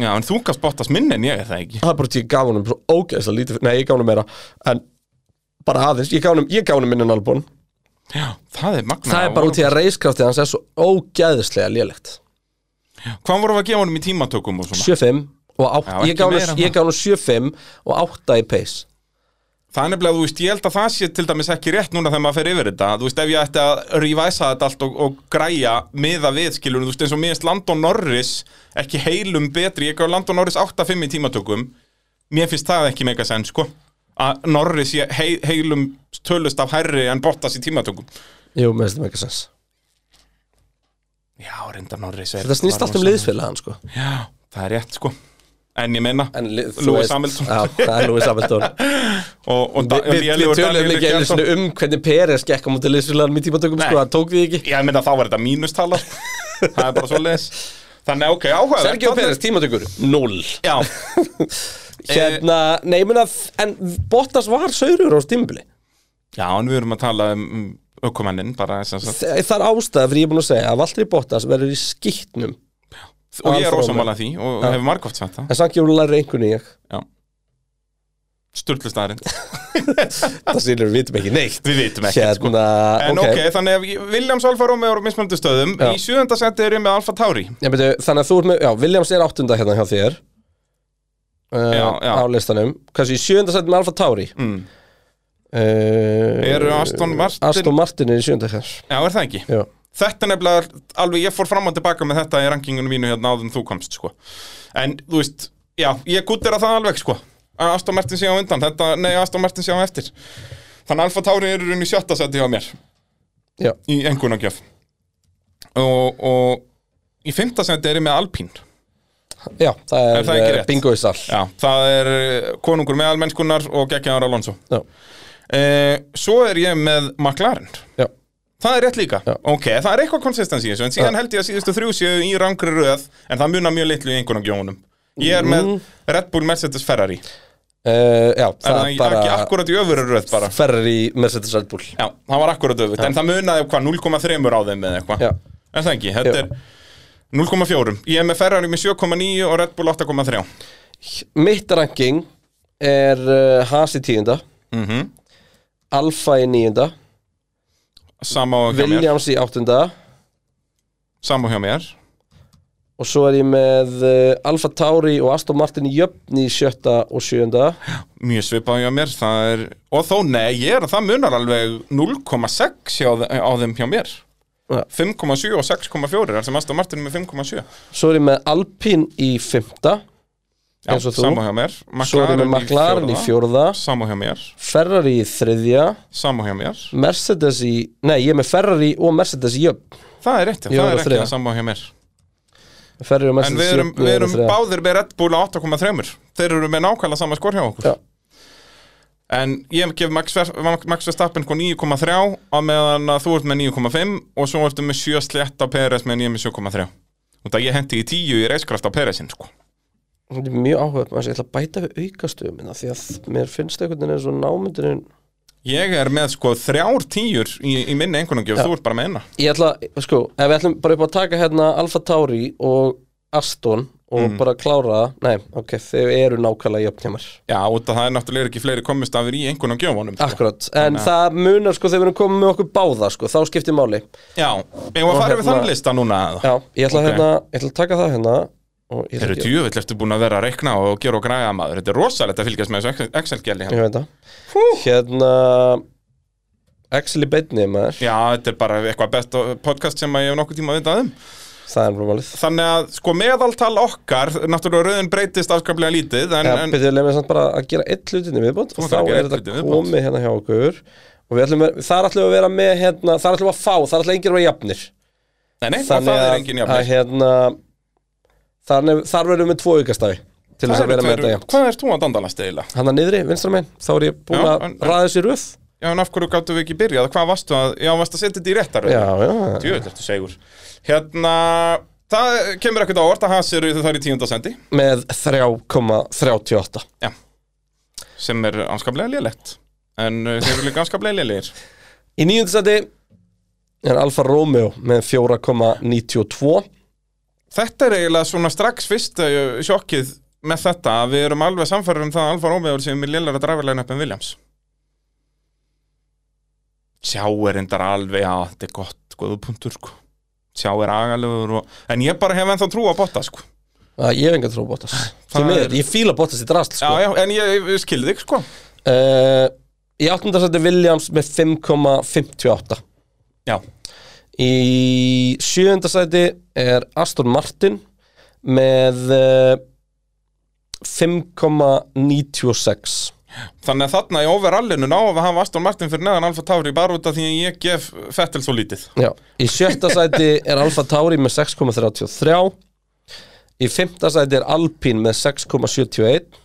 [SPEAKER 2] Já, en þú gafst Bottas minn en ég er það ekki
[SPEAKER 1] það er bara því ég gaf honum svo ógeðslega lítið nei, ég gaf honum meira en bara aðeins, ég gaf honum, ég gaf honum minnan albún
[SPEAKER 2] Já, það er magna
[SPEAKER 1] það er bara út í að reiskraftið hans er svo ógeðslega lélegt
[SPEAKER 2] Hvað vorum við að gefa honum í tímatökum og svona?
[SPEAKER 1] 7-5 og 8
[SPEAKER 2] Já, ekki
[SPEAKER 1] ég gaf
[SPEAKER 2] meira en
[SPEAKER 1] honum-
[SPEAKER 2] það.
[SPEAKER 1] ég gaf honum 7-5 og 8 í pace
[SPEAKER 2] Það er nefnilega, þú veist, ég held að það sé til dæmis ekki rétt núna þegar maður fer yfir þetta Þú veist, ef ég ætti að revæsa þetta allt og, og græja miða við, skilur, þú veist, eins og mér finnst Landon Norris ekki heilum betri Ég gaf Landon Norris 8-5 í tímatökum Mér finnst það ekki mega senn, sko Að Norris sé hei, heilum tölust af herri en Bottas í tímatökum
[SPEAKER 1] jú, mér finnst það ekki sens
[SPEAKER 2] Já, reynda Norris er
[SPEAKER 1] þetta snýst
[SPEAKER 2] bara
[SPEAKER 1] allt um
[SPEAKER 2] rosa-
[SPEAKER 1] liðsfélag hans sko
[SPEAKER 2] Já, það er rétt, sko En ég meina,
[SPEAKER 1] En lið- þú
[SPEAKER 2] Lewis
[SPEAKER 1] veist-
[SPEAKER 2] Hamilton.
[SPEAKER 1] já, það er Lewis Hamilton
[SPEAKER 2] og, og
[SPEAKER 1] Vi- við við tölum ekki einu sinni um hvernig Peres gekk á mútið liðsfélaganum í tímatökum
[SPEAKER 2] Nei.
[SPEAKER 1] sko, það tók því ekki
[SPEAKER 2] Ég meina þá var þetta mínustala Það er bara svo leis Þannig ok, áhuga
[SPEAKER 1] Sergio Peres tímatökur 0
[SPEAKER 2] Já,
[SPEAKER 1] hérna, nei, ég meina en Bottas var saurur á stimbli
[SPEAKER 2] já, en við erum að tala um aukomennin bara sem sagt.
[SPEAKER 1] Þa- Það er ástæða fyrir ég er búin að segja að Valtteri Bottas verður í skýtnum
[SPEAKER 2] Og ég er
[SPEAKER 1] Alfa Romeo.
[SPEAKER 2] ósamála því og hefur margóft sagt það
[SPEAKER 1] en samt gefur læri einhvern í ég
[SPEAKER 2] Sturlustæðarinn
[SPEAKER 1] það sýnir við vitum ekki neitt
[SPEAKER 2] Við vitum ekki sko.
[SPEAKER 1] hérna,
[SPEAKER 2] En ok,
[SPEAKER 1] ok,
[SPEAKER 2] þannig að ég- Williams Alfa Romeo er á mismöndu stöðum
[SPEAKER 1] Já.
[SPEAKER 2] Í sjöðunda seti er ég með Alfa Tauri
[SPEAKER 1] Ég byrju, þannig að þú ert með, já, Williams er áttunda hérna hjá þér
[SPEAKER 2] Já,
[SPEAKER 1] uh,
[SPEAKER 2] já.
[SPEAKER 1] á listanum kannski í sjönda sætt með Alfa Tauri
[SPEAKER 2] mm.
[SPEAKER 1] uh,
[SPEAKER 2] Eru Aston Martin-
[SPEAKER 1] Aston Martin er í sjönda hér
[SPEAKER 2] Já, er það ekki?
[SPEAKER 1] já.
[SPEAKER 2] Þetta er nefnilega, alveg ég fór fram og tilbaka með þetta í rankingunum mínu hérna áður en þú komst sko. En þú veist, já, ég gúttir að það alveg sko. Að Aston Martin sé á undan, þetta, nei Aston Martin sé á eftir Þannig að Alfa Tauri eru runni sjötta seti hjá mér
[SPEAKER 1] Já.
[SPEAKER 2] Í engunagjöf og, og í fymta seti er ég með Alpine
[SPEAKER 1] já, það er,
[SPEAKER 2] Er það ekki
[SPEAKER 1] eh,
[SPEAKER 2] rétt?
[SPEAKER 1] bingo í sall
[SPEAKER 2] Já, það er eh, konungur með almennskunnar og geggjaðar Alonso
[SPEAKER 1] Já.
[SPEAKER 2] eh, Svo er ég með McLaren
[SPEAKER 1] Já.
[SPEAKER 2] Það er rétt líka,
[SPEAKER 1] Já.
[SPEAKER 2] ok, það er eitthvað konsistensi í þessu, en síðan held ég að síðustu þrjú séu í rangri röð, en það munar mjög litlu í einhvernum gjónum. Ég er með Red Bull Mercedes Ferrari,
[SPEAKER 1] Uh, já, það,
[SPEAKER 2] en það er
[SPEAKER 1] bara
[SPEAKER 2] ekki akkurat í öfuru röð bara.
[SPEAKER 1] ferri Mercedes Red Bull
[SPEAKER 2] Já, það var akkurat öfut, en það munaði hvað, 0,3 á þeim eða eitthvað.
[SPEAKER 1] Já.
[SPEAKER 2] Er það ekki, þetta
[SPEAKER 1] Já.
[SPEAKER 2] er 0,4. Ég er með Ferrari með 7,9 og Red Bull 8,3.
[SPEAKER 1] Mitt ranking er uh, Haas í tíunda
[SPEAKER 2] Mm
[SPEAKER 1] Alfa í níunda
[SPEAKER 2] Sama og hjá mér.
[SPEAKER 1] Williams í áttunda
[SPEAKER 2] Sama og hjá mér.
[SPEAKER 1] og svo er ég með uh, Alfa Tauri og Aston Martin í jöfn í sjötta og sjöunda
[SPEAKER 2] Mjög svipað hjá mér, það er, og þó nei, ég er að það munar alveg 0,6 hjá þe- á þeim hjá mér.
[SPEAKER 1] Já.
[SPEAKER 2] 5,7 og 6,4 er sem Aston Martin er með 5,7
[SPEAKER 1] svo er ég með Alpine í fymta
[SPEAKER 2] Já,
[SPEAKER 1] eins og þú
[SPEAKER 2] sama hjá mér
[SPEAKER 1] Svo er ég með McLaren í fjórða
[SPEAKER 2] Sama hjá mér
[SPEAKER 1] Ferrari í þriðja
[SPEAKER 2] Sama hjá mér
[SPEAKER 1] Mercedes í Nei, ég er með Ferrari og Mercedes í jöfn
[SPEAKER 2] Það er rétt, já,
[SPEAKER 1] Ég
[SPEAKER 2] það
[SPEAKER 1] var á
[SPEAKER 2] er ekki
[SPEAKER 1] þriðja.
[SPEAKER 2] það sama hjá mér
[SPEAKER 1] Ferrari og
[SPEAKER 2] En við
[SPEAKER 1] Mercedes í
[SPEAKER 2] erum,
[SPEAKER 1] jöfn
[SPEAKER 2] við erum báðir með Red Bull á 8,3 Þeir eru með nákvæmlega sama skor hjá okkur
[SPEAKER 1] Já.
[SPEAKER 2] En ég gef Max, Ver, Max Verstappen sko 9,3 á meðan að þú ert með 9,5 og svo ertu með 7 slett á Peres meðan ég er með 7,3 Og það ég hendi í 10 í reiskraft á Peresin sko.
[SPEAKER 1] Þetta er mjög áhugað Ég ætla að bæta við aukastöðum minna Því að mér finnst einhvern veginn eins og námyndurinn
[SPEAKER 2] Ég er með sko þrjár tíur í, í minni einhvernungjöf, þú ert bara með eina
[SPEAKER 1] Ég ætla, sko, ef við ætlum bara upp að taka hérna Alfa Tauri og Aston og
[SPEAKER 2] Mm.
[SPEAKER 1] bara klára það, nei, ok, þau eru nákvæmlega jöfn hjá mér
[SPEAKER 2] Já, út af það er náttúrulega ekki fleiri komist af í einhvernungjöfunum sko.
[SPEAKER 1] Akkurat, en það munar sko þegar við erum komið með okkur báða sko, þá skiptir máli
[SPEAKER 2] Já, eigum við að
[SPEAKER 1] Og
[SPEAKER 2] fara við
[SPEAKER 1] hérna-
[SPEAKER 2] þann lista núna eða?
[SPEAKER 1] Já, ég ætla
[SPEAKER 2] Ok.
[SPEAKER 1] hérna, ég ætla að taka það hérna og ég ætla
[SPEAKER 2] Eru djöfull eftir búin að vera að reikna og gera og græða maður Þetta er rosalegt að fylgjast með þessu hérna. Excel-gæli
[SPEAKER 1] ég veit það Hérna, Axel í beinni maður,
[SPEAKER 2] Já, þetta er bara eitthvað best podcast sem að ég hef nokkuð tíma að vita um
[SPEAKER 1] það er bara málið
[SPEAKER 2] Þannig að sko meðaltal okkar Náttúrulega rauðin breytist afskaplega lítið En,
[SPEAKER 1] Já,
[SPEAKER 2] en
[SPEAKER 1] byrjuðu leið með samt bara að gera eitt hlutinni viðbót
[SPEAKER 2] Þú
[SPEAKER 1] og
[SPEAKER 2] mátt
[SPEAKER 1] þá
[SPEAKER 2] að gera
[SPEAKER 1] er
[SPEAKER 2] einn hlutinn í
[SPEAKER 1] þetta
[SPEAKER 2] viðbót.
[SPEAKER 1] komið hérna hjá okkur og við ætlum, að- þar ætlum við að vera með hérna, þar ætlum við að fá, þar ætlum engir að vera jafnir
[SPEAKER 2] nei, nei, og það er engin
[SPEAKER 1] að
[SPEAKER 2] jafnir
[SPEAKER 1] hérna þar, nef, þar verðum við tvo aukastæði til
[SPEAKER 2] Það
[SPEAKER 1] þess að
[SPEAKER 2] eru
[SPEAKER 1] vera með
[SPEAKER 2] tveir-
[SPEAKER 1] þetta jafnt
[SPEAKER 2] Hvað er þú að dandalast eiginlega?
[SPEAKER 1] hann að niðri, vinstra megin, þá er ég búin
[SPEAKER 2] Já,
[SPEAKER 1] að
[SPEAKER 2] en-
[SPEAKER 1] ræða þessi röð
[SPEAKER 2] Já, en af hverju gáttu við ekki byrjað? Hvað varstu að, já, varstu að setja þetta í réttar
[SPEAKER 1] já, já,
[SPEAKER 2] Djöfull ertu segur Hérna, það kemur ekkert á orð að hans eru þar í tíundasendi
[SPEAKER 1] með 3,38
[SPEAKER 2] Já, sem er anskaplega lélegt En uh, þeir eru líka anskaplega lélegir
[SPEAKER 1] í nýjöndsæti er Alfa Romeo með 4,92
[SPEAKER 2] Þetta er eiginlega svona strax fyrst uh, sjokkið með þetta að við erum alveg samfærum um það að Alfa Romeo sem er lélæra dræfarlegin upp en Williams Sjá er endar alveg, já, þetta er gott góðu punktur, sko Sjá er agalegur og, en ég bara hef ennþá trú að botta, sko
[SPEAKER 1] að ég hef enga trú á Bottas Því
[SPEAKER 2] Það
[SPEAKER 1] miður,
[SPEAKER 2] er-
[SPEAKER 1] ég fíla Bottas í drasl sko.
[SPEAKER 2] Já, já, en ég, ég skilði þig, sko
[SPEAKER 1] uh, í áttundarsæti Williams með 5,58
[SPEAKER 2] Já,
[SPEAKER 1] Í sjöunda sæti er Aston Martin með eh, 5,96
[SPEAKER 2] þannig að þarna í overallinu ná að hafa Aston Martin fyrir neðan Alfa Tauri bara út af því að ég gef Fettel svo lítið
[SPEAKER 1] Já, í sjötta sæti er Alfa Tauri með 6,33 Í fymta sæti er Alpine með 6,71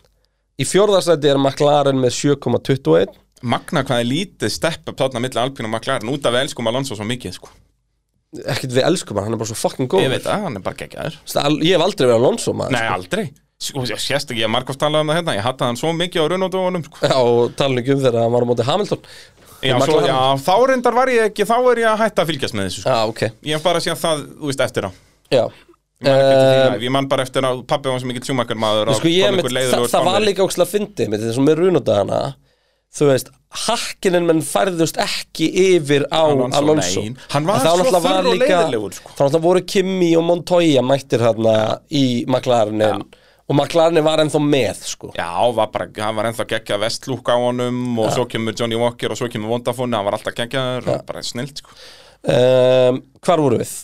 [SPEAKER 1] Í fjórða sæti er McLaren með 7,21
[SPEAKER 2] Magna hvað er lítið stepp upp þarna milli Alpín og McLaren út af við elskum Alonso svo mikið, sko
[SPEAKER 1] Ekkert við elskum hann, hann er bara svo fucking góð
[SPEAKER 2] Ég veit það, hann er bara geggjaður
[SPEAKER 1] Ég hef aldrei verið Alonso maður
[SPEAKER 2] Nei, aldrei Sko, ég sést ekki, ég haf margóft talað um það hérna Ég hatta hann svo mikið á runnótóunum sko.
[SPEAKER 1] Já, og talin ekki um þegar hann var á móti Hamilton
[SPEAKER 2] já,
[SPEAKER 1] Og
[SPEAKER 2] svo,
[SPEAKER 1] McLaren.
[SPEAKER 2] já, þá reyndar var ég ekki Þá er ég að hætta að fylgjast með þessu
[SPEAKER 1] Já,
[SPEAKER 2] sko.
[SPEAKER 1] Ah, ok
[SPEAKER 2] Ég hef bara séð það, þú veist, eftir á
[SPEAKER 1] Já
[SPEAKER 2] Ég man ekki
[SPEAKER 1] Ehm,
[SPEAKER 2] eftir því live. Ég man bara eftir að pappi var sem mikill sjúmakar maður
[SPEAKER 1] sko ég með, þa það var líka ógslag fyndið með þessum með runadagana þú veist, hakkinin menn færðust ekki yfir á
[SPEAKER 2] Alonso,
[SPEAKER 1] Alonso,
[SPEAKER 2] nei. Hann var
[SPEAKER 1] En þá
[SPEAKER 2] svo
[SPEAKER 1] náttúrulega
[SPEAKER 2] þurr
[SPEAKER 1] var
[SPEAKER 2] og
[SPEAKER 1] líka-
[SPEAKER 2] leiðinlegur, sko.
[SPEAKER 1] þá náttúrulega voru Kimi og Montoya mættir hérna í McLarenin og McLarenin var ennþá með sko.
[SPEAKER 2] Já, var bara, hann var ennþá geggjað vestlúk á honum Og svo kemur Johnny Walker og svo kemur Vondafóni Hann var alltaf geggjaður og bara snilt sko.
[SPEAKER 1] um, hvar voru við?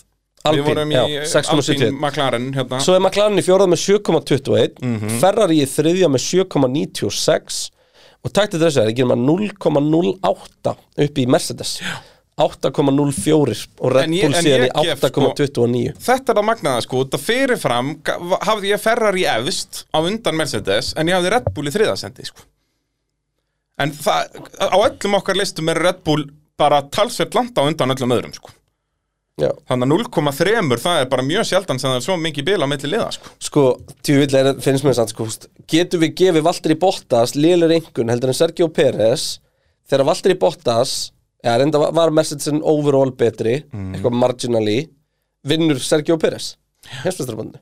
[SPEAKER 2] Við
[SPEAKER 1] Alpín,
[SPEAKER 2] vorum
[SPEAKER 1] já,
[SPEAKER 2] í
[SPEAKER 1] 6.71
[SPEAKER 2] McLaren hérna.
[SPEAKER 1] Svo er McLaren í fjórað með 7,21
[SPEAKER 2] Mhm.
[SPEAKER 1] Ferrari í þriðja með 7,96 og taktið þessu er að gera maður 0,08 upp í Mercedes 8,04 og Red
[SPEAKER 2] En ég-
[SPEAKER 1] Bull
[SPEAKER 2] en
[SPEAKER 1] síðan í
[SPEAKER 2] ég gef, sko-
[SPEAKER 1] 8,29
[SPEAKER 2] Þetta er að magnaða sko, þetta fyrirfram ga- va- hafði ég Ferrari efst á undan Mercedes en ég hafði Red Bull í þriðasendi sko. En það, á öllum okkar listum er Red Bull bara talsvert landa á undan öllum öðrum sko.
[SPEAKER 1] Já.
[SPEAKER 2] Þannig að 0,3 það er bara mjög sjaldan sem það er svo mikið bil á milli liða sko.
[SPEAKER 1] Sko, tjúvill er, finnst mér sann sko, húst, getum við gefið Valtteri Bottas lélir einhvern heldur en Sergio Perez þegar Valtteri Bottas ja, reynda var Mercedesin overall betri
[SPEAKER 2] Mhm.
[SPEAKER 1] eitthvað marginally vinnur Sergio Perez Heimsmeistarabandinu.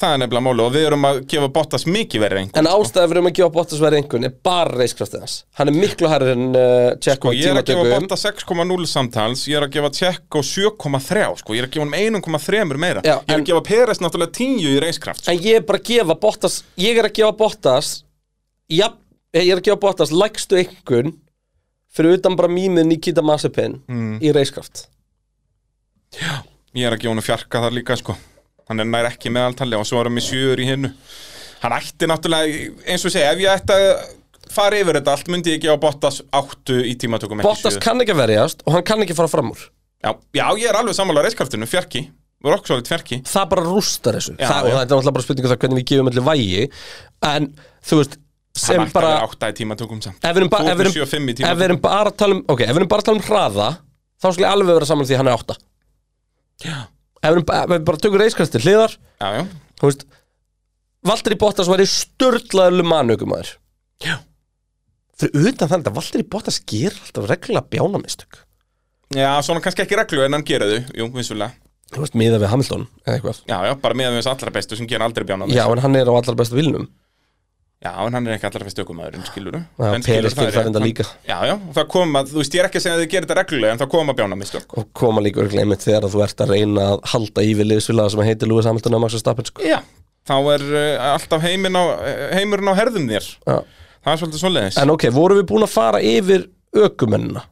[SPEAKER 2] Það er nefnilega máli og við erum að gefa Bottas mikið verið einhver.
[SPEAKER 1] En ástæðan fyrir um að gefa Bottas verið einhvern er bara reiskraftið hans Hann er miklu hærri en uh, Tjekko
[SPEAKER 2] Sko,
[SPEAKER 1] í
[SPEAKER 2] ég er að gefa
[SPEAKER 1] tímatökum
[SPEAKER 2] Bottas 6,0 samtals, ég er að gefa Tjekko 7,3 sko, ég er að gefa honum 1,3 meira.
[SPEAKER 1] Já,
[SPEAKER 2] ég er
[SPEAKER 1] en-
[SPEAKER 2] að gefa Peres náttúrulega 10 í reiskraft.
[SPEAKER 1] En ég er bara að gefa Bottas Ég er að gefa Bottas ja, Ég er að gefa Bottas lægstu einhvern Fyrir utan bara mýmið Nikita Masipin
[SPEAKER 2] Mm.
[SPEAKER 1] Í reiskraft
[SPEAKER 2] Ég er að gefa honum fjarka þar líka sko Hann er nær ekki meðaltali og svo erum við sjöur í hinnu hann ætti náttúrulega, eins og segja, ef ég ætti að fara yfir þetta allt, myndi ég ekki á Bottas 8 í tímatökum ekki
[SPEAKER 1] Bottas
[SPEAKER 2] sjö.
[SPEAKER 1] kann ekki að verjast og hann kann ekki að fara fram úr
[SPEAKER 2] já, já, ég er alveg sammála reiskartinu, fjarki, rokksolid fjarki
[SPEAKER 1] það bara rústar þessu
[SPEAKER 2] Já,
[SPEAKER 1] það, og
[SPEAKER 2] já.
[SPEAKER 1] það er náttúrulega bara spurningu það hvernig við gefum allir vægi en þú veist sem
[SPEAKER 2] hann ætti
[SPEAKER 1] bara
[SPEAKER 2] að vera 8 í tímatökum samt
[SPEAKER 1] ef við erum, ba
[SPEAKER 2] Þú
[SPEAKER 1] ef við
[SPEAKER 2] ert með sjö og fimm
[SPEAKER 1] erum,
[SPEAKER 2] í tíma.
[SPEAKER 1] ef við erum bara að tala um ok, ef við erum bara að tala um hraða þá skulle ég alveg vera saman því að hann er 8
[SPEAKER 2] já,
[SPEAKER 1] ef við, erum, ba- ef við bara tökum reiskastir hliðar
[SPEAKER 2] já, já,
[SPEAKER 1] þú veist Valtteri Bottas var í störtlaðurlu manökumæður
[SPEAKER 2] já.
[SPEAKER 1] fyrir utan þannig að Valtteri Bottas ger alltaf reglulega bjánamistök
[SPEAKER 2] já svona kannski ekki reglu en hann gera þau, jú, vissulega
[SPEAKER 1] þú veist, miða við Hamilton eða eitthvað
[SPEAKER 2] já, já, bara meðan við þess allra bestu sem gera aldrei bjána
[SPEAKER 1] já, en hann er á allra bestu vilnum
[SPEAKER 2] Já, en hann er ekki allra fyrst ökumæðurinn, skilur du?
[SPEAKER 1] Já, Peres gerir það enda líka.
[SPEAKER 2] Já, já, og það kom að, þú veist, ég er ekki að segja að þið gerir þetta reglulega, en það kom að bjána mistök.
[SPEAKER 1] og koma líka örglega einmitt þegar að þú ert að reyna að halda í við liðsvilaða sem heitir Lewis Hamilton og Max Verstappen sko.
[SPEAKER 2] Já, þá er uh, alltaf heiminn á, eh, heimurinn á herðum þér.
[SPEAKER 1] Já.
[SPEAKER 2] Það er svolítið svoleiðis.
[SPEAKER 1] en ok, vorum við búin að fara yfir ökumennina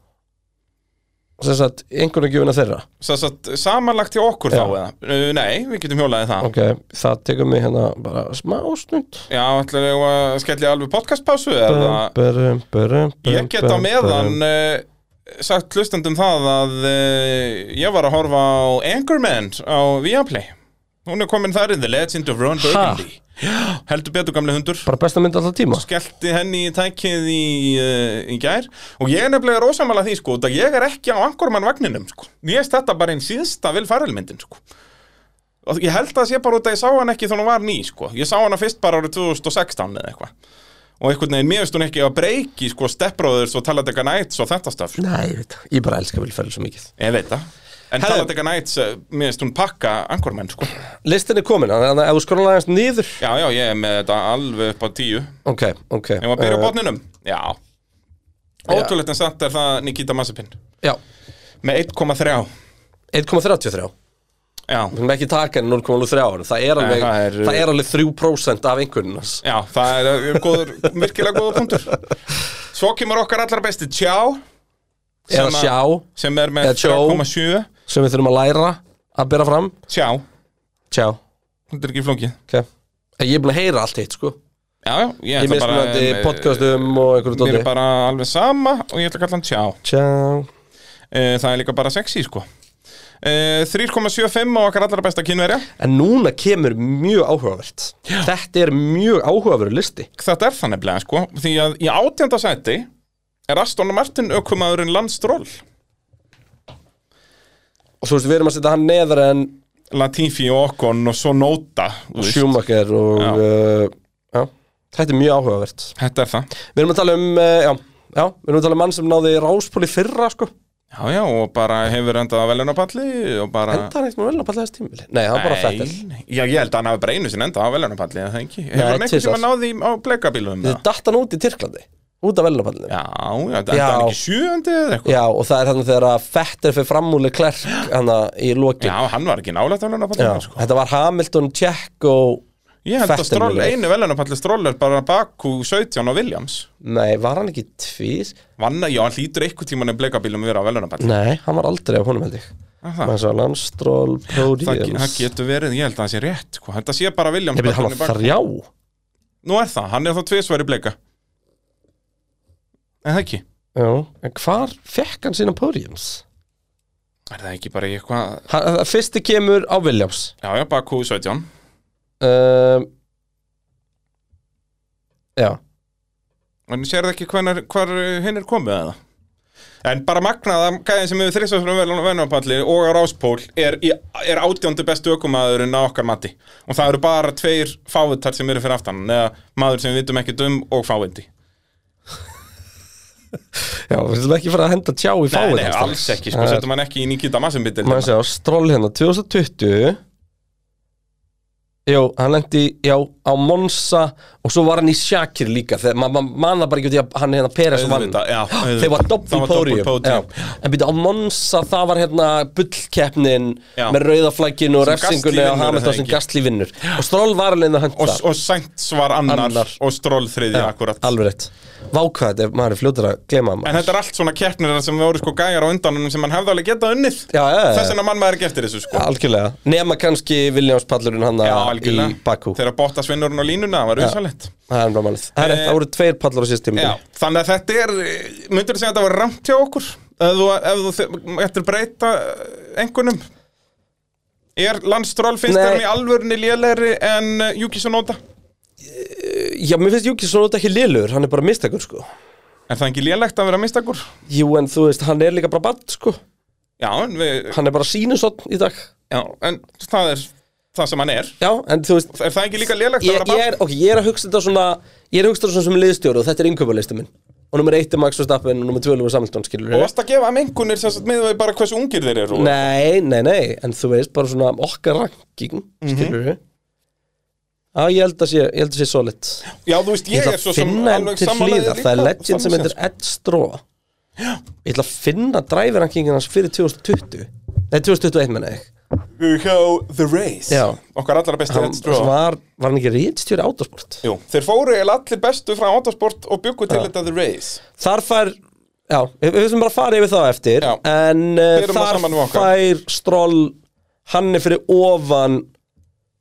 [SPEAKER 1] sem sagt, einhvern veginn þeirra
[SPEAKER 2] Sess að samanlagt hjá okkur
[SPEAKER 1] Já.
[SPEAKER 2] þá eða? Uh, nei, við getum hjólaðið það.
[SPEAKER 1] ok, það tekur mig hérna bara smá stund
[SPEAKER 2] Já, ætlar ég að skella í alveg podcastpásu eða?
[SPEAKER 1] Bum, bum, bum, bum,
[SPEAKER 2] Ég get á
[SPEAKER 1] bum,
[SPEAKER 2] meðan
[SPEAKER 1] bum.
[SPEAKER 2] uh, sagt hlustendum það að uh, ég var að horfa á Anchorman á Viaplay. Hún er komin þar í The Legend of Ron Burgundy. Já, Heldur betur gamli hundur.
[SPEAKER 1] bara besta mynd alltaf tíma sko.
[SPEAKER 2] Skellti henni í tækið í, uh, í gær og ég er nefnilega rosamála því sko, það ég er ekki á Anchorman vagninum sko. Ég er þetta bara einn síðsta vil farelmyndin sko. Og ég held að það sé bara út að ég sá hann ekki þannig hún var ný sko. Ég sá hana fyrst bara árið 2016 eða eitthvað Og einhvern veginn, mér finnst hún ekki að breyki sko steppbróðurs og Talladega Nights og þetta staf
[SPEAKER 1] nei, ég veit það, ég bara elska vilferðil svo mikið
[SPEAKER 2] Ég veit það En
[SPEAKER 1] Herðu.
[SPEAKER 2] Talladega Nights, eh, mér finnst hún pakka ankormenn sko
[SPEAKER 1] listin er komin, þannig að ef þú skorlega aðeins nýður
[SPEAKER 2] Já, já, ég er með þetta alveg upp á tíu Ég
[SPEAKER 1] ok, ok
[SPEAKER 2] var að byrja á
[SPEAKER 1] Eh,
[SPEAKER 2] botninum Já Ótrúlegt en samt er það Nikita Mazepin
[SPEAKER 1] já,
[SPEAKER 2] Með 1,3
[SPEAKER 1] 1,33
[SPEAKER 2] Já,
[SPEAKER 1] Við erum ekki taka henni 0,3 það er alveg,
[SPEAKER 2] það er-
[SPEAKER 1] það er alveg 3% af einhvern hans
[SPEAKER 2] já, það er eh, góður, virkilega góður punktur Svo kemur okkar allra besti Tjá
[SPEAKER 1] eða
[SPEAKER 2] sem að-
[SPEAKER 1] sjá,
[SPEAKER 2] sem er með
[SPEAKER 1] Eða Tjó.
[SPEAKER 2] 3,7
[SPEAKER 1] sem við þurfum að læra að bera fram
[SPEAKER 2] Tjá,
[SPEAKER 1] sjá, ok
[SPEAKER 2] þetta er ekki flókið
[SPEAKER 1] En ég er búin að heyra allt hitt sko
[SPEAKER 2] Já, já, ég
[SPEAKER 1] Ég
[SPEAKER 2] ætla bara
[SPEAKER 1] mismunandi
[SPEAKER 2] em,
[SPEAKER 1] podcastum og einhverju
[SPEAKER 2] Mér
[SPEAKER 1] dóti
[SPEAKER 2] er bara alveg sama og ég ætla að kalla hann tjá
[SPEAKER 1] Tjá
[SPEAKER 2] Eh, Það er líka bara sexy sko Eh, 3,75 á okkar allra besta kynverja
[SPEAKER 1] En núna kemur mjög áhugavert Þetta er mjög áhugaveru listi
[SPEAKER 2] Þetta er það nefnilega sko Því að í átjönda sæti er Aston Martin aukumaðurinn Landstról
[SPEAKER 1] Og þú veist, við erum að setja hann neðar en
[SPEAKER 2] Latifi og Ocon og svo Nóta
[SPEAKER 1] Schumacher og
[SPEAKER 2] Já.
[SPEAKER 1] uh, já. Þetta er mjög áhugavert
[SPEAKER 2] Þetta er það
[SPEAKER 1] Við erum að tala um, uh, já, já Við erum að tala um mann sem náði ráspóli fyrra sko
[SPEAKER 2] Já, já, og bara hefur endað velunapalli og bara
[SPEAKER 1] Enda hann ekkert með velnapall þess tímili Nei, hann bara
[SPEAKER 2] Nei,
[SPEAKER 1] fettil
[SPEAKER 2] nei. Já, ég held að hann hafi bara einu sinni endað velunapalli eða það ekki Hefur hann
[SPEAKER 1] tvisvar.
[SPEAKER 2] einhvern tíma náði á blekabílum
[SPEAKER 1] Þið datt hann út í Tyrklandi Út af velnapallinu
[SPEAKER 2] Já, já, þetta endaði hann ekki sjöundi eða eitthvað
[SPEAKER 1] Já, og það er þannig þegar að Fetter fyrir framúli klerk hann í lokin
[SPEAKER 2] Já, hann var ekki nálægt að
[SPEAKER 1] Já,
[SPEAKER 2] velunapalli sko.
[SPEAKER 1] Þetta var Hamilton, Check og
[SPEAKER 2] Ég held að
[SPEAKER 1] Vettel
[SPEAKER 2] stról,
[SPEAKER 1] mögulega.
[SPEAKER 2] einu velunapalli stról er bara Baku 17 og Williams
[SPEAKER 1] Nei, var hann ekki tvís?
[SPEAKER 2] Vanna, já, hann hlýtur eitthvað tíman en blekabílum að vera á velunapalli
[SPEAKER 1] Nei, hann var aldrei af honum held ég
[SPEAKER 2] Það
[SPEAKER 1] Hann svo Landstról,
[SPEAKER 2] Ah. það,
[SPEAKER 1] Podiums
[SPEAKER 2] það getur verið, ég held að það sé rétt sko. Þetta sé bara Williams
[SPEAKER 1] Ég byrði hann var
[SPEAKER 2] í bak-
[SPEAKER 1] þrjá
[SPEAKER 2] Nú er það, hann er þá tvisvar í bleika En það ekki
[SPEAKER 1] Já, en hvar fekk hann sína Podiums?
[SPEAKER 2] Er það ekki bara í eitthvað
[SPEAKER 1] Hann- það Fyrsti kemur á Williams
[SPEAKER 2] Já, já, Baku 17
[SPEAKER 1] um, Já,
[SPEAKER 2] En sér það ekki hvenar, hvar uh, hinn er komið eða En bara magnaða gæðin sem hefur þrýsast um venapalli og á ráspól er, í- er átjóndi bestu ökumaðurinn á okkar mati og það eru bara tveir fávitar sem eru fyrir aftan hann, eða maður sem við vitum ekki dum og fáviti
[SPEAKER 1] já, við ætlum ekki fara að henda tjá í fáið Eh,
[SPEAKER 2] Nei, nei, alls ekki, sko, setjum hann ekki í Nikita Massimbitil
[SPEAKER 1] maður
[SPEAKER 2] Já,
[SPEAKER 1] sjá, Stroll hérna 2020 Jó, hann lendi já, á Monza og svo var hann í Shakir líka þegar maður ma manna bara ekki út í að hann hérna Peres vann
[SPEAKER 2] auðvitað.
[SPEAKER 1] þeir var
[SPEAKER 2] Það
[SPEAKER 1] doppel
[SPEAKER 2] var double
[SPEAKER 1] pódium Já.
[SPEAKER 2] podium.
[SPEAKER 1] en býta á Monza það var hérna bullkeppnin
[SPEAKER 2] Já.
[SPEAKER 1] með rauðaflækinu og
[SPEAKER 2] Sem Gasly
[SPEAKER 1] refsingunni á
[SPEAKER 2] vinnur, er
[SPEAKER 1] Hamilton
[SPEAKER 2] það
[SPEAKER 1] sem
[SPEAKER 2] ekki?
[SPEAKER 1] Gastli vinnur og Stroll var alveg að hönda
[SPEAKER 2] Og, og Sainz var annar,
[SPEAKER 1] Annar.
[SPEAKER 2] og Stroll þriðja akkurat
[SPEAKER 1] alveg rétt vákvæð ef maður er fljótur að glema
[SPEAKER 2] En
[SPEAKER 1] maður
[SPEAKER 2] þetta er allt svona keppnir þar sem voru sko gæjar á undanunum sem hann hefði alveg getað unnið
[SPEAKER 1] já, já, já,
[SPEAKER 2] Þess vegna mann maður ekki eftir þessu sko
[SPEAKER 1] algjörlega nema kannski Viljáms pallurinn hann
[SPEAKER 2] Já,
[SPEAKER 1] að
[SPEAKER 2] algjörlega.
[SPEAKER 1] í Bakú.
[SPEAKER 2] Þegar Bottas vinnur hún á línuna, það var rosalegt.
[SPEAKER 1] Það er námálið Það er rétt,
[SPEAKER 2] Eh,
[SPEAKER 1] það voru tveir pallar á síðast tíma
[SPEAKER 2] Já, þannig að þetta er, myndur þú segja að þetta var ramt hjá okkur? Ef þú, ef þú þe- ættir breyta eh, einhvernum? Er landstról
[SPEAKER 1] Nei.
[SPEAKER 2] finnst þér hann í alvörunni lélegri en eh, Yuki Sonoda?
[SPEAKER 1] Já, mér finnst Júkis svona ekki liðlugur, hann er bara mistakur sko
[SPEAKER 2] Er það ekki lélegt að vera mistakur?
[SPEAKER 1] Jú, en þú veist, hann er líka bara bad sko
[SPEAKER 2] Já, en, við,
[SPEAKER 1] Hann er bara sínusotn í dag
[SPEAKER 2] já, en það er það sem hann er.
[SPEAKER 1] Já, en þú veist
[SPEAKER 2] Er það ekki líka lélegt að
[SPEAKER 1] ég,
[SPEAKER 2] vera
[SPEAKER 1] ég, er, ok, ég er að hugsa þetta svona Ég er að hugsa þetta svona sem liðstjóru og þetta er innkaupalistu minn Og nummer 1 er Max Verstappen og nummer 2 er Lewis Hamilton skilur
[SPEAKER 2] Og varst að gefa mengunir sem sagt með því bara hversu ungir þeir eru og-
[SPEAKER 1] Nei, nei, nei, en þú veist bara svona okkar ranking
[SPEAKER 2] Mhm.
[SPEAKER 1] skilur við Já, ég held að sé, ég held að sé solid
[SPEAKER 2] Já, þú veist,
[SPEAKER 1] Ég
[SPEAKER 2] ég
[SPEAKER 1] ætla
[SPEAKER 2] er svo
[SPEAKER 1] að
[SPEAKER 2] sem
[SPEAKER 1] finna hann
[SPEAKER 2] alveg
[SPEAKER 1] til
[SPEAKER 2] sammálaðið
[SPEAKER 1] hlýðar Það er legend sem heitir Ed Straw Ég ætla að finna dræfirankingin hans fyrir 2020 Nei, 2021 menna ég
[SPEAKER 2] Hjá The Race
[SPEAKER 1] Já.
[SPEAKER 2] Okkar allra besti
[SPEAKER 1] Hann
[SPEAKER 2] Ed Straw
[SPEAKER 1] var, var hann ekki rítstjóri átorsport
[SPEAKER 2] Jú, þeir fóru eða allir bestu frá autosport og byggu til þetta The Race
[SPEAKER 1] Þar fær, já, við við sem bara fara yfir það eftir
[SPEAKER 2] Já.
[SPEAKER 1] En uh,
[SPEAKER 2] Berum það
[SPEAKER 1] þar
[SPEAKER 2] saman við okkar.
[SPEAKER 1] fær Stroll Hann er fyrir ofan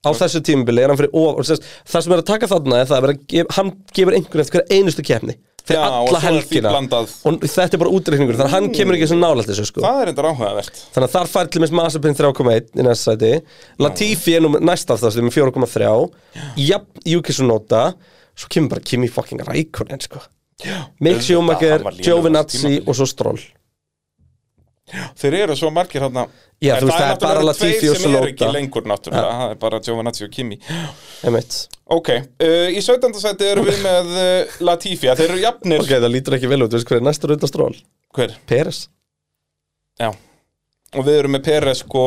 [SPEAKER 1] á þessu tímabili er hann fyrir ofan og sem sagt, Það sem er að taka þarna er það að vera, að gef- hann gefur einhverjum eftir hverja einustu kefni Fyrir
[SPEAKER 2] Já, og
[SPEAKER 1] alla
[SPEAKER 2] svo er því
[SPEAKER 1] helgina
[SPEAKER 2] blandað. Mm.
[SPEAKER 1] Og þetta er bara útreikningur Þannig að hann kemur ekki sem nálægt þessu sko
[SPEAKER 2] Það er enda ráhugaðvert
[SPEAKER 1] Þannig að þar fær til minnst Masapin 3,1 í næsta sæti Latifi er nú með- næst aftast með 4,3 Jafn Yuki Tsunoda Svo kemur bara Kimi fucking Rækonen sko. Mick
[SPEAKER 2] Auðvitað,
[SPEAKER 1] Schumacher,
[SPEAKER 2] hann var lélegur
[SPEAKER 1] Giovinazzi
[SPEAKER 2] tímabili.
[SPEAKER 1] og svo Stroll
[SPEAKER 2] Þeir eru svo margir hann
[SPEAKER 1] Já, þú veist, það er bara Latifi og
[SPEAKER 2] Það er náttúrulega tveir sem eru ekki
[SPEAKER 1] Sonoda.
[SPEAKER 2] lengur náttúrulega Það er bara Giovanazzi og Kimi
[SPEAKER 1] Einmitt.
[SPEAKER 2] Ok, uh, í 17. seti erum við með uh, Latifi að Þeir eru jafnir
[SPEAKER 1] Ok, það lítur ekki vel út, þú veist hver er næstur utan Stroll
[SPEAKER 2] Hver?
[SPEAKER 1] Peres
[SPEAKER 2] Já Og við erum með Peres sko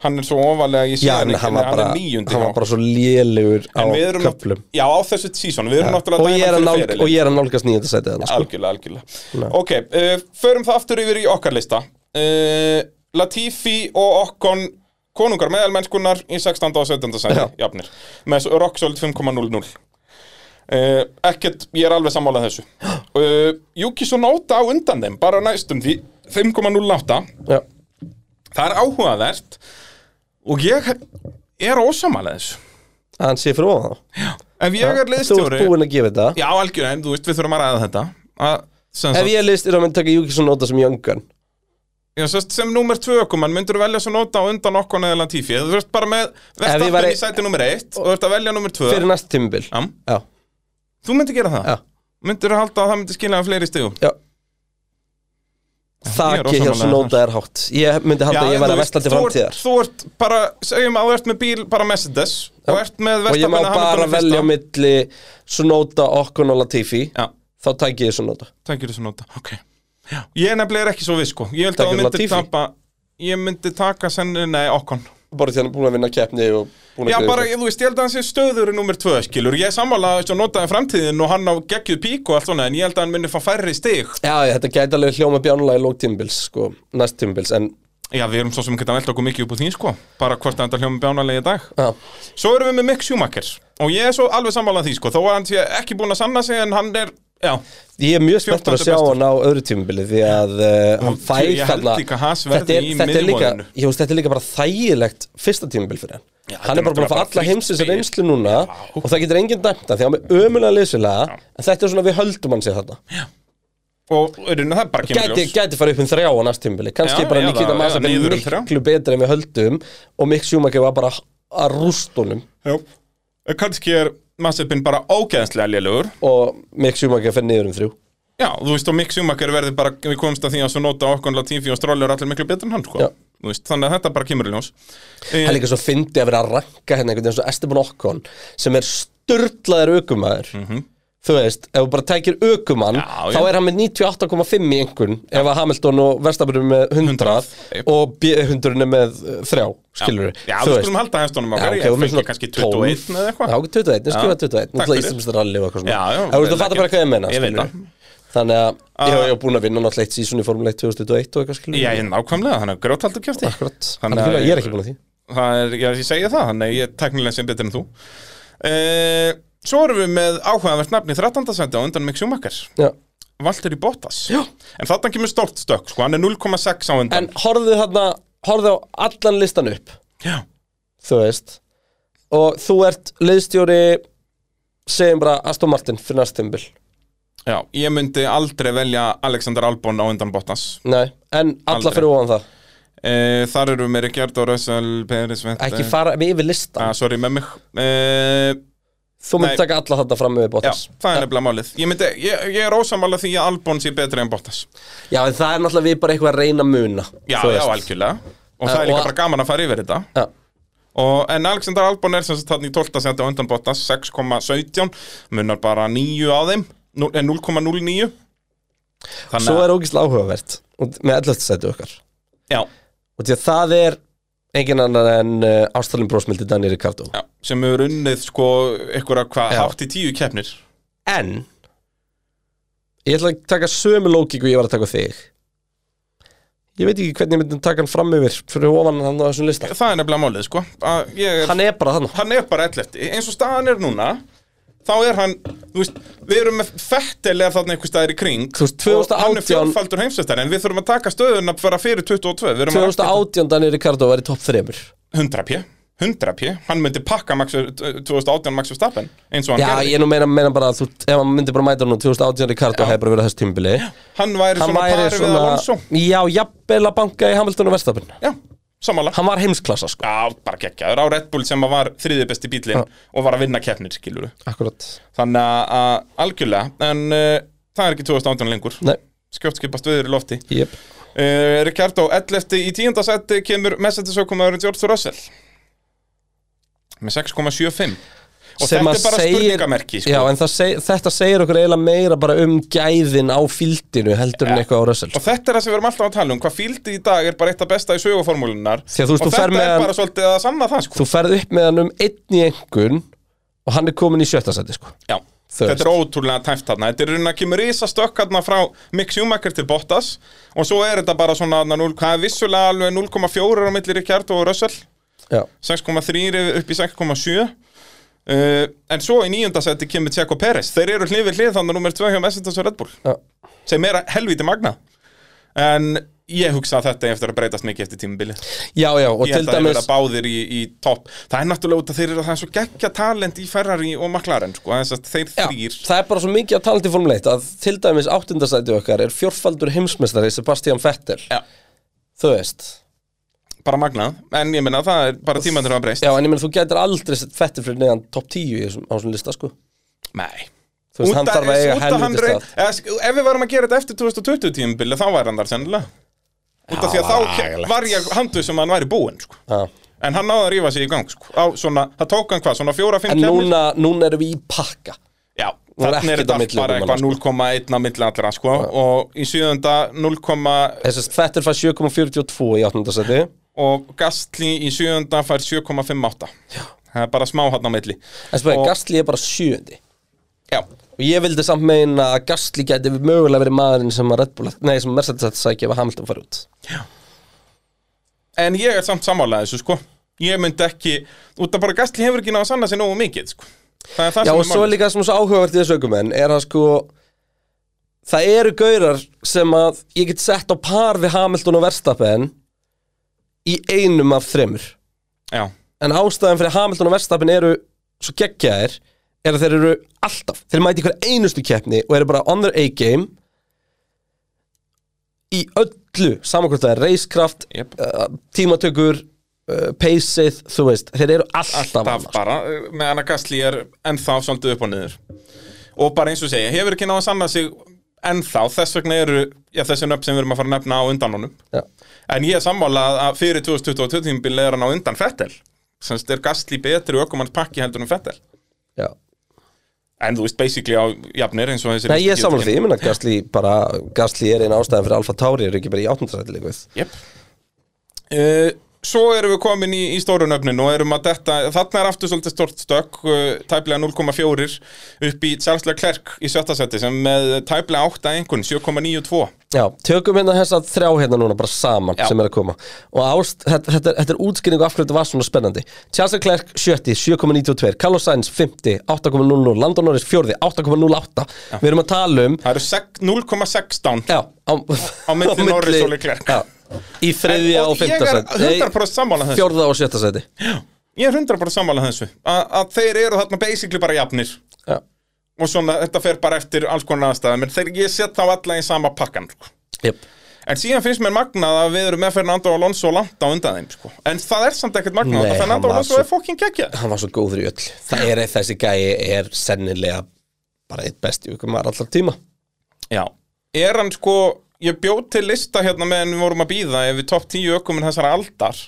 [SPEAKER 2] Hann er svo ofalega í
[SPEAKER 1] Já, en
[SPEAKER 2] síðan
[SPEAKER 1] hann var bara,
[SPEAKER 2] er níundi
[SPEAKER 1] hann
[SPEAKER 2] hjá
[SPEAKER 1] var bara svo lélegur á
[SPEAKER 2] En við erum nátt-
[SPEAKER 1] köplum
[SPEAKER 2] Já, á þessu sísón, við erum náttúrulega
[SPEAKER 1] og ég, er að
[SPEAKER 2] dæma fyrir
[SPEAKER 1] nálg,
[SPEAKER 2] ferilinn.
[SPEAKER 1] og ég er að nálgast nýjönda sæti þarna sko.
[SPEAKER 2] Algjörlega, algjörlega Ok, uh, förum það aftur yfir í okkar lista uh, Latifi og Okkon Konungar meðalmennskunar í 16. og 17.
[SPEAKER 1] Já.
[SPEAKER 2] sæti, jafnir Með s- Rocksold 5.00 uh, Eh, Ekkert, ég er alveg sammála þessu uh, Juki svo á undan þeim Bara næstum því 5.08
[SPEAKER 1] Já.
[SPEAKER 2] Það er áhugavert Og ég er ósamála þessu
[SPEAKER 1] Að Hann sé fyrir ofan þá
[SPEAKER 2] Ef ég er
[SPEAKER 1] Þú ert
[SPEAKER 2] liðstjóri
[SPEAKER 1] búinn að gefa þetta
[SPEAKER 2] Já, algjörlega, en þú veist, við þurfum að ræða þetta að, sem,
[SPEAKER 1] Ef
[SPEAKER 2] sagt,
[SPEAKER 1] ég er list, er að mynd taka Júkisson nota sem jöngan
[SPEAKER 2] já, sem, sagt, sem númer tvö ökumann myndur þú velja svo nota á undan okkur neða Latifi Þú veist bara með verðstappin
[SPEAKER 1] væri-
[SPEAKER 2] í sæti númer eitt og þú veist að velja númer tvö
[SPEAKER 1] Fyrir næst tímubil
[SPEAKER 2] Já,
[SPEAKER 1] Já,
[SPEAKER 2] Þú myndir gera það
[SPEAKER 1] já,
[SPEAKER 2] Myndir þú halda að það myndir skilja fleiri stigum
[SPEAKER 1] já Þakki
[SPEAKER 2] ég er
[SPEAKER 1] hjá
[SPEAKER 2] ósammála
[SPEAKER 1] sem nota er hátt Ég myndi halda að
[SPEAKER 2] en
[SPEAKER 1] ég væri
[SPEAKER 2] þú
[SPEAKER 1] að
[SPEAKER 2] veist,
[SPEAKER 1] vestla til
[SPEAKER 2] þú ert-
[SPEAKER 1] framtíðar
[SPEAKER 2] Þú ert bara, segjum að þú ert með bíl bara Mercedes og ert með
[SPEAKER 1] Og ég má
[SPEAKER 2] verðstappin
[SPEAKER 1] bara velja á milli Sonota, Okkon og Latifi
[SPEAKER 2] Já,
[SPEAKER 1] Þá tæki ég Sonota
[SPEAKER 2] tækir þessu nota, ok já. Ég nefnilega er ekki svo við sko Ég held að
[SPEAKER 1] Takir
[SPEAKER 2] þú myndir
[SPEAKER 1] Latifi?
[SPEAKER 2] tapa Ég myndi taka senni, nei, okkur
[SPEAKER 1] Bara því hann er búin að vinna keppni og búin
[SPEAKER 2] Já,
[SPEAKER 1] að
[SPEAKER 2] bara, ég, þú veist, ég held að hann sé stöður í nummer tvö, skilur, ég er sammála að notaði framtíðin og hann á geggjuð pík og allt svona en ég held að hann minni fá færri stig
[SPEAKER 1] Já, já, þetta gæti alveg hljóma bjánulega í lók tímubils sko, næst tímubils, en
[SPEAKER 2] Já, við erum svo sem geta velta okkur mikið upp úr því, sko bara hvort að þetta hljóma bjánalegi í dag
[SPEAKER 1] já,
[SPEAKER 2] Svo erum við með Mick Schumacher og ég er svo alveg sammála því, sko, þó að hann sé ekki búin að sanna sig en hann er, já
[SPEAKER 1] Ég er mjög spenntur að
[SPEAKER 2] 14.
[SPEAKER 1] sjá
[SPEAKER 2] bestur.
[SPEAKER 1] hann á öðru tímubili því að uh, hann fær
[SPEAKER 2] ég held
[SPEAKER 1] þarna-
[SPEAKER 2] líka Haas verði
[SPEAKER 1] þetta er,
[SPEAKER 2] í
[SPEAKER 1] þetta er líka,
[SPEAKER 2] miðjumóðinu.
[SPEAKER 1] ég veist, þetta er líka bara þægilegt fyrsta tímubili fyrir hann
[SPEAKER 2] Já, þetta
[SPEAKER 1] Hann
[SPEAKER 2] er
[SPEAKER 1] er bara búin að fá
[SPEAKER 2] náttúrulega bara
[SPEAKER 1] alla heimsins
[SPEAKER 2] frítt
[SPEAKER 1] reynslu núna
[SPEAKER 2] Já.
[SPEAKER 1] og það getur enginn dæmt það því að hann er ömulega leysilega en þetta er svona við höldum hann sér þarna
[SPEAKER 2] og auðvitað það bara kemur
[SPEAKER 1] Gæti,
[SPEAKER 2] ljós
[SPEAKER 1] gæti farið upp um þrjá á næst tímubili kannski
[SPEAKER 2] Já,
[SPEAKER 1] bara
[SPEAKER 2] eða-
[SPEAKER 1] Nikita
[SPEAKER 2] eða
[SPEAKER 1] Masa er
[SPEAKER 2] niður um þrjá.
[SPEAKER 1] miklu betri en við höldum og Mick Schumacher var bara að rústunum
[SPEAKER 2] Já, kannski er Massipin bara ógeðslega lélugur
[SPEAKER 1] og Mick Schumacher fer niður um þrjú
[SPEAKER 2] Já, þú veist, og Mick Schumacher verði bara, við komumst að því að svo nota okkur Latifi og Stroll er allir miklu betur en hann, sko.
[SPEAKER 1] Já.
[SPEAKER 2] Þú veist, þannig að þetta bara kemur í ljós.
[SPEAKER 1] Það er líka svo fyndi að vera að ranka hérna einhvern veginn eins og Esteban Okkon sem er sturdlaðar aukumæður Þú veist, ef þú bara tækir aukumann
[SPEAKER 2] Mhm. Já, já.
[SPEAKER 1] þá er hann með 98,5 í einhvern ef að Hamilton og Verstappen er með 100,
[SPEAKER 2] 100, jep.
[SPEAKER 1] og B100 er með eh, 3 skilur
[SPEAKER 2] Já, við skulum halda hestunum okkar, ég fengi kannski 21 eða eitthvað.
[SPEAKER 1] Já, ok, 21, ég skilja 21
[SPEAKER 2] Já. Takk
[SPEAKER 1] Náttúrulega
[SPEAKER 2] fyrir.
[SPEAKER 1] Íslandsmyndar rally og eitthvað svona
[SPEAKER 2] Já, já,
[SPEAKER 1] En Þú veist,
[SPEAKER 2] vel
[SPEAKER 1] það fattar
[SPEAKER 2] ekki.
[SPEAKER 1] bara hvað ég meina
[SPEAKER 2] Ég veit
[SPEAKER 1] skilurðu.
[SPEAKER 2] það. Ah.
[SPEAKER 1] Þannig að ég hef- ég hef búin að vinna náttúrulega eitt sísun í Formule 1 2021 og eitthvað skilur
[SPEAKER 2] Já, ég er nákvæmlega, þannig að grjóthaldur kæfti.
[SPEAKER 1] Akkurat,
[SPEAKER 2] Þannig að-
[SPEAKER 1] þannig að ég er ekki búin að því
[SPEAKER 2] Það er, já, ég segja það, þannig að ég er teknilega sem betur en þú. Uh, svo erum við með áhugavert nafni 13. sendi á undan Mick Schumacher.
[SPEAKER 1] Já.
[SPEAKER 2] Valtteri Bottas.
[SPEAKER 1] Já.
[SPEAKER 2] En þarna kemur stórt stökk, sko, hann er 0,6 á
[SPEAKER 1] En
[SPEAKER 2] undan.
[SPEAKER 1] horfðu þarna, horfðu á allan listan upp
[SPEAKER 2] já.
[SPEAKER 1] Þú veist og þú ert leiðstjóri segjum bara Aston Martin fyrir næst tímbil
[SPEAKER 2] Já, ég myndi aldrei velja Alexander Albon á undan Bottas
[SPEAKER 1] Nei, en alla
[SPEAKER 2] Aldrei.
[SPEAKER 1] fyrir ofan það
[SPEAKER 2] e, Þar eru mér ekki Gjörd og Rössal Peris Vett
[SPEAKER 1] Ekki fara við yfir listan
[SPEAKER 2] ah, Sorry með mig e,
[SPEAKER 1] Þú
[SPEAKER 2] nei.
[SPEAKER 1] myndir taka alla þetta fram með
[SPEAKER 2] Já,
[SPEAKER 1] Bottas
[SPEAKER 2] það er nefnilega málið Ég, myndi, ég, ég er ósamála því að Albon sé betri en Bottas
[SPEAKER 1] Já, en það er náttúrulega við bara eitthvað að reyna að muna
[SPEAKER 2] Já,
[SPEAKER 1] þú
[SPEAKER 2] já,
[SPEAKER 1] veist.
[SPEAKER 2] algjörlega
[SPEAKER 1] Eh,
[SPEAKER 2] Og það er líka
[SPEAKER 1] og-
[SPEAKER 2] bara gaman að fara yfir þetta
[SPEAKER 1] Já.
[SPEAKER 2] og, En Alexander Albon er sem sagt þarna í 12. seti á undan Bottas 6,17 Munar bara 9 á þeim Nú- eh, 0,09 Þannig
[SPEAKER 1] Svo
[SPEAKER 2] að
[SPEAKER 1] er ógislega áhugavert og- með 11. sæti okkar
[SPEAKER 2] Já,
[SPEAKER 1] og því að það er engin annar en uh, ástallin brósmildi Daniel Ricardo
[SPEAKER 2] já, sem hefur unnið sko einhverja hvað
[SPEAKER 1] Já.
[SPEAKER 2] hátt í tíu keppnir
[SPEAKER 1] en ég ætla að taka sömu lókíku ég var að taka á þig ég veit ekki hvernig ég myndi taka hann fram yfir fyrir ofan hann á þessum lista
[SPEAKER 2] Það er nefnilega málið sko að ég er,
[SPEAKER 1] hann er bara þannig
[SPEAKER 2] hann er bara 11 eins og staðan er núna þá er hann, þú veist, við erum með Fettel er þarna einhver staðar í kring
[SPEAKER 1] Þú veist,
[SPEAKER 2] og hann er
[SPEAKER 1] 2018
[SPEAKER 2] fjórfaldur heimsveistari en við þurfum að taka stöðuna bara fyrir 22 við erum að-
[SPEAKER 1] 2018 Daniel Ricardo var í topp 3
[SPEAKER 2] 100 p 100 p, hann myndi pakka Max, eh, 2018 Max Verstappen eins og hann
[SPEAKER 1] já
[SPEAKER 2] gerði
[SPEAKER 1] ég nú meina, meina bara að þú, ef hann myndi bara mæta hann 2018 Ricardo hefði bara verið á þessu tímbili
[SPEAKER 2] hann
[SPEAKER 1] hann
[SPEAKER 2] væri svona
[SPEAKER 1] væri
[SPEAKER 2] pari við Alonso
[SPEAKER 1] svona já jafnvel að banka í Hamilton og Verstafin
[SPEAKER 2] já, samanlega
[SPEAKER 1] hann var heimsklassa sko
[SPEAKER 2] já, bara geggjaður á Red Bull sem að var þriði besti bílinn og var að vinna keppnir, skilur
[SPEAKER 1] akkurat
[SPEAKER 2] þannig að- að algjörlega en uh, það er ekki 2018 lengur
[SPEAKER 1] nei
[SPEAKER 2] skjótt skipast viður í lofti
[SPEAKER 1] jep
[SPEAKER 2] Uh, Ricardo, 11. í 10. seti kemur messendisaukumæðurinn George Russell með 6,75 og
[SPEAKER 1] Sem að
[SPEAKER 2] þetta er bara
[SPEAKER 1] segir-
[SPEAKER 2] spurningamerki sko.
[SPEAKER 1] Já, en það seg, þetta segir okkur eiginlega meira bara um gæðin á fíldinu heldur en eitthvað á rössal
[SPEAKER 2] og þetta er það sem við erum alltaf að tala um hvað fíldi í dag er bara eitt af besta í söguformúlunar
[SPEAKER 1] Því að þú veist,
[SPEAKER 2] og
[SPEAKER 1] þú fer
[SPEAKER 2] þetta
[SPEAKER 1] með
[SPEAKER 2] er
[SPEAKER 1] hann-
[SPEAKER 2] bara svolítið að sanna það sko.
[SPEAKER 1] Þú ferð upp með hann um einn í engun og hann er komin í sjötta seti sko
[SPEAKER 2] Já, þetta er ótrúlega tæft þarna þetta er raun að kemur risastökk þarna frá Mick Schumacher til Bottas og svo er þetta bara svona þarna 0, hvað er vissulega alveg 0,4 á milli Ricardo og Russell
[SPEAKER 1] Já,
[SPEAKER 2] 6,3 upp í 6,7 Uh, en svo í nýjunda seti kemur Tjekko Peres Þeir eru hlið við hlið þannig að númer 2 hjá Mercedes og Red Bull
[SPEAKER 1] já,
[SPEAKER 2] sem er helviti magna en ég hugsa að þetta eigi eftir að breytast mikið eftir tímubili Ég
[SPEAKER 1] já, já og til
[SPEAKER 2] held að þeir
[SPEAKER 1] dæmis
[SPEAKER 2] vera báðir í, í topp Það er náttúrulega út að þeir eru það er svo geggja talent í Ferrari og McLaren sko. þess að þeir
[SPEAKER 1] já,
[SPEAKER 2] þrýr
[SPEAKER 1] Það er bara svo mikið að tala til formuleitt að til dæmis áttunda seti okkar er fjórfaldur heimsmeistari Sebastian Vettel
[SPEAKER 2] Já.
[SPEAKER 1] Þú veist
[SPEAKER 2] bara magnað en ég meina það er bara tímandur að breyst
[SPEAKER 1] Já, en ég menn þú gætir aldrei sett Vettel fyrir neðan topp 10 í þessum á þessum lista sko
[SPEAKER 2] Nei
[SPEAKER 1] Þú veist,
[SPEAKER 2] Út
[SPEAKER 1] hann
[SPEAKER 2] að-
[SPEAKER 1] þarf að eiga
[SPEAKER 2] út að hann
[SPEAKER 1] helviti
[SPEAKER 2] reyn-
[SPEAKER 1] stað
[SPEAKER 2] eða sk- Ef við varum að gera þetta eftir 2020 tímubili þá væri hann þar sennilega Út af
[SPEAKER 1] Já,
[SPEAKER 2] því að
[SPEAKER 1] það
[SPEAKER 2] þá
[SPEAKER 1] var
[SPEAKER 2] ke-
[SPEAKER 1] agalegt.
[SPEAKER 2] var ég handvið sem hann væri búinn sko.
[SPEAKER 1] Já.
[SPEAKER 2] En hann náði að rífa sig í gang sko. á, svona, Það tók hann hvað, svona fjóra-fimm
[SPEAKER 1] En
[SPEAKER 2] kemur
[SPEAKER 1] núna, núna erum við í pakka
[SPEAKER 2] Já,
[SPEAKER 1] Nú er
[SPEAKER 2] þannig er
[SPEAKER 1] ekkert á
[SPEAKER 2] þetta allt
[SPEAKER 1] milli sko.
[SPEAKER 2] bara
[SPEAKER 1] okkar
[SPEAKER 2] eitthvað 0,1 á milli allra sko. Og í sjöðunda 0,
[SPEAKER 1] Þess að Vettel fær 7,42 í áttunda seti
[SPEAKER 2] og Gastli í sjöðunda fær 7,58 Það er bara smá hann á milli
[SPEAKER 1] En spurning,
[SPEAKER 2] Og-
[SPEAKER 1] Gastli er bara sjöundi
[SPEAKER 2] Já,
[SPEAKER 1] Og ég vildi samt meina að Gastli gæti mögulega verið maðurinn sem að Red Bull Nei, sem Mercedes ætti að sækja ef að Hamilton fari út
[SPEAKER 2] en ég er samt sammálaði þessu sko Ég myndi ekki, út af bara Gastli hefur ekki náða að sanna sér nógu mikið sko. Það er það
[SPEAKER 1] Já,
[SPEAKER 2] sem
[SPEAKER 1] og
[SPEAKER 2] er
[SPEAKER 1] svo er
[SPEAKER 2] málið.
[SPEAKER 1] líka sem svo áhugavert í þessu aukumenn Er að sko Það eru gaurar sem að ég get sett á par við Hamilton og Verstappen Í einum af þremur
[SPEAKER 2] Já,
[SPEAKER 1] En ástæðan fyrir að Hamilton og Verstappen eru Svo geggjaðir Er að þeir eru alltaf Þeir mæti hver einustu keppni og eru bara on their A-game Í öllu Samakvort það er racecraft
[SPEAKER 2] Jep.
[SPEAKER 1] uh, Tímatökur uh, Paceið, þú veist Þeir eru alltaf,
[SPEAKER 2] alltaf
[SPEAKER 1] alltaf
[SPEAKER 2] bara eh, meðan að Gastli er ennþá svolítið upp og niður og bara eins og segja, hefur ekki náða að sanna sig ennþá, þess vegna eru já, þessi nöfn sem við erum að fara að nefna á undan honum
[SPEAKER 1] Já.
[SPEAKER 2] en ég er sammála að fyrir 2022 tímbil er hann á undan Fettel semst er Gastli betri ökumanns pakki heldur en Fettel
[SPEAKER 1] Já.
[SPEAKER 2] en þú veist basically á jafnir eins og þessi
[SPEAKER 1] Nei, ég er
[SPEAKER 2] listi
[SPEAKER 1] samlega
[SPEAKER 2] getur
[SPEAKER 1] því, ég minna Gasly bara, Gasly er eina ástæðan fyrir Alfa Tauri er ekki bara í áttundarsæti líka við
[SPEAKER 2] Jep. Uh, svo erum við komin í, í stóru nöfnin og erum að detta, þarna er aftur svolítið stort stökk, uh, tæplega 0,4 upp í Charleslega Klerk í sjötta seti sem með tæplega 8 einhvern, 7,92
[SPEAKER 1] Já, tökum hérna þess að þrjá hérna núna bara saman
[SPEAKER 2] Já.
[SPEAKER 1] sem er að koma og ást, þetta, þetta, er- þetta er útskynning og af hverju þetta var svona spennandi Charles Leclerc 70, 7,92 Carlos Sainz 50, 8,00 Landon Norris 4, 8,08 Við erum að tala um
[SPEAKER 2] það eru sek- 0,16
[SPEAKER 1] Já, á,
[SPEAKER 2] Á milli Norris og Leclerc.
[SPEAKER 1] já, Í þriðja
[SPEAKER 2] En-
[SPEAKER 1] og
[SPEAKER 2] og ég
[SPEAKER 1] fymta
[SPEAKER 2] er
[SPEAKER 1] sæti
[SPEAKER 2] 100% sammála þessu.
[SPEAKER 1] Fjórða og sjötta sæti
[SPEAKER 2] Já. Ég er hundra bara sammála þessu A að þeir eru þarna basically bara jafnir
[SPEAKER 1] Já.
[SPEAKER 2] og svona þetta fer bara eftir alls konar aðstæðum en þeir ég set þá alla í sama pakkan sko.
[SPEAKER 1] Yep.
[SPEAKER 2] en síðan finnst mér magnað að við erum með Fernando Alonso langt á undan þeim sko. en það er samt ekkert magnað
[SPEAKER 1] Nei,
[SPEAKER 2] Nei,
[SPEAKER 1] hann
[SPEAKER 2] Fernando
[SPEAKER 1] var
[SPEAKER 2] Alonso
[SPEAKER 1] svo-
[SPEAKER 2] er fokkin geggja
[SPEAKER 1] Hann var svo góður í öll Það er þessi gæi er sennilega bara eitt besti ykkur maður allar tíma
[SPEAKER 2] Já, er hann sko ég bjóð til lista hérna meðan við vorum að býða ef við topp 10 ökuminn þessara aldar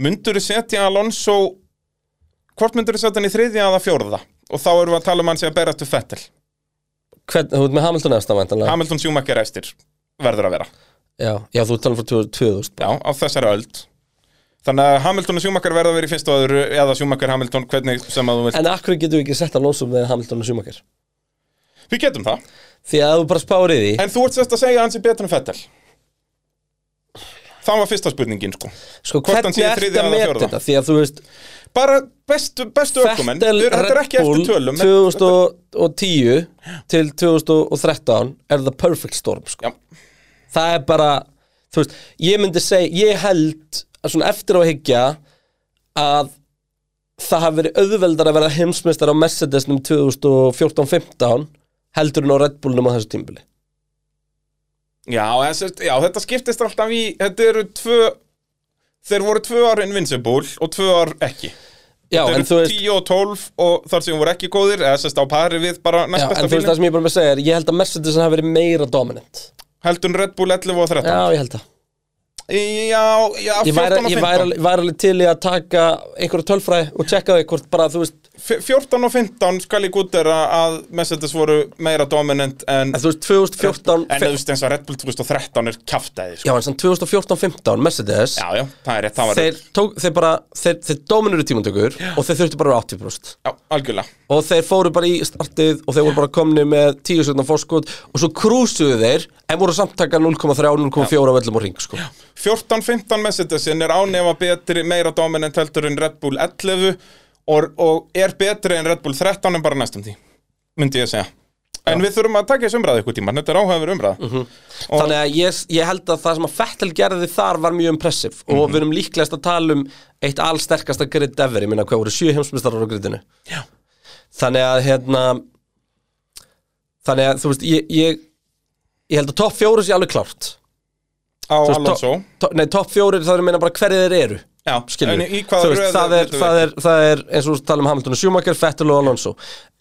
[SPEAKER 2] myndur setja Alonso hvort myndur setja hann í þriðja eða fjórða og þá erum við að tala um hann sem að berast við Fettel
[SPEAKER 1] Hvern, Þú ert með Hamilton eftir væntanlega
[SPEAKER 2] Hamilton Schumacher eftir verður að vera
[SPEAKER 1] já, já, þú ert talað frá 2000
[SPEAKER 2] Já, á þessari öld Þannig að Hamilton og Schumacher verða að vera í fyrstu og öðru eða Schumacher, Hamilton, hvernig sem að þú vilt
[SPEAKER 1] En akkur getum við ekki sett Alonso með Hamilton og Schumacher
[SPEAKER 2] Við getum það
[SPEAKER 1] Því að ef þú bara spáir í því
[SPEAKER 2] En þú ert sérst að segja að hann sé betur en Fettel Það var fyrsta spurningin sko
[SPEAKER 1] Sko,
[SPEAKER 2] hvort hann
[SPEAKER 1] hvernig
[SPEAKER 2] sé í
[SPEAKER 1] ertu
[SPEAKER 2] þriðja
[SPEAKER 1] að
[SPEAKER 2] eða
[SPEAKER 1] meta
[SPEAKER 2] fjórða?
[SPEAKER 1] þetta? Því að þú veist,
[SPEAKER 2] Bara bestu, bestu ökumenn
[SPEAKER 1] Fettel
[SPEAKER 2] Þetta er
[SPEAKER 1] Red
[SPEAKER 2] ekki
[SPEAKER 1] Bull
[SPEAKER 2] eftir tölum en-
[SPEAKER 1] 2010 til 2013 er the perfect storm sko.
[SPEAKER 2] Já,
[SPEAKER 1] það er bara þú veist, ég myndi segja, ég held að svona eftir á að higgja að það hafi verið auðveldar að vera heimsmeistar á Mercedesnum 2014-15 heldur en á Red Bullnum á þessu tímbili
[SPEAKER 2] já, en sérst- já, þetta skiptist alltaf í Þetta eru tvö Þeir voru tvö ár invincible og tvö ár ekki
[SPEAKER 1] Já,
[SPEAKER 2] Þeir
[SPEAKER 1] en þú
[SPEAKER 2] eru
[SPEAKER 1] veist,
[SPEAKER 2] 10 og 12 og þar sem voru ekki góðir eða sérst á pari við bara
[SPEAKER 1] já,
[SPEAKER 2] næst
[SPEAKER 1] en þú
[SPEAKER 2] besta
[SPEAKER 1] veist það
[SPEAKER 2] bílinn
[SPEAKER 1] sem ég er bara með að segja er ég held að Mercedes hafi verið meira dominant
[SPEAKER 2] Heldur en Red Bull 11 og 13
[SPEAKER 1] Já, ég held það
[SPEAKER 2] Já, já,
[SPEAKER 1] Ég
[SPEAKER 2] 14
[SPEAKER 1] væri,
[SPEAKER 2] og
[SPEAKER 1] ég
[SPEAKER 2] 15
[SPEAKER 1] væri, væri alveg til í að taka einhverja tölfræði og tjekka þau hvort bara, þú veist,
[SPEAKER 2] F- 14 og 15 skal ég gútera að Mercedes voru meira dominant en,
[SPEAKER 1] en þú veist 2014
[SPEAKER 2] en þú veist eins og Red Bull 2013 er kjaftæði sko.
[SPEAKER 1] Já, en sann 2014-15 Mercedes
[SPEAKER 2] já, já, það er rétt, það var
[SPEAKER 1] þeir, tók, þeir bara, þeir, þeir dominuru tímandökur og þeir þurftu bara að vera 80%
[SPEAKER 2] Já, algjörlega
[SPEAKER 1] og þeir fóru bara í startið og þeir voru bara komni með 10 sekundar fórskot og svo krúsuðu þeir en voru samtaka 0,3-0,4 af öllum og ring sko.
[SPEAKER 2] 14-15 Mercedesin er ánefa betri meira dominant heldur en Red Bull 11 og, og er betri en Red Bull 13 en bara næstum því myndi ég að segja En við þurfum að taka þessu umræðu ykkur tíma, þetta er áhæfur umræða
[SPEAKER 1] Mhm.
[SPEAKER 2] og,
[SPEAKER 1] þannig að ég, ég held að það sem að Fettel gerði þar var mjög impressiv
[SPEAKER 2] Mhm.
[SPEAKER 1] og við erum líklegast að tala um eitt allsterkasta grid ever, ég minna hvað voru 7 heimsmyndstarar á gridinu
[SPEAKER 2] Já.
[SPEAKER 1] þannig að hérna þannig að þú veist ég, ég, ég held að topp fjóru sé alveg klárt
[SPEAKER 2] á
[SPEAKER 1] Þú veist,
[SPEAKER 2] Alonso
[SPEAKER 1] to, to, Nei, topp fjórir, það er að meina bara hverju þeir eru
[SPEAKER 2] Já,
[SPEAKER 1] skilur
[SPEAKER 2] en í hvaða
[SPEAKER 1] Þú veist,
[SPEAKER 2] röð
[SPEAKER 1] það, er,
[SPEAKER 2] myndum við?
[SPEAKER 1] það, er, það er eins og við tala um Hamilton og Schumacher, Vettel og Alonso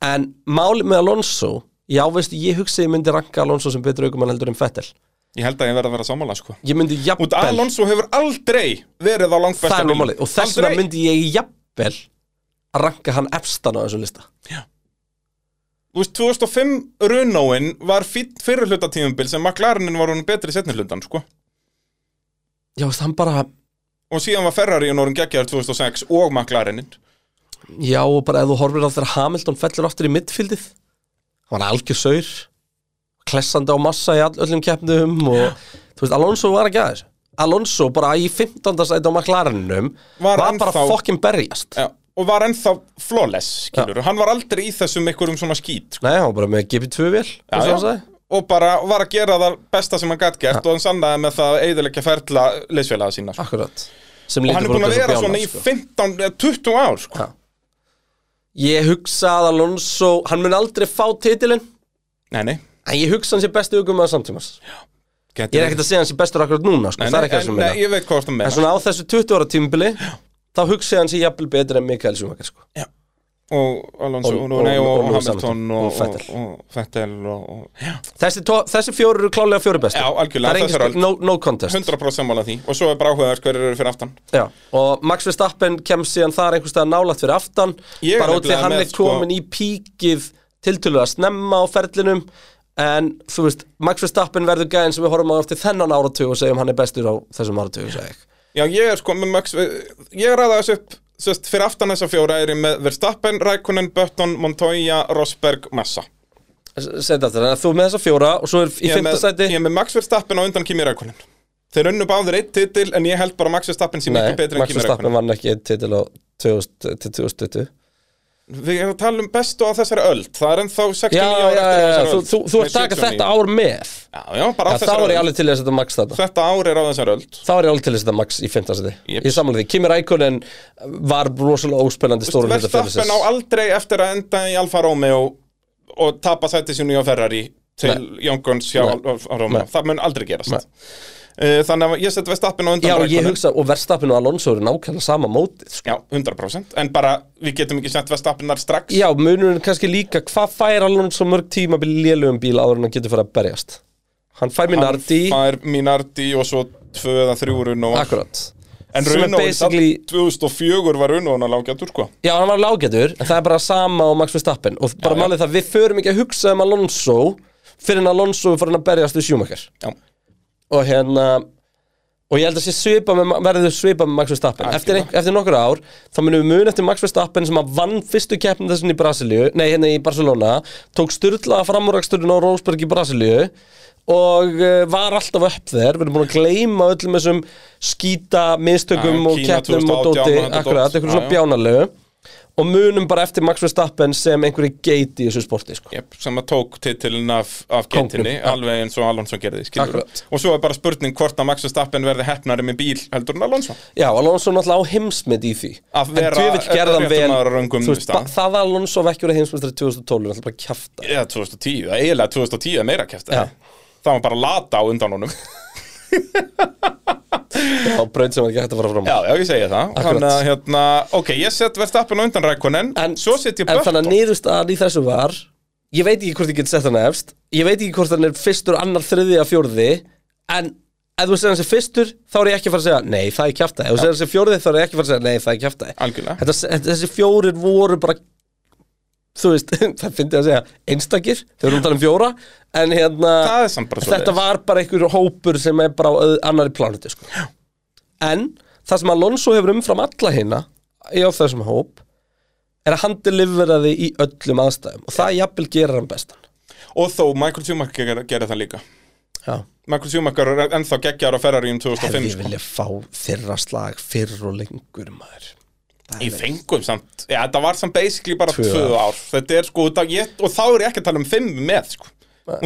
[SPEAKER 1] En máli með Alonso Já, veist, ég hugsi ég myndi ranka Alonso sem betur aukumann heldur en Vettel
[SPEAKER 2] Ég held að ég verði að vera sammála sko
[SPEAKER 1] Ég myndi
[SPEAKER 2] Út
[SPEAKER 1] jafnvel
[SPEAKER 2] Alonso hefur aldrei verið á langbesta
[SPEAKER 1] Það er nú málið Og þess vegna
[SPEAKER 2] Aldrei.
[SPEAKER 1] myndi ég jafnvel að ranka hann efstan á þessum lista
[SPEAKER 2] Þú veist, 2005 Runóin var fýtt fyrir hlutatíðumbil sem McLarenin var hún betri setni hlutan, sko
[SPEAKER 1] Já, veist, hann bara
[SPEAKER 2] og síðan var Ferrari hún orðin geggjaður 2006 og McLarenin
[SPEAKER 1] Já, og bara ef þú horfir á þegar Hamilton fellur aftur í midfieldið Hann var algjör saur Klessandi á massa í all, öllum keppnum og þú veist, Alonso var ekki aðeins Alonso bara í 15. sæti á McLareninum
[SPEAKER 2] Var
[SPEAKER 1] var, bara
[SPEAKER 2] ennþá-
[SPEAKER 1] fokkin berjast
[SPEAKER 2] ja, og var ennþá flawless, skilur hann var aldrei í þessum einhverjum svona skít sko.
[SPEAKER 1] Nei, hann var bara með GP2-vél
[SPEAKER 2] Já, já. og bara var að gera það besta sem hann gætt gert og hann sannaði með það að eiðilegja ferla leysfélaga sína sko.
[SPEAKER 1] Akkurat Sem
[SPEAKER 2] og hann
[SPEAKER 1] lítur
[SPEAKER 2] er búin
[SPEAKER 1] bara út eins
[SPEAKER 2] að
[SPEAKER 1] og bjánar,
[SPEAKER 2] vera svona í
[SPEAKER 1] sko.
[SPEAKER 2] 15, eða 20 ár sko.
[SPEAKER 1] Já. Ég hugsa að Alonso Hann mun aldrei fá titilinn
[SPEAKER 2] nei, nei,
[SPEAKER 1] En ég hugsa hann sé bestu hugum að samtímas Ég er ekkert að segja hann sé bestur akkurat núna sko.
[SPEAKER 2] nei,
[SPEAKER 1] Það
[SPEAKER 2] nei,
[SPEAKER 1] er ekki það sem
[SPEAKER 2] en-
[SPEAKER 1] meina
[SPEAKER 2] nei, ég veit hvað það
[SPEAKER 1] En
[SPEAKER 2] meina
[SPEAKER 1] svona á þessu 20 ára tímubili þá hugsa ég hann sér jafnvel betur en Mikael Schumacher sko.
[SPEAKER 2] og Alonso,
[SPEAKER 1] Og-
[SPEAKER 2] og, nei,
[SPEAKER 1] og-
[SPEAKER 2] og,
[SPEAKER 1] og Lewis
[SPEAKER 2] Hamilton
[SPEAKER 1] Hamilton, og
[SPEAKER 2] og, og,
[SPEAKER 1] Vettel.
[SPEAKER 2] og Fettel og, og, já
[SPEAKER 1] þessi, to- þessi fjóri eru klálega fjóri bestu
[SPEAKER 2] Já, algjörlega,
[SPEAKER 1] það er engin
[SPEAKER 2] þessar
[SPEAKER 1] spil, no, no contest
[SPEAKER 2] 100% sammála því og svo er bara áhugaðar hverjir eru fyrir aftan
[SPEAKER 1] Já. og Max Verstappen kemst síðan þar einhvers staðar nálægt fyrir aftan
[SPEAKER 2] Ég er
[SPEAKER 1] bara út því
[SPEAKER 2] nefnilega
[SPEAKER 1] hann
[SPEAKER 2] með, sko-
[SPEAKER 1] er komin í píkið tiltölulega snemma á ferlinum en þú veist, Max Verstappen verður gæðin sem við horfum á eftir þennan áratug og segjum hann er bestur á þessum áratug segi ég.
[SPEAKER 2] Já, ég er sko með Max Ég ræða þessu upp sest, fyrir aftan þessa fjóra er ég með Verstappen, Rækonen, Bötton, Montoya, Rosberg, Massa
[SPEAKER 1] S- segðu þetta, þannig að þú er með þessa fjóra og svo er í
[SPEAKER 2] Ég er með,
[SPEAKER 1] fimmtastæti
[SPEAKER 2] ég er með Max Verstappen og undan Kimi Rækonen Þeir unnu báðir eitt titil en ég held bara Max Verstappen sem
[SPEAKER 1] Nei,
[SPEAKER 2] ekki betri en
[SPEAKER 1] Max
[SPEAKER 2] Kimi
[SPEAKER 1] Verstappen
[SPEAKER 2] Rækonen
[SPEAKER 1] vann ekki einn titil á 2000 til 2020
[SPEAKER 2] Við erum að tala um bestu á þessari öld Það er ennþá 69
[SPEAKER 1] Já,
[SPEAKER 2] ára
[SPEAKER 1] já,
[SPEAKER 2] eftir á
[SPEAKER 1] já,
[SPEAKER 2] þessari
[SPEAKER 1] þú,
[SPEAKER 2] öld
[SPEAKER 1] þú, þú
[SPEAKER 2] Nei,
[SPEAKER 1] ert að taka
[SPEAKER 2] 79.
[SPEAKER 1] þetta ár með
[SPEAKER 2] Já, já, bara á
[SPEAKER 1] Já, þá
[SPEAKER 2] þessari
[SPEAKER 1] er ég
[SPEAKER 2] öld
[SPEAKER 1] alveg til í að setja max þetta
[SPEAKER 2] Þetta ár er á þessari öld
[SPEAKER 1] Þá er ég alveg til í að setja max í 15. seti
[SPEAKER 2] Jeps.
[SPEAKER 1] Ég samlega því, Kimi Rækonen var rosalega óspennandi stórum hluta
[SPEAKER 2] Verstappen á
[SPEAKER 1] fyrirsis
[SPEAKER 2] aldrei eftir að enda í Alfa Romeo og tapa sætti sínu á Ferrari til Jónkons hjá
[SPEAKER 1] Nei.
[SPEAKER 2] Alfa Romeo
[SPEAKER 1] Nei.
[SPEAKER 2] það mun aldrei gerast
[SPEAKER 1] Nei.
[SPEAKER 2] Eh, Þannig að ég set Verstappen á undan
[SPEAKER 1] Já, ég
[SPEAKER 2] Raikkonen.
[SPEAKER 1] hugsa, og Verstappen og Alonso eru nákvæmlega sama mótið sko.
[SPEAKER 2] Já, 100% En bara, við getum ekki sett Verstappenar strax
[SPEAKER 1] Já, munurinn kannski líka, hvað fær Alonso mörg tíma bíl lélugum bíl áður en hann getur fyrir að berjast Hann fær minn ardi,
[SPEAKER 2] Það er Minardi og svo tvö eða þrjú Runóan
[SPEAKER 1] akkurat Sem
[SPEAKER 2] En
[SPEAKER 1] er
[SPEAKER 2] Runóan
[SPEAKER 1] basically-
[SPEAKER 2] 2004 var Runóan að lágja sko
[SPEAKER 1] Já, hann var lágætur, en það er bara sama og Max Verstappen og bara
[SPEAKER 2] Já, já.
[SPEAKER 1] málið það, við förum ekki að hugsa um Alonso fyrir en Alonso er farin að berjast við Schumacher
[SPEAKER 2] Já,
[SPEAKER 1] og hérna og ég held að sé svipa með, verður svipa með Max Verstappen eftir,
[SPEAKER 2] Algjörlega.
[SPEAKER 1] ein, eftir nokkur ár, þá munum við mun eftir Max Verstappen sem að vann fyrstu keppni þessin í Brasilíu, nei hérna í Barcelona tók styrlaða framúraksturinn á Rósberg í Brasilíu og uh, var alltaf upp þér, við erum búin að gleyma öllum þessum skýta mistökum
[SPEAKER 2] Já,
[SPEAKER 1] og
[SPEAKER 2] Kína
[SPEAKER 1] keppnum og
[SPEAKER 2] 2018
[SPEAKER 1] dóti,
[SPEAKER 2] og þetta
[SPEAKER 1] akkurat,
[SPEAKER 2] dót.
[SPEAKER 1] einhverjum svona
[SPEAKER 2] Já, já.
[SPEAKER 1] bjánalegu og munum bara eftir Max Verstappen sem einhverju geit í þessu sporti sko.
[SPEAKER 2] Jep, sem að tók titilin af, af
[SPEAKER 1] Kóngnum,
[SPEAKER 2] getinni,
[SPEAKER 1] já.
[SPEAKER 2] alveg eins og Alonso gerði, skilur
[SPEAKER 1] Akkurat.
[SPEAKER 2] Og svo er bara spurning hvort að Max Verstappen verði hefnari með bíl heldur en Alonso
[SPEAKER 1] Já, Alonso náttúrulega á heimsmynd í því
[SPEAKER 2] Að
[SPEAKER 1] En
[SPEAKER 2] vera
[SPEAKER 1] djöfull gerði hann
[SPEAKER 2] réttum
[SPEAKER 1] vel-
[SPEAKER 2] maður á röngum
[SPEAKER 1] Þú veist,
[SPEAKER 2] stað.
[SPEAKER 1] ba- Það að Alonso vekkjur að heimsmyndstari 2012 Það er bara að kjafta
[SPEAKER 2] Eða 2010, það er eiginlega 2010 er meira kæfti
[SPEAKER 1] Já.
[SPEAKER 2] Það var bara lata á undan honum Já,
[SPEAKER 1] á braut sem hann ekki hægt að fara fram á.
[SPEAKER 2] já, ég segja það
[SPEAKER 1] Akkurat.
[SPEAKER 2] Þannig að, hérna, ok, ég set Verstappen á undan Rækonen
[SPEAKER 1] En-
[SPEAKER 2] Svo set ég
[SPEAKER 1] En þannig
[SPEAKER 2] Bötton
[SPEAKER 1] að niðurstaðan í þessu var Ég veit ekki hvort ég get sett hann efst Ég veit ekki hvort hann er fyrstur, annar, þriði að fjórði En ef þú segir hann sem fyrstur Þá er ég ekki að fara að segja Nei, það er kjafta Ef þú segir hann sem fjórði þá er ég ekki að fara að segja Nei, það er kjafta
[SPEAKER 2] Algjörlega,
[SPEAKER 1] þetta, þetta- þessi fjórir voru bara þú veist, það fyndi að segja einstakir, þau eru um talað um fjóra en hérna,
[SPEAKER 2] Það er samt bara svoleiðis.
[SPEAKER 1] þetta var bara einhver hópur sem er bara á öð- annarri planetu sko. en það sem Alonso hefur umfram alla hina í á þessum hóp er að hann deliveraði í öllum aðstæðum og það jafnvel gerir hann bestan
[SPEAKER 2] og þó Michael Schumacher gerði, gerði það líka
[SPEAKER 1] Já.
[SPEAKER 2] Michael Schumacher er ennþá geggjar á Ferrari um
[SPEAKER 1] hefði
[SPEAKER 2] 2005
[SPEAKER 1] ég
[SPEAKER 2] sko.
[SPEAKER 1] vilja fá þeirra slag fyrr og lengur maður Það
[SPEAKER 2] Í
[SPEAKER 1] hefði-
[SPEAKER 2] fengum samt, já þetta var samt basically bara
[SPEAKER 1] Tvö
[SPEAKER 2] tvö ár, þetta er sko, út af- ég, og þá er ég ekki að tala um fimm með sko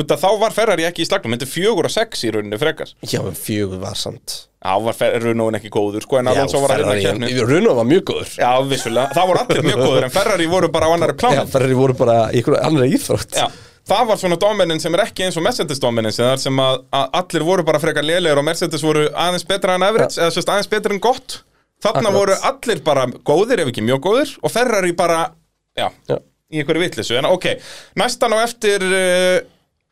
[SPEAKER 2] Út af þá var Ferrari ekki í slagnum, þetta er fjögur og sex í rauninni frekar
[SPEAKER 1] Já, en fjögur var samt
[SPEAKER 2] Já, var Ferrari ekki góður sko, en
[SPEAKER 1] Já,
[SPEAKER 2] Alonso var að hérna kemni
[SPEAKER 1] Ferrari- Runo var mjög góður
[SPEAKER 2] Já, vissulega, það voru allir mjög góður, en Ferrari voru bara á annari
[SPEAKER 1] Já,
[SPEAKER 2] plán
[SPEAKER 1] Ferrari voru bara í einhverju annari íþrótt
[SPEAKER 2] Já, það var svona dominance sem er ekki eins og Mercedes dominance þar sem að, að allir voru bara frekar lélegir og Mercedes voru aðeins betra en average eða sérst aðeins betra en gott þarna
[SPEAKER 1] Akkurat.
[SPEAKER 2] voru allir bara góðir ef ekki mjög góðir og Ferrari bara, já,
[SPEAKER 1] Já.
[SPEAKER 2] í einhverju vitleysu en ok, næstan á eftir uh,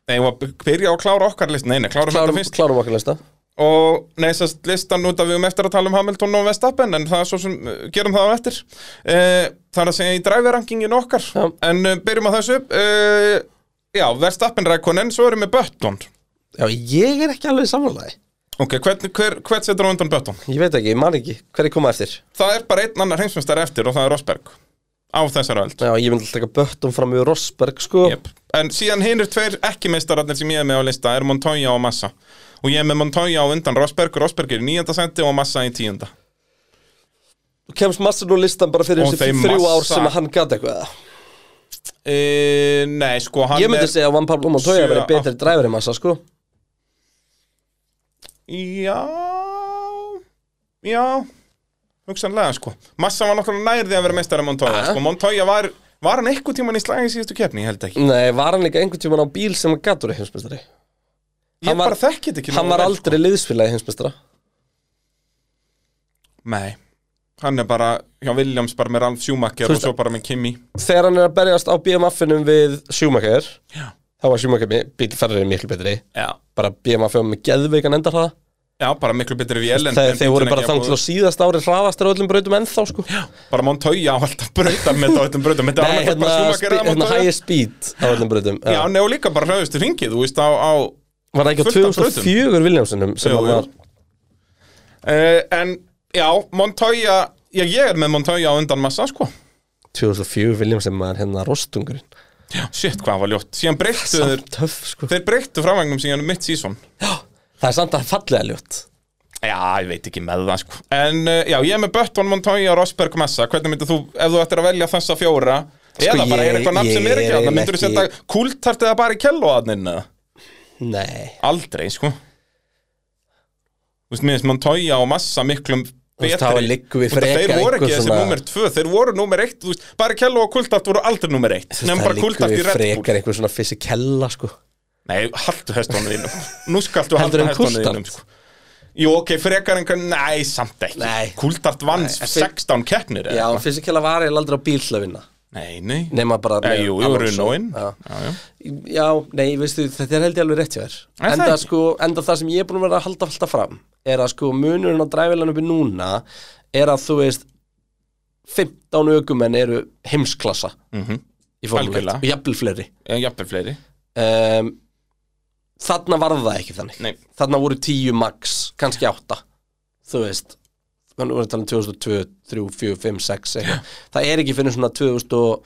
[SPEAKER 2] nei, ég var að byrja á að klára okkar list nei, nei, klára þetta
[SPEAKER 1] Klárum,
[SPEAKER 2] fyrst
[SPEAKER 1] klárum okkar lista
[SPEAKER 2] og nei, sérst listan út af við um eftir að tala um Hamilton og Vestapen en það er svo sem, eh, gerum það á eftir uh, það er að segja í dræfirankingin okkar
[SPEAKER 1] Já.
[SPEAKER 2] en uh, byrjum að þessu uh, já, Verstappen Rækonen, svo erum við Bötton
[SPEAKER 1] Já, ég er ekki alveg samanlæg
[SPEAKER 2] ok, hvern, hver, hvern setur á undan Bötton?
[SPEAKER 1] Ég veit ekki, ég man ekki, hver er koma eftir
[SPEAKER 2] það er bara einn annar heimsmyndstar eftir og það er Rosberg á þessar öld
[SPEAKER 1] Já, ég myndi alltaf taka böttum fram yfir Rosberg, sko
[SPEAKER 2] Jep. En síðan hinir tveir ekki meistararnir sem ég er með á lista er Montoya og Massa Og ég er með Montoya á undan Rosberg Rosberg er í nýjönda senti og Massa í tíunda
[SPEAKER 1] Þú kemst massin og listan bara fyrir
[SPEAKER 2] Og
[SPEAKER 1] þessi
[SPEAKER 2] þeim
[SPEAKER 1] þrjú ár
[SPEAKER 2] massa-
[SPEAKER 1] sem að hann gat eitthvað eða?
[SPEAKER 2] e, Nei, sko, hann
[SPEAKER 1] Ég myndi segja að Van Pablo Montoya
[SPEAKER 2] Sjö,
[SPEAKER 1] verið betri dræfur en massa, sko
[SPEAKER 2] Já Já Hugsanlega sko Massa var náttúrulega nærði að vera meistari en Montoya
[SPEAKER 1] Ah.
[SPEAKER 2] sko. Montoya var Var hann eitthvað tíman í slagi í síðustu keppni? Ég held ekki
[SPEAKER 1] Nei, var hann líka einhvern tímann á bíl sem hann gat úr í heimsmeistari
[SPEAKER 2] Ég
[SPEAKER 1] Hann var-
[SPEAKER 2] bara þekki þetta ekki
[SPEAKER 1] Hann
[SPEAKER 2] nógu
[SPEAKER 1] var
[SPEAKER 2] vel,
[SPEAKER 1] aldrei liðsfélagi heimsmeistara
[SPEAKER 2] sko. Nei Hann er bara hjá Williams bara með Ralf Schumacher
[SPEAKER 1] Þú
[SPEAKER 2] og
[SPEAKER 1] veist-
[SPEAKER 2] svo bara með Kimi
[SPEAKER 1] Þegar hann er að berjast á BMF-inum við Schumacher
[SPEAKER 2] Já.
[SPEAKER 1] Þá var Schumacher mi- bíl ferrið miklu betri
[SPEAKER 2] Já,
[SPEAKER 1] bara BMF-um með geðveikan endar það
[SPEAKER 2] já bara miklu betri vél en-
[SPEAKER 1] Þegar
[SPEAKER 2] en
[SPEAKER 1] þeir voru
[SPEAKER 2] bíllinn
[SPEAKER 1] bara
[SPEAKER 2] ekki
[SPEAKER 1] þangt
[SPEAKER 2] jafn
[SPEAKER 1] á síðast ári hraðastir á öllum brautum ennþá sko
[SPEAKER 2] góður. Bara Montoya á alltaf brautar með þetta á öllum brautar Þetta
[SPEAKER 1] Nei,
[SPEAKER 2] er
[SPEAKER 1] hérna,
[SPEAKER 2] bara Schumacher
[SPEAKER 1] spe-
[SPEAKER 2] eða
[SPEAKER 1] hérna
[SPEAKER 2] Montoya
[SPEAKER 1] high speed á öllum brautum
[SPEAKER 2] Já,
[SPEAKER 1] Já.
[SPEAKER 2] nei og líka bara hraðustu ringið, þú veist á, á
[SPEAKER 1] Var það ekki á
[SPEAKER 2] fullt af brautum.
[SPEAKER 1] 2004 Viljámsunum sem
[SPEAKER 2] Jú,
[SPEAKER 1] hann
[SPEAKER 2] jú.
[SPEAKER 1] var
[SPEAKER 2] Uh, en já, Montoya Já, ég er með Montoya á undan massa sko
[SPEAKER 1] 2004 Viljámsunum var hérna rostungurinn
[SPEAKER 2] Já, shit, hvað var ljótt Síðan breyttu þeir,
[SPEAKER 1] Samt töff sko
[SPEAKER 2] um þeir breyttu framvagnum síðan mitt sísón
[SPEAKER 1] Það er samt að fallega ljótt
[SPEAKER 2] Já, ég veit ekki með það sko En uh, já, ég er með Bötton, Montoya, Rosberg, Massa Hvernig myndir þú, ef þú ættir að velja þessa fjóra Eða bara
[SPEAKER 1] ég-
[SPEAKER 2] er eitthvað nafn sem
[SPEAKER 1] ég
[SPEAKER 2] Sko, er ekki
[SPEAKER 1] er
[SPEAKER 2] Það myndir þú
[SPEAKER 1] eiginlega
[SPEAKER 2] setja kultart eða bara í kelloðaninn eða?
[SPEAKER 1] Nei
[SPEAKER 2] Aldrei, sko Þú veist, minnst Montoya og Massa miklum
[SPEAKER 1] Þú veist,
[SPEAKER 2] betri
[SPEAKER 1] það var liggur við
[SPEAKER 2] Þú veist,
[SPEAKER 1] frekar
[SPEAKER 2] Þeir voru
[SPEAKER 1] einhver
[SPEAKER 2] ekki þessi
[SPEAKER 1] svona-
[SPEAKER 2] númer tvö, þeir voru númer eitt Þú veist, bara kello og kultart voru aldrei númer eitt
[SPEAKER 1] Þú veist,
[SPEAKER 2] Nefn
[SPEAKER 1] það
[SPEAKER 2] bara
[SPEAKER 1] liggur
[SPEAKER 2] kultart í
[SPEAKER 1] við
[SPEAKER 2] Red Bull
[SPEAKER 1] frekar einhver svona fysikella sko
[SPEAKER 2] Nei, haldu hestónu þínum Nú skaltu halda
[SPEAKER 1] Heldur en
[SPEAKER 2] hestónu
[SPEAKER 1] Coulthard?
[SPEAKER 2] þínum sko. Jú, ok, frekar einhvern Nei, samt ekki
[SPEAKER 1] Nei.
[SPEAKER 2] Kultart vann
[SPEAKER 1] Nei, en fyrir-
[SPEAKER 2] 16 keppnir eða
[SPEAKER 1] Já,
[SPEAKER 2] eitthvað.
[SPEAKER 1] fysikella var ég aldrei á bíl til að vinna
[SPEAKER 2] Nei, nei
[SPEAKER 1] Nefna bara
[SPEAKER 2] Eh,
[SPEAKER 1] með
[SPEAKER 2] Jú, jú,
[SPEAKER 1] Alonso.
[SPEAKER 2] Renaultinn
[SPEAKER 1] Já.
[SPEAKER 2] Já, já.
[SPEAKER 1] Já, nei, veistu, þetta er held ég alveg rétt hjá þér
[SPEAKER 2] Er það
[SPEAKER 1] enda,
[SPEAKER 2] ekki?
[SPEAKER 1] sko, enda það sem ég er búin að vera að halda alltaf fram Er að sko munurinn á dræfilan uppi núna Er að þú veist 15 aukumenn eru heimsklassa
[SPEAKER 2] Mhm.
[SPEAKER 1] Í fórmulegt
[SPEAKER 2] Algjörlega.
[SPEAKER 1] Og jafnvel fleiri
[SPEAKER 2] Eh, Jafnvel fleiri
[SPEAKER 1] um, Þarna var það ekki þannig
[SPEAKER 2] Nei,
[SPEAKER 1] Þarna voru 10 max, kannski 8 Þú veist Þannig voru að tala um 2002, 3, 4, 5, 6 eitthvað. Það er ekki fyrir svona 2000 og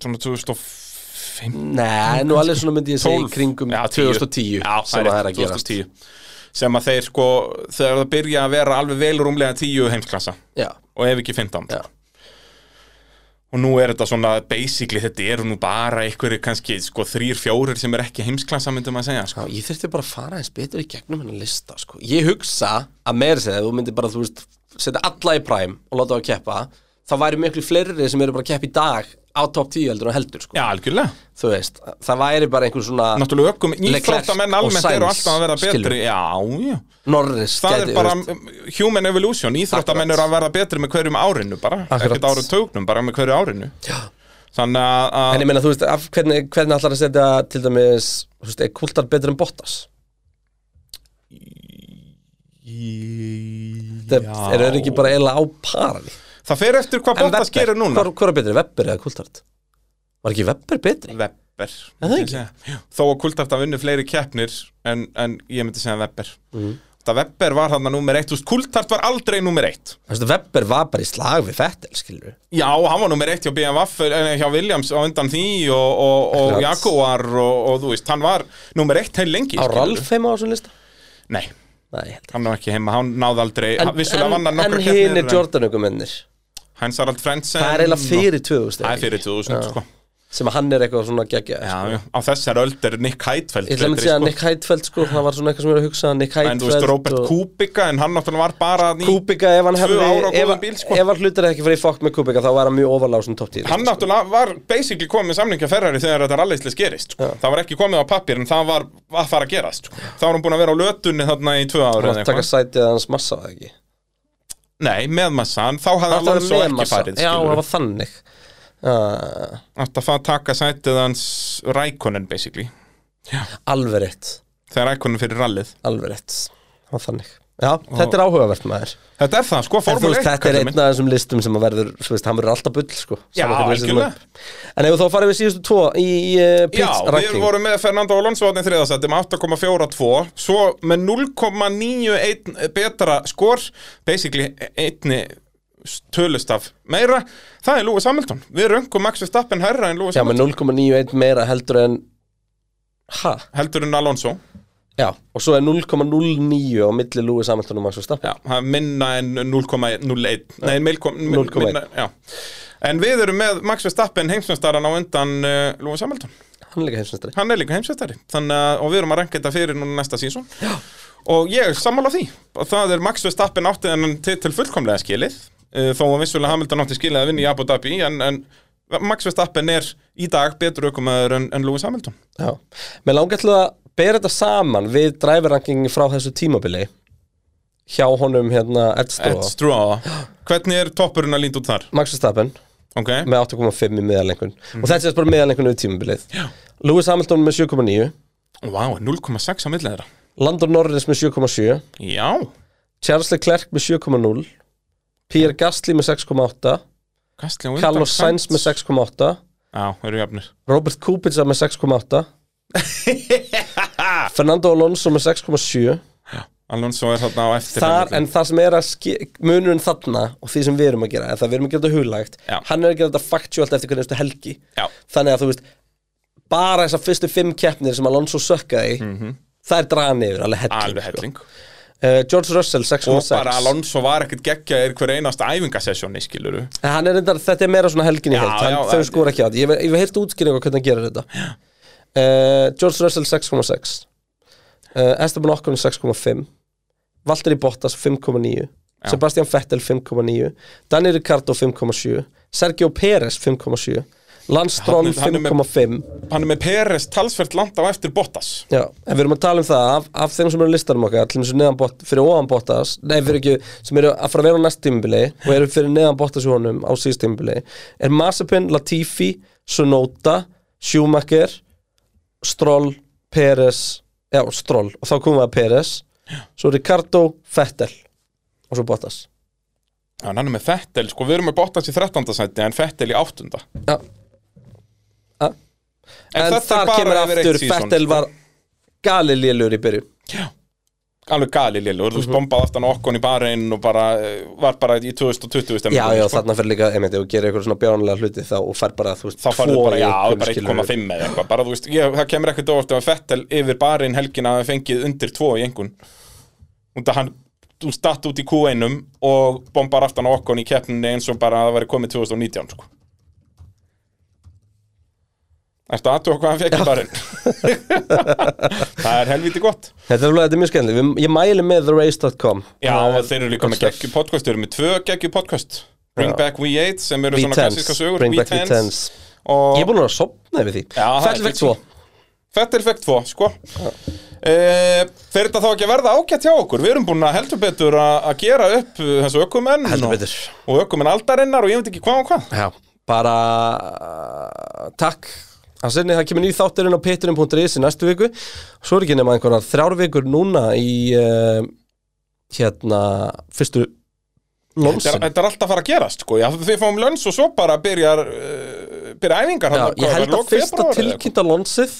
[SPEAKER 2] svona 2005
[SPEAKER 1] Nei, nú alveg svona myndi ég segja í
[SPEAKER 2] 12,
[SPEAKER 1] kringum
[SPEAKER 2] já,
[SPEAKER 1] 2010
[SPEAKER 2] Já,
[SPEAKER 1] sem það er að
[SPEAKER 2] rétt,
[SPEAKER 1] gerast
[SPEAKER 2] 2010. Sem að þeir sko Þegar það byrja að vera alveg vel rúmlega 10 heimsklassa
[SPEAKER 1] Já,
[SPEAKER 2] Og ef ekki 15
[SPEAKER 1] já,
[SPEAKER 2] Og nú er þetta svona Basically, þetta eru nú bara einhverju kannski Sko þrýr, fjórir sem er ekki heimsklassa Myndum að segja, sko
[SPEAKER 1] já, ég þurfti bara að fara eins betur í gegnum hennar lista sko. Ég hugsa að meira segja þú myndir bara, þú veist, setja alla í prime og láta það að keppa þá væri miklu fleiri sem eru bara að keppa í dag á top 10 heldur og heldur sko.
[SPEAKER 2] Já, algjörlega
[SPEAKER 1] Þú veist, það væri bara einhver svona
[SPEAKER 2] Náttúrulega ökkum,
[SPEAKER 1] Leclerc
[SPEAKER 2] íþróttamenn
[SPEAKER 1] og
[SPEAKER 2] almennt
[SPEAKER 1] Sainz,
[SPEAKER 2] eru alltaf að vera
[SPEAKER 1] skilur.
[SPEAKER 2] betri Já, já
[SPEAKER 1] Norris
[SPEAKER 2] Það
[SPEAKER 1] gæti,
[SPEAKER 2] er bara
[SPEAKER 1] þú veist,
[SPEAKER 2] um, human evolution Íþróttamenn
[SPEAKER 1] Akkurat.
[SPEAKER 2] eru að vera betri með hverjum árinu bara
[SPEAKER 1] Akkurat.
[SPEAKER 2] Ekkert árum tóknum, bara með hverju árinu
[SPEAKER 1] Já.
[SPEAKER 2] Þannig að-
[SPEAKER 1] En
[SPEAKER 2] að
[SPEAKER 1] ég meina, þú veist, af, hvernig, hvernig ætlar að setja til dæmis, þú veist, er kultar betur en Bottas? Það
[SPEAKER 2] Já.
[SPEAKER 1] eru þeir ekki bara eiginlega á parari
[SPEAKER 2] Það fer eftir hvað
[SPEAKER 1] En
[SPEAKER 2] Bottas gerir núna
[SPEAKER 1] Hvor, hvor er betri, Webber eða Kultart? Var ekki Webber betri?
[SPEAKER 2] Webber
[SPEAKER 1] Er það
[SPEAKER 2] myndi ég
[SPEAKER 1] ekki?
[SPEAKER 2] segja. Já. Þó að Kultart hafa unni fleiri keppnir en, en ég myndi segja Webber
[SPEAKER 1] Mhm.
[SPEAKER 2] Það Webber var hann að númer eitt þú veist, Kultart var aldrei númer eitt
[SPEAKER 1] Veistu, Webber var bara í slag við Fettel, skilur við
[SPEAKER 2] Já, hann var nummer eitt hjá BMW, eh, hjá Williams á undan því og, og, og
[SPEAKER 1] Akkurat.
[SPEAKER 2] Jaguar og, og þú veist, hann var nummer eitt heil lengi.
[SPEAKER 1] Á
[SPEAKER 2] skilurðu.
[SPEAKER 1] Ralf heima á þessum lista?
[SPEAKER 2] Nei,
[SPEAKER 1] Nei, ég held ekki
[SPEAKER 2] hann var ekki heima, hann náði aldrei, hann- vissulega vann hann
[SPEAKER 1] en, en
[SPEAKER 2] nokkra
[SPEAKER 1] hinn er Jordanökumennir
[SPEAKER 2] Hans Harald Frensen.
[SPEAKER 1] Það er eiginlega fyrir 2000
[SPEAKER 2] Það er fyrir 2000, sko.
[SPEAKER 1] Sem að hann er eitthvað svona geggja
[SPEAKER 2] Já, já, Sko, á þessar öld er Nick Heidfeld.
[SPEAKER 1] Ég ætla að
[SPEAKER 2] betri,
[SPEAKER 1] myndi segja
[SPEAKER 2] sko.
[SPEAKER 1] að Nick Heidfeld sko, það var svona eitthvað sem ég er að hugsa Nick
[SPEAKER 2] En þú veist,
[SPEAKER 1] Heidfeld
[SPEAKER 2] Robert Kubica, en hann náttúrulega var bara ný...
[SPEAKER 1] Kubica, ef hann
[SPEAKER 2] Tvö
[SPEAKER 1] hefði,
[SPEAKER 2] ár á góðum
[SPEAKER 1] ef,
[SPEAKER 2] bíl, sko.
[SPEAKER 1] ef hann hlutir ekki fyrir fokk með Kubica þá var hann mjög ofaláð sem topp 10
[SPEAKER 2] Hann náttúrulega var basically komið með samlingja Ferrari þegar þetta rallislega gerist. Sko. Það var ekki komið á pappir, en það var að fara að gerast. Sko. Það var hann búin að vera á lötunni þarna í tvö ára.
[SPEAKER 1] var að sko. taka sætið hans massa var það ekki
[SPEAKER 2] Nei, með massan, þá hafði
[SPEAKER 1] Það var
[SPEAKER 2] Alonso
[SPEAKER 1] með
[SPEAKER 2] ekki
[SPEAKER 1] massa.
[SPEAKER 2] farið
[SPEAKER 1] Já, það
[SPEAKER 2] skilur
[SPEAKER 1] var þannig uh,
[SPEAKER 2] Átt að fara að taka sætið hans Rækonen basically
[SPEAKER 1] Alveg rétt,
[SPEAKER 2] Þegar Rækonen fyrir rallið
[SPEAKER 1] alveg rétt Það var þannig Já, þetta er áhugavert maður
[SPEAKER 2] Þetta er það, sko,
[SPEAKER 1] En þú
[SPEAKER 2] formule
[SPEAKER 1] veist,
[SPEAKER 2] 1
[SPEAKER 1] þetta er
[SPEAKER 2] kallinn
[SPEAKER 1] einn
[SPEAKER 2] minn.
[SPEAKER 1] af þessum listum sem að verður, þú veist, hann verður alltaf bull, sko
[SPEAKER 2] Já,
[SPEAKER 1] Sama hvernig við setjum
[SPEAKER 2] algjörlega.
[SPEAKER 1] upp. En ef þú þá farið við síðustu tvo í uh,
[SPEAKER 2] Já,
[SPEAKER 1] pits
[SPEAKER 2] við
[SPEAKER 1] ranking
[SPEAKER 2] vorum með Fernando Alonso þarna í þriðasætti með 8,42 Svo með 0,91 betra skor Basically einni tölustaf meira Það er Lewis Hamilton Við röngum Max Verstappen herra en Lewis
[SPEAKER 1] Já, með
[SPEAKER 2] Hamilton
[SPEAKER 1] 0,91 meira heldur en Ha?
[SPEAKER 2] Heldur en Alonso
[SPEAKER 1] Já, og svo er 0,09 á milli Lewis Hamilton og Max Verstappen
[SPEAKER 2] Já, það er minna en 0,01 Nei, 0,01 minna- já. En við erum með Max Verstappen heimsmestaran á undan uh, Lúi Samhaldun
[SPEAKER 1] Hann er líka heimsnistari
[SPEAKER 2] Hann er líka heimsmestari Þannig að og við erum að ranka þetta fyrir núna næsta sínsson Og ég er sammála því Og það er Max Verstappen átti en til, til fullkomlega skilið uh, Þó að vissulega Hamilton átti skilið að vinna í Abu Dhabi En, en Max Verstappen er í dag betur aukumæður en, en Lúi Samhaldun
[SPEAKER 1] Já, mér langar til að bera þetta saman við dræfirrankingin frá þessu tímabili hjá honum hérna Ed
[SPEAKER 2] Ed
[SPEAKER 1] Stroh
[SPEAKER 2] Straw Hvernig er toppurinn að línd út þar?
[SPEAKER 1] Max Verstappen
[SPEAKER 2] Ok,
[SPEAKER 1] með 8,5 í meðalengun og þetta er bara meðalengun við tímabilið Lewis Hamilton með 7,9
[SPEAKER 2] wow, 0,6 á milli þeirra
[SPEAKER 1] Landon Norris með 7,7
[SPEAKER 2] Já,
[SPEAKER 1] Charles Leclerc með 7,0 Pierre Gasly með 6,8
[SPEAKER 2] Kastli á undan
[SPEAKER 1] Carlos Sainz með 6,8
[SPEAKER 2] Já, eru jafnir
[SPEAKER 1] Robert Kubica með 6,8 Fernando Alonso með 6,7
[SPEAKER 2] Alonso er þarna á eftir
[SPEAKER 1] Þar,
[SPEAKER 2] henni.
[SPEAKER 1] en það sem er að ske- munurinn þarna og því sem við erum að gera, en það við erum að gera þetta huglægt
[SPEAKER 2] Já.
[SPEAKER 1] hann er að gera þetta faktjólt eftir hvernig þetta helgi
[SPEAKER 2] Já,
[SPEAKER 1] þannig að þú veist bara þessar fyrstu fimm keppnir sem Alonso sökkaði mm -hmm. það er draga hann yfir, alveg helling
[SPEAKER 2] Mhm. alveg
[SPEAKER 1] sko.
[SPEAKER 2] helling
[SPEAKER 1] uh, George Russell 6,6
[SPEAKER 2] Og bara Alonso var ekkert geggja er hver einasta æfingasessjóni, skiluru
[SPEAKER 1] En Hann er reyndar, þetta er meira svona helgin í
[SPEAKER 2] Já,
[SPEAKER 1] heilt hann,
[SPEAKER 2] já,
[SPEAKER 1] Þau
[SPEAKER 2] en-
[SPEAKER 1] skora ekki á þetta, ég hef- ég hef heyrt útskýringu á hvernig hann gerir þetta uh, George Russell 6,6 uh, Esteban Okkon 6,5 Valtteri Bottas 5,9 Sebastian Vettel 5,9 Dani Ricardo 5,7 Sergio Perez 5,7 Lance Stroll
[SPEAKER 2] Hann er- hann er með-
[SPEAKER 1] 5,5
[SPEAKER 2] Hann er með Peres talsvert langt á eftir Bottas
[SPEAKER 1] Já, en við erum að tala um það af, af þeim sem eru á listanum okkar, allir eins og neðan bótt fyrir ofan bóttas, nei fyrir ekki sem eru að fara að vera á næst tímbili og eru fyrir neðan bóttas í honum á síðst tímbili er Mazepin, Latifi, Sunoda Schumacher Stroll, Peres já, Stroll, og þá komum við að Peres svo Ricardo, Vettel og svo bóttas
[SPEAKER 2] Já, en hann er með Fettel, sko, við erum með Bottas í 13. seti en Fettel í 8. En,
[SPEAKER 1] Já, en,
[SPEAKER 2] þetta er
[SPEAKER 1] þar
[SPEAKER 2] bara
[SPEAKER 1] kemur
[SPEAKER 2] yfir eitt
[SPEAKER 1] aftur
[SPEAKER 2] season,
[SPEAKER 1] Vettel
[SPEAKER 2] sko.
[SPEAKER 1] var galilélur í byrjun
[SPEAKER 2] Já, alveg gali lélu, þú veist
[SPEAKER 1] Mhm.
[SPEAKER 2] bombað aftan okkon í barinn og bara, eh, var bara í 2020 stemmingu,
[SPEAKER 1] Já, já,
[SPEAKER 2] sko.
[SPEAKER 1] þarna fyrir líka, einmitt, ef þú gerir eitthvað svona bjánlega hluti þá og fær bara, þú veist,
[SPEAKER 2] þá farðu
[SPEAKER 1] tvo
[SPEAKER 2] bara,
[SPEAKER 1] í
[SPEAKER 2] já,
[SPEAKER 1] einhverjum,
[SPEAKER 2] bara
[SPEAKER 1] skilurðu.
[SPEAKER 2] 1,5 eða eitthvað bara, þú veist, ég, það kemur ekkert óvart ef að Fettel yfir barinn helgina hafi fengið undir 2 í engun og það hann, þú statt út í Q1-um og bombar aftan á okkon í keppninni eins og bara að það væri komið 2019 sko. Ertu aðtúa hvað hann fekk í barinn? það er helviti gott
[SPEAKER 1] Þetta er, alveg- þetta er mjög skemmtileg, Við- ég mæli með therace.com
[SPEAKER 2] Já,
[SPEAKER 1] Það er
[SPEAKER 2] þeir eru líka
[SPEAKER 1] gott
[SPEAKER 2] með
[SPEAKER 1] stuff.
[SPEAKER 2] geggju podcast, þeir eru með tvö geggju podcast Bring
[SPEAKER 1] Já.
[SPEAKER 2] Back V8 sem eru svona
[SPEAKER 1] V10s,
[SPEAKER 2] klassíska sögur
[SPEAKER 1] Bring Back
[SPEAKER 2] V10s.
[SPEAKER 1] V10s
[SPEAKER 2] og
[SPEAKER 1] Ég er búin að vera að sopna yfir því
[SPEAKER 2] Já, það er
[SPEAKER 1] Fæll vekk
[SPEAKER 2] fínt.
[SPEAKER 1] svo
[SPEAKER 2] Fettel fekk tvo, sko e, Fer þetta þá ekki að verða ágætt hjá okkur? Við erum búin að heldur betur að að gera upp uh, þessu ökumenn
[SPEAKER 1] Heldur
[SPEAKER 2] og,
[SPEAKER 1] betur.
[SPEAKER 2] og ökumenn aldarinnar og ég veit ekki hvað og hvað
[SPEAKER 1] Já, bara uh, takk Það sinni, það kemur nýð þátturinn á pitturinn.is í næstu viku Svo er ekki nema einhverjar þrjár vikur núna í uh, hérna, fyrstu
[SPEAKER 2] Þetta er,
[SPEAKER 1] lónsin
[SPEAKER 2] þetta er alltaf að fara að gerast, sko Já, Við fáum löns og svo bara byrjar, uh, byrjar æfingar
[SPEAKER 1] Já,
[SPEAKER 2] þarna,
[SPEAKER 1] ég
[SPEAKER 2] hvað,
[SPEAKER 1] held
[SPEAKER 2] var
[SPEAKER 1] að
[SPEAKER 2] lok
[SPEAKER 1] fyrsta
[SPEAKER 2] febrúar eða eitthvað?
[SPEAKER 1] tilkynnta lónsið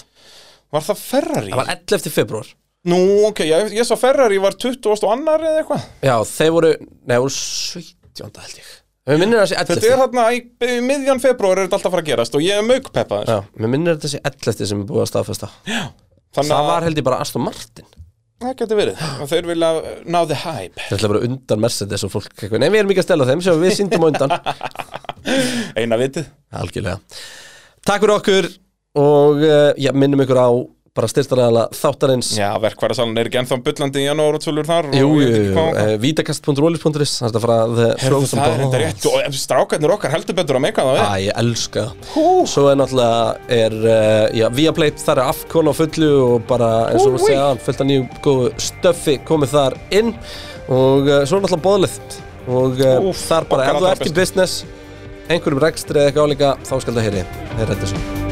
[SPEAKER 2] Var það Ferrari?
[SPEAKER 1] Það var 11. februar
[SPEAKER 2] Nú, ok, ég, ég sá Ferrari var 20 og annar eða eitthvað
[SPEAKER 1] Já, þeir voru, nei, voru 17 held ég Mér minnir að það
[SPEAKER 2] Þetta
[SPEAKER 1] sé
[SPEAKER 2] er
[SPEAKER 1] 11
[SPEAKER 2] þarna, í, í miðjan februar er þetta alltaf að fara að gerast og ég er sko. maukpeppaður
[SPEAKER 1] Já, mér minnir að þetta sé 11 sem er búið að staðfesta
[SPEAKER 2] Þannig
[SPEAKER 1] Það
[SPEAKER 2] að
[SPEAKER 1] var held ég bara Aston Martin
[SPEAKER 2] það getur verið og þeir vilja ná the hype
[SPEAKER 1] Þetta er bara undan Mercedes og fólk eitthvað. Nei, við erum ekki að stela þeim, sjá, við síndum á undan
[SPEAKER 2] Eina vitið
[SPEAKER 1] Algjörlega Takk fyrir okkur og uh, já, minnum ykkur á bara styrstaræðala þáttarins
[SPEAKER 2] Já, verkværasalan er ekki ennþá bullandi í janúar og tölur þar
[SPEAKER 1] Jú,
[SPEAKER 2] og
[SPEAKER 1] jú,
[SPEAKER 2] ég veit ekki
[SPEAKER 1] jú,
[SPEAKER 2] hvað og hvað.
[SPEAKER 1] uh, vítakast.rolis.is Það er að fara að the
[SPEAKER 2] Herðu,
[SPEAKER 1] frozen
[SPEAKER 2] það er enda
[SPEAKER 1] balls. Ah.
[SPEAKER 2] rétt og ef strákarnir okkar heldur betur að meika það
[SPEAKER 1] Æ,
[SPEAKER 2] við
[SPEAKER 1] ég elska það
[SPEAKER 2] Hú,
[SPEAKER 1] Svo er náttúrulega er, uh, já, Viaplay, þar er Afkon á fullu og bara eins og við
[SPEAKER 2] Úi.
[SPEAKER 1] segja hann fullt af nýju góðu stöffi komið þar inn og uh, svo er náttúrulega boðlið og uh,
[SPEAKER 2] Úff,
[SPEAKER 1] þar bara ef þú
[SPEAKER 2] okkar allra
[SPEAKER 1] ert í
[SPEAKER 2] besta.
[SPEAKER 1] business einhverjum rekstri eða eitthvað álíka þá skal það heyri, heyri þetta svo